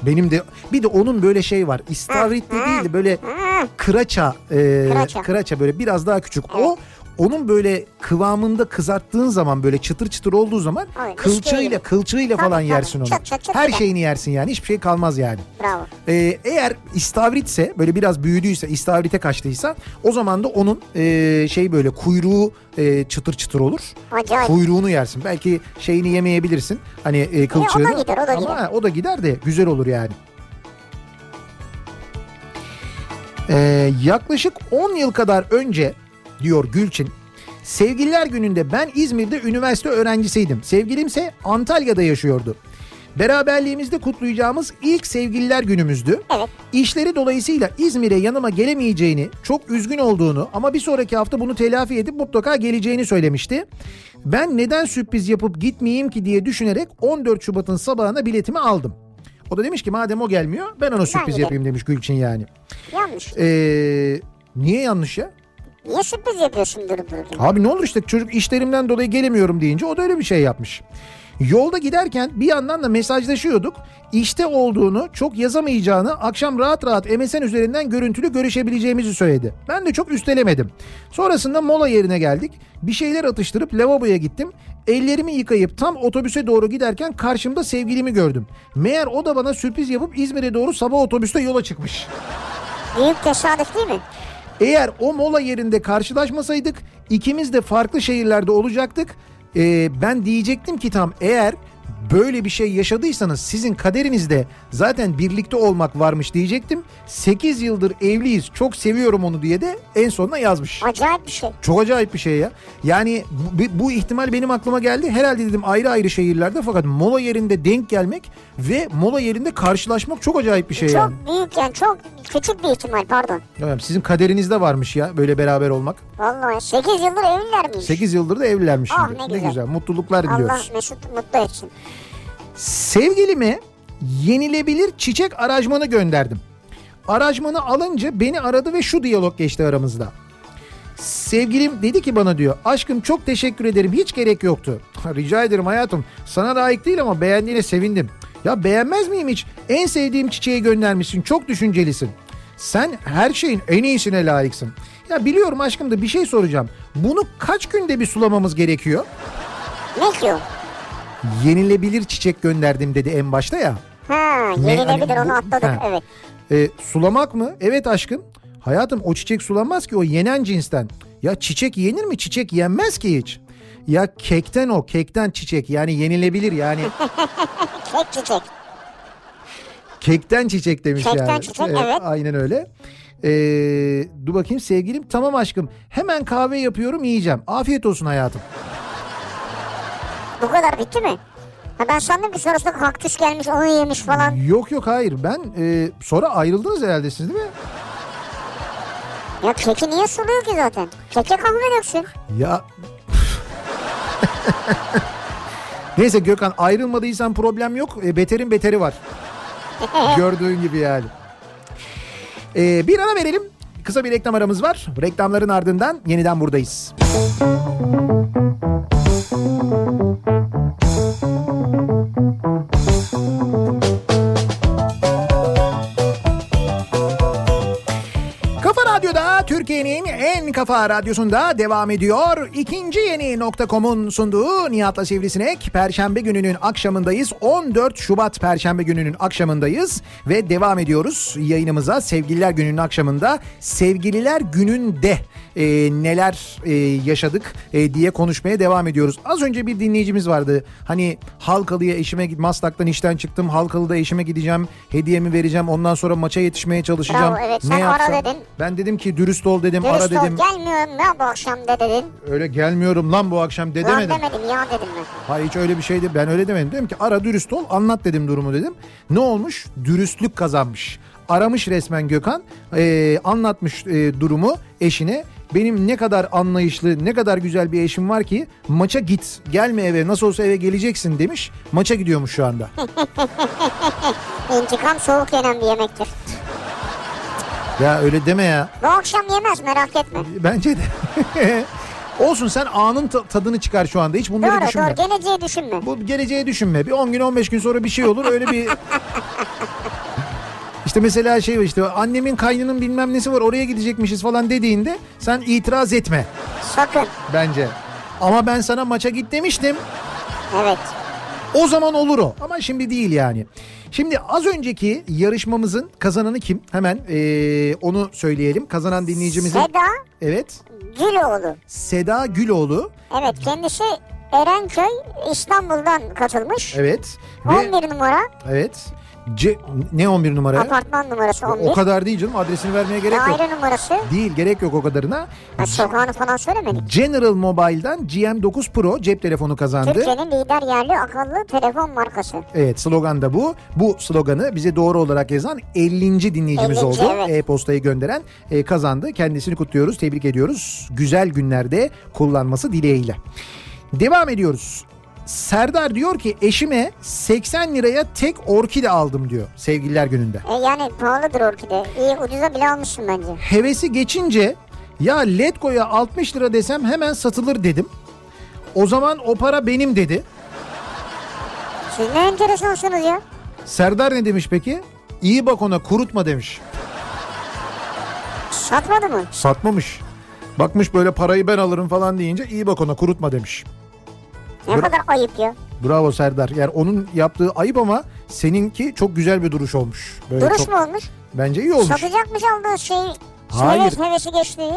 Speaker 3: Benim de bir de onun böyle şey var. İstavritli değil de böyle
Speaker 4: Ha,
Speaker 3: kıraça, e, kıraça
Speaker 4: Kıraça.
Speaker 3: böyle biraz daha küçük. O onun böyle kıvamında kızarttığın zaman böyle çıtır çıtır olduğu zaman
Speaker 4: Aynen,
Speaker 3: kılçığıyla
Speaker 4: iskeleyle.
Speaker 3: kılçığıyla
Speaker 4: Tabii,
Speaker 3: falan
Speaker 4: tabii.
Speaker 3: yersin onu.
Speaker 4: Çıt çıt çıt
Speaker 3: Her
Speaker 4: çıt.
Speaker 3: şeyini yersin yani hiçbir şey kalmaz yani.
Speaker 4: bravo.
Speaker 3: Ee, eğer istavritse böyle biraz büyüdüyse istavrite kaçtıysa o zaman da onun e, şey böyle kuyruğu e, çıtır çıtır olur.
Speaker 4: Acayip.
Speaker 3: Kuyruğunu yersin. Belki şeyini yemeyebilirsin. Hani e, kılçığını.
Speaker 4: gider, o da
Speaker 3: Ama
Speaker 4: gider.
Speaker 3: o da gider de güzel olur yani. Ee, yaklaşık 10 yıl kadar önce diyor Gülçin. Sevgililer gününde ben İzmir'de üniversite öğrencisiydim. Sevgilimse Antalya'da yaşıyordu. Beraberliğimizde kutlayacağımız ilk sevgililer günümüzdü.
Speaker 4: Evet.
Speaker 3: İşleri dolayısıyla İzmir'e yanıma gelemeyeceğini, çok üzgün olduğunu ama bir sonraki hafta bunu telafi edip mutlaka geleceğini söylemişti. Ben neden sürpriz yapıp gitmeyeyim ki diye düşünerek 14 Şubat'ın sabahına biletimi aldım. O da demiş ki madem o gelmiyor ben ona sürpriz
Speaker 4: giderim.
Speaker 3: yapayım demiş Gülçin yani.
Speaker 4: Yanlış.
Speaker 3: Ee, niye yanlış ya?
Speaker 4: Niye sürpriz yapıyorsun durup dururken?
Speaker 3: Abi ne olur işte çocuk işlerimden dolayı gelemiyorum deyince o da öyle bir şey yapmış. Yolda giderken bir yandan da mesajlaşıyorduk. İşte olduğunu, çok yazamayacağını, akşam rahat rahat MSN üzerinden görüntülü görüşebileceğimizi söyledi. Ben de çok üstelemedim. Sonrasında mola yerine geldik. Bir şeyler atıştırıp lavaboya gittim. Ellerimi yıkayıp tam otobüse doğru giderken karşımda sevgilimi gördüm. Meğer o da bana sürpriz yapıp İzmir'e doğru sabah otobüste yola çıkmış.
Speaker 4: Büyük tesadüf değil mi?
Speaker 3: Eğer o mola yerinde karşılaşmasaydık ikimiz de farklı şehirlerde olacaktık. Ee, ben diyecektim ki tam eğer böyle bir şey yaşadıysanız sizin kaderinizde zaten birlikte olmak varmış diyecektim. 8 yıldır evliyiz çok seviyorum onu diye de en sonuna yazmış.
Speaker 4: Acayip bir şey.
Speaker 3: Çok acayip bir şey ya. Yani bu, bu ihtimal benim aklıma geldi. Herhalde dedim ayrı ayrı şehirlerde fakat mola yerinde denk gelmek ve mola yerinde karşılaşmak çok acayip bir şey yani.
Speaker 4: Çok büyük yani çok küçük bir ihtimal pardon.
Speaker 3: Yani Sizin kaderinizde varmış ya böyle beraber olmak.
Speaker 4: Vallahi 8 yıldır evliler miymiş?
Speaker 3: 8 yıldır da evlilermiş
Speaker 4: Ah,
Speaker 3: şimdi. Ne
Speaker 4: ne
Speaker 3: güzel.
Speaker 4: güzel.
Speaker 3: Mutluluklar
Speaker 4: Allah
Speaker 3: diliyoruz.
Speaker 4: Mesut mutlu etsin.
Speaker 3: Sevgilime yenilebilir çiçek aracmanı gönderdim. Aracmanı alınca beni aradı ve şu diyalog geçti aramızda. Sevgilim dedi ki bana diyor aşkım çok teşekkür ederim hiç gerek yoktu. [laughs] Rica ederim hayatım sana layık değil ama beğendiğine sevindim. Ya beğenmez miyim hiç? En sevdiğim çiçeği göndermişsin çok düşüncelisin. Sen her şeyin en iyisine layıksın. Ya biliyorum aşkım da bir şey soracağım. Bunu kaç günde bir sulamamız gerekiyor?
Speaker 4: Ne diyor?
Speaker 3: yenilebilir çiçek gönderdim dedi en başta ya.
Speaker 4: Ha
Speaker 3: Ne-
Speaker 4: yenilebilir
Speaker 3: hani bu-
Speaker 4: onu atladık
Speaker 3: Ha.
Speaker 4: evet.
Speaker 3: E, sulamak mı? Evet aşkım. Hayatım o çiçek sulanmaz ki o yenen cinsten. Ya çiçek yenir mi? Çiçek yenmez ki hiç. Ya kekten o kekten çiçek yani yenilebilir
Speaker 4: [laughs]
Speaker 3: yani
Speaker 4: Tek çiçek.
Speaker 3: kekten çiçek demiş
Speaker 4: Kekten
Speaker 3: yani.
Speaker 4: çiçek, evet.
Speaker 3: Aynen öyle. E, dur bakayım sevgilim tamam aşkım hemen kahve yapıyorum yiyeceğim. Afiyet olsun hayatım.
Speaker 4: Bu kadar bitti mi? Ha, ben sandım ki sonrasında kaktüs gelmiş onu yemiş falan.
Speaker 3: Yok yok hayır ben e, sonra ayrıldınız herhalde siz değil mi?
Speaker 4: Ya keki niye suluyor ki zaten? Keke
Speaker 3: [laughs]
Speaker 4: kahve döksün.
Speaker 3: Ya Neyse Gökhan ayrılmadıysan problem yok. E, beterin beteri var. Gördüğün gibi yani. E, bir ara verelim. Kısa bir reklam aramız var. Reklamların ardından yeniden buradayız. Kafa Radyo'da Türkiye'nin en kafa radyosunda devam ediyor. İkinci yeni nokta.com'un sunduğu Nihat'la Sivrisinek. Perşembe gününün akşamındayız. 14 Şubat Perşembe gününün akşamındayız. Ve devam ediyoruz yayınımıza Sevgililer gününün akşamında. Sevgililer gününde e, neler e, yaşadık e, diye konuşmaya devam ediyoruz. Az önce bir dinleyicimiz vardı. Hani Halkalı'ya eşime git Maslak'tan işten çıktım. Halkalı'da eşime gideceğim. Hediyemi vereceğim. Ondan sonra maça yetişmeye çalışacağım.
Speaker 4: Bravo, evet. Sen ara dedin.
Speaker 3: Ben dedim ki dürüst ol dedim,
Speaker 4: Dürüst
Speaker 3: ara
Speaker 4: ol
Speaker 3: dedim.
Speaker 4: gelmiyorum ya bu akşam de dedin.
Speaker 3: Öyle gelmiyorum lan bu akşam de
Speaker 4: Lan
Speaker 3: E, demedim.
Speaker 4: demedim ya dedim ben.
Speaker 3: Hayır hiç öyle bir şeydi. Ben öyle demedim. Dedim ki ara dürüst ol, anlat dedim durumu dedim. Ne olmuş? Dürüstlük kazanmış. Aramış resmen Gökhan, ee, anlatmış ee, durumu eşine. Benim ne kadar anlayışlı, ne kadar güzel bir eşim var ki maça git, gelme eve, nasıl olsa eve geleceksin demiş. Maça gidiyormuş şu
Speaker 4: [laughs]
Speaker 3: anda.
Speaker 4: İntikam soğuk yenen bir yemektir.
Speaker 3: ya öyle deme ya.
Speaker 4: Bu akşam yemez merak etme.
Speaker 3: Bence de. [laughs] Olsun sen anın ta- tadını çıkar şu anda. Hiç bunları
Speaker 4: Doğru
Speaker 3: düşünme.
Speaker 4: doğru geleceği düşünme.
Speaker 3: Bu geleceğe düşünme. Bir 10 gün 15 gün sonra bir şey olur öyle bir... İşte mesela şey var işte annemin kaynının bilmem nesi var oraya gidecekmişiz falan dediğinde sen itiraz etme
Speaker 4: Sakın.
Speaker 3: bence. Ama ben sana maça git demiştim.
Speaker 4: Evet.
Speaker 3: O zaman olur o ama şimdi değil yani. Şimdi az önceki yarışmamızın kazananı kim? Hemen ee, onu söyleyelim. Kazanan dinleyicimizin...
Speaker 4: Seda
Speaker 3: Evet.
Speaker 4: Güloğlu.
Speaker 3: Seda Güloğlu.
Speaker 4: Evet kendisi Erenköy İstanbul'dan katılmış.
Speaker 3: Evet. Ve
Speaker 4: 11 numara
Speaker 3: evet. Ce- ne 11 numara?
Speaker 4: apartman numarası 11.
Speaker 3: E? O kadar değil canım adresini vermeye gerek yok.
Speaker 4: Daire numarası.
Speaker 3: Değil gerek yok o kadarına.
Speaker 4: Ha, sokağını falan söylemedik.
Speaker 3: General Mobile'dan GM9 Pro cep telefonu kazandı.
Speaker 4: Türkiye'nin lider yerli akıllı telefon markası.
Speaker 3: Evet slogan da bu. Bu sloganı bize doğru olarak yazan 50. dinleyicimiz
Speaker 4: 50.
Speaker 3: oldu.
Speaker 4: evet.
Speaker 3: E-postayı gönderen e, kazandı. Kendisini kutluyoruz, tebrik ediyoruz. Güzel günlerde kullanması dileğiyle. Devam ediyoruz. Serdar diyor ki eşime 80 liraya tek orkide aldım diyor sevgililer gününde.
Speaker 4: E, yani pahalıdır orkide. İyi ucuza bile almışsın bence.
Speaker 3: hevesi geçince ya Letgo'ya 60 lira desem hemen satılır dedim. O zaman o para benim dedi.
Speaker 4: Siz ne enteresansınız ya.
Speaker 3: Serdar ne demiş peki? İyi bak ona kurutma demiş.
Speaker 4: Satmadı mı?
Speaker 3: Satmamış. Bakmış böyle parayı ben alırım falan deyince iyi bak ona kurutma demiş.
Speaker 4: Ne
Speaker 3: Bıra-
Speaker 4: kadar ayıp ya.
Speaker 3: Bravo Serdar. Yani onun yaptığı ayıp ama seninki çok güzel bir duruş olmuş. Böyle
Speaker 4: Duruş
Speaker 3: çok-
Speaker 4: mu olmuş?
Speaker 3: Bence iyi olmuş.
Speaker 4: Satacakmış aldığınız şeyi.
Speaker 3: Hayır.
Speaker 4: Heves hevesi geçtiği.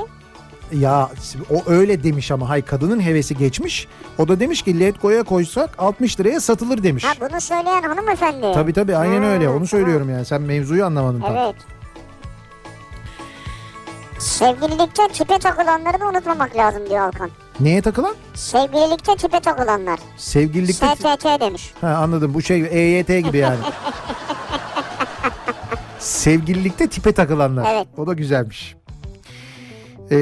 Speaker 3: Ya o öyle demiş ama hay kadının hevesi geçmiş. O da demiş ki Letgo'ya koysak 60 liraya satılır demiş.
Speaker 4: Ha bunu söyleyen hanımefendi.
Speaker 3: Tabii tabii aynen
Speaker 4: Ha,
Speaker 3: öyle. Onu
Speaker 4: tamam.
Speaker 3: söylüyorum yani. Sen mevzuyu anlamadın tam.
Speaker 4: Evet. Sevgililikte tipe takılanları da unutmamak lazım diyor Alkan.
Speaker 3: Neye takılan?
Speaker 4: Sevgililikte tipe takılanlar.
Speaker 3: Sevgililikte...
Speaker 4: STT demiş.
Speaker 3: Ha, anladım. Bu şey EYT gibi
Speaker 4: [laughs]
Speaker 3: yani. Sevgililikte tipe takılanlar.
Speaker 4: Evet.
Speaker 3: O da güzelmiş. Ee,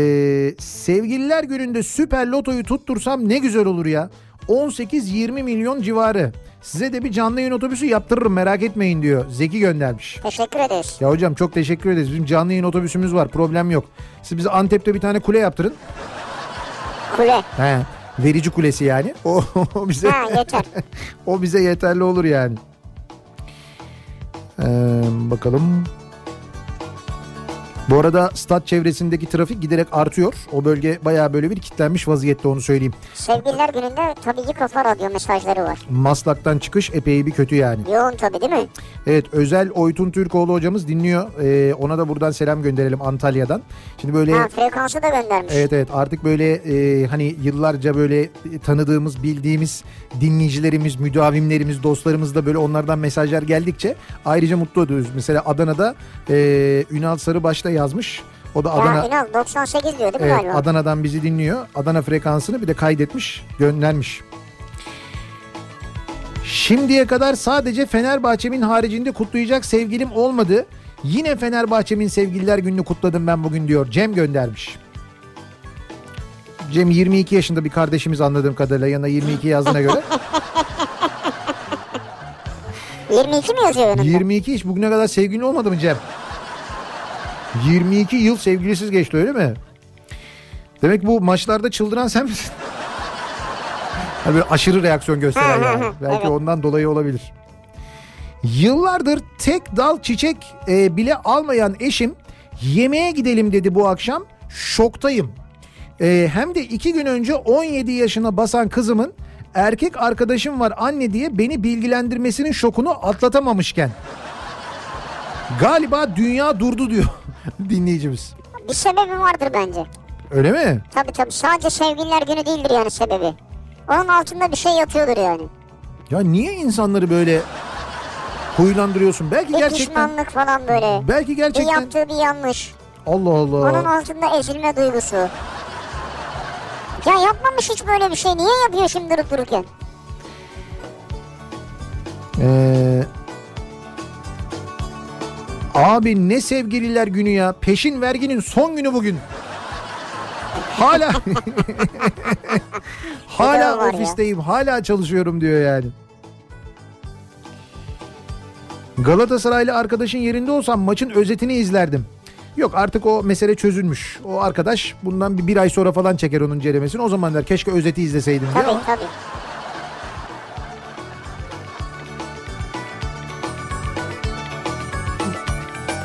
Speaker 3: sevgililer gününde süper lotoyu tuttursam ne güzel olur ya. 18-20 milyon civarı. Size de bir canlı yayın otobüsü yaptırırım merak etmeyin diyor. Zeki göndermiş.
Speaker 4: Teşekkür ederiz.
Speaker 3: Ya hocam çok teşekkür ederiz. Bizim canlı yayın otobüsümüz var problem yok. Siz bize Antep'te bir tane kule yaptırın. [laughs]
Speaker 4: Kule.
Speaker 3: He, verici kulesi yani. O, o bize
Speaker 4: Ha yeter.
Speaker 3: o bize yeterli olur yani. Ee, bakalım. Bu arada stat çevresindeki trafik giderek artıyor. O bölge bayağı böyle bir kitlenmiş vaziyette onu söyleyeyim.
Speaker 4: Sevgililer gününde tabii ki kafa radyo mesajları var.
Speaker 3: Maslak'tan çıkış epey bir kötü yani.
Speaker 4: Yoğun tabii değil mi?
Speaker 3: Evet Özel Oytun Türkoğlu hocamız dinliyor. Ee, ona da buradan selam gönderelim Antalya'dan. Şimdi böyle...
Speaker 4: Ha frekansı da göndermiş.
Speaker 3: Evet evet artık böyle e, hani yıllarca böyle e, tanıdığımız, bildiğimiz dinleyicilerimiz, müdavimlerimiz, dostlarımız da böyle onlardan mesajlar geldikçe ayrıca mutlu oluyoruz. Mesela Adana'da e, Ünal Sarıbaş'ta yazmış. O da
Speaker 4: ya
Speaker 3: Adana
Speaker 4: İnal 98 diyor değil mi
Speaker 3: evet,
Speaker 4: galiba?
Speaker 3: Ee, Adana'dan bizi dinliyor. Adana frekansını bir de kaydetmiş, göndermiş. Şimdiye kadar sadece Fenerbahçe'min haricinde kutlayacak sevgilim olmadı. Yine Fenerbahçe'min sevgililer gününü kutladım ben bugün diyor. Cem göndermiş. Cem 22 yaşında bir kardeşimiz anladığım kadarıyla yanına 22 yazdığına göre.
Speaker 4: 22 mi yazıyor yanında?
Speaker 3: 22 hiç bugüne kadar sevgilin olmadı mı Cem? 22 yıl sevgilisiz geçti öyle mi? Demek bu maçlarda çıldıran sen misin? Ha, böyle aşırı reaksiyon gösteren
Speaker 4: Ha, ha,
Speaker 3: yani.
Speaker 4: ha,
Speaker 3: Belki
Speaker 4: evet.
Speaker 3: ondan dolayı olabilir. Yıllardır tek dal çiçek e, bile almayan eşim yemeğe gidelim dedi bu akşam. Şoktayım. E, hem de iki gün önce 17 yaşına basan kızımın erkek arkadaşım var anne diye beni bilgilendirmesinin şokunu atlatamamışken. Galiba dünya durdu diyor [laughs] dinleyicimiz.
Speaker 4: Bir sebebi vardır bence.
Speaker 3: Öyle mi?
Speaker 4: Tabii tabii sadece sevgililer günü değildir yani sebebi. Onun altında bir şey yatıyordur yani.
Speaker 3: Ya niye insanları böyle huylandırıyorsun? Belki
Speaker 4: Bir
Speaker 3: gerçekten
Speaker 4: pişmanlık falan böyle.
Speaker 3: belki
Speaker 4: Bir
Speaker 3: gerçekten
Speaker 4: yaptığı bir yanlış.
Speaker 3: Allah
Speaker 4: Onun
Speaker 3: Allah.
Speaker 4: altında ezilme duygusu. Ya yapmamış hiç böyle bir şey. Niye yapıyor şimdi durup dururken?
Speaker 3: Ee, abi ne sevgililer günü ya. Peşin verginin son günü bugün.
Speaker 4: [laughs]
Speaker 3: Hala [laughs]
Speaker 4: Bedava var
Speaker 3: hala
Speaker 4: ya.
Speaker 3: ofisteyim, hala çalışıyorum diyor yani. Galatasaraylı arkadaşın yerinde olsam maçın özetini izlerdim. Yok artık o mesele çözülmüş. O arkadaş bundan bir, bir ay sonra falan çeker onun ceremesini. O zaman der keşke özeti izleseydim diyor.
Speaker 4: Tabii
Speaker 3: ama-
Speaker 4: tabii.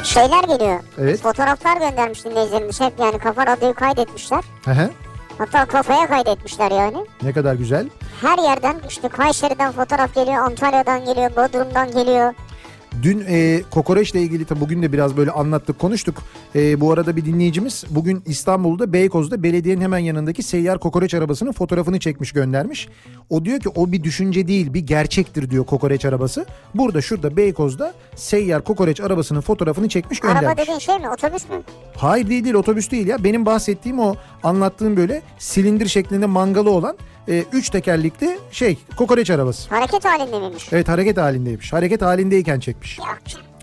Speaker 4: Şeyler geliyor.
Speaker 3: Evet.
Speaker 4: Fotoğraflar göndermiş dinleyicilerimiz hep yani kafa radyoyu kaydetmişler.
Speaker 3: Hı hı.
Speaker 4: Hatta kafaya kaydetmişler yani.
Speaker 3: Ne kadar güzel.
Speaker 4: Her yerden işte Kayseri'den fotoğraf geliyor, Antalya'dan geliyor, Bodrum'dan geliyor.
Speaker 3: Dün e, kokoreçle ilgili tabi bugün de biraz böyle anlattık konuştuk. E, bu arada bir dinleyicimiz bugün İstanbul'da Beykoz'da belediyenin hemen yanındaki seyyar kokoreç arabasının fotoğrafını çekmiş göndermiş. O diyor ki o bir düşünce değil bir gerçektir diyor kokoreç arabası. Burada şurada Beykoz'da seyyar kokoreç arabasının fotoğrafını çekmiş göndermiş.
Speaker 4: Araba dediğin şey mi? Otobüs mü?
Speaker 3: Hayır değil değil otobüs değil ya. Benim bahsettiğim o anlattığım böyle silindir şeklinde mangalı olan 3 tekerlikli şey kokoreç arabası.
Speaker 4: Hareket halinde miymiş?
Speaker 3: Evet hareket halindeymiş. Hareket halindeyken çekmiş.
Speaker 4: Ya,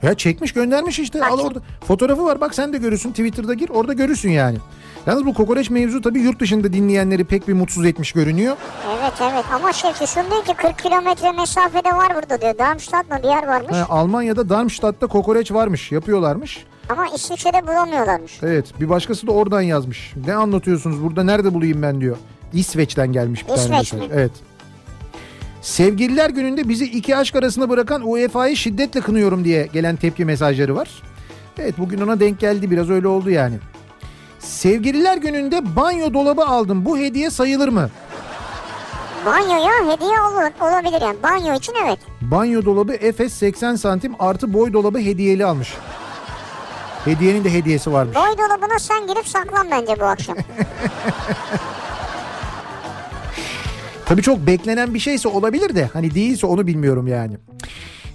Speaker 3: Ya çekmiş göndermiş işte. Al orada. Fotoğrafı var bak sen de görürsün. Twitter'da gir orada görürsün yani. Yalnız bu kokoreç mevzu tabii yurt dışında dinleyenleri pek bir mutsuz etmiş görünüyor.
Speaker 4: Evet evet ama şey düşündüğü ki 40 kilometre mesafede var burada diyor. Darmstadt mı bir yer varmış
Speaker 3: Ha, Almanya'da Darmstadt'ta kokoreç varmış. Yapıyorlarmış.
Speaker 4: ama İsviçre'de bulamıyorlarmış.
Speaker 3: Evet bir başkası da oradan yazmış. Ne anlatıyorsunuz burada nerede bulayım ben diyor. İsveç'ten gelmiş bir tane
Speaker 4: İsveç
Speaker 3: mesaj.
Speaker 4: mi?
Speaker 3: Evet. Sevgililer gününde bizi iki aşk arasında bırakan UEFA'yı şiddetle kınıyorum diye gelen tepki mesajları var. Evet bugün ona denk geldi biraz öyle oldu yani. Sevgililer gününde banyo dolabı aldım. Bu hediye sayılır mı?
Speaker 4: Banyoya hediye ol- olabilir yani. Banyo için evet.
Speaker 3: Banyo dolabı Efes 80 santim artı boy dolabı hediyeli almış. Hediyenin de hediyesi varmış.
Speaker 4: Boy dolabına sen girip saklan bence bu akşam.
Speaker 3: Tabii çok beklenen bir şeyse olabilir de hani değilse onu bilmiyorum yani.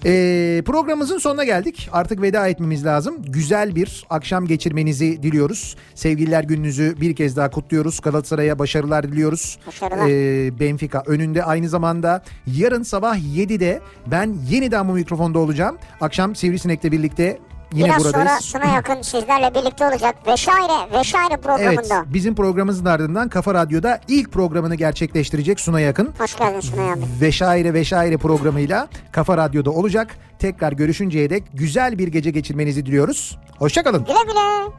Speaker 3: Ee, programımızın sonuna geldik. Artık veda etmemiz lazım. Güzel bir akşam geçirmenizi diliyoruz. Sevgililer gününüzü bir kez daha kutluyoruz. Galatasaray'a başarılar diliyoruz.
Speaker 4: Başarılar.
Speaker 3: Ee, Benfica önünde aynı zamanda yarın sabah 7'de ben yeniden bu mikrofonda olacağım. Akşam Sivrisinek'le birlikte [laughs] yine
Speaker 4: Biraz
Speaker 3: buradayız.
Speaker 4: sonra sona yakın sizlerle birlikte olacak. Veşaire, veşaire
Speaker 3: Evet
Speaker 4: programında.
Speaker 3: bizim programımızın ardından Kafa Radyo'da ilk programını gerçekleştirecek Suna Yakın.
Speaker 4: Hoş geldin Sunay abi.
Speaker 3: Veşaire Veşaire programıyla Kafa Radyo'da olacak. Tekrar görüşünceye dek güzel bir gece geçirmenizi diliyoruz. Hoşçakalın.
Speaker 4: Güle güle.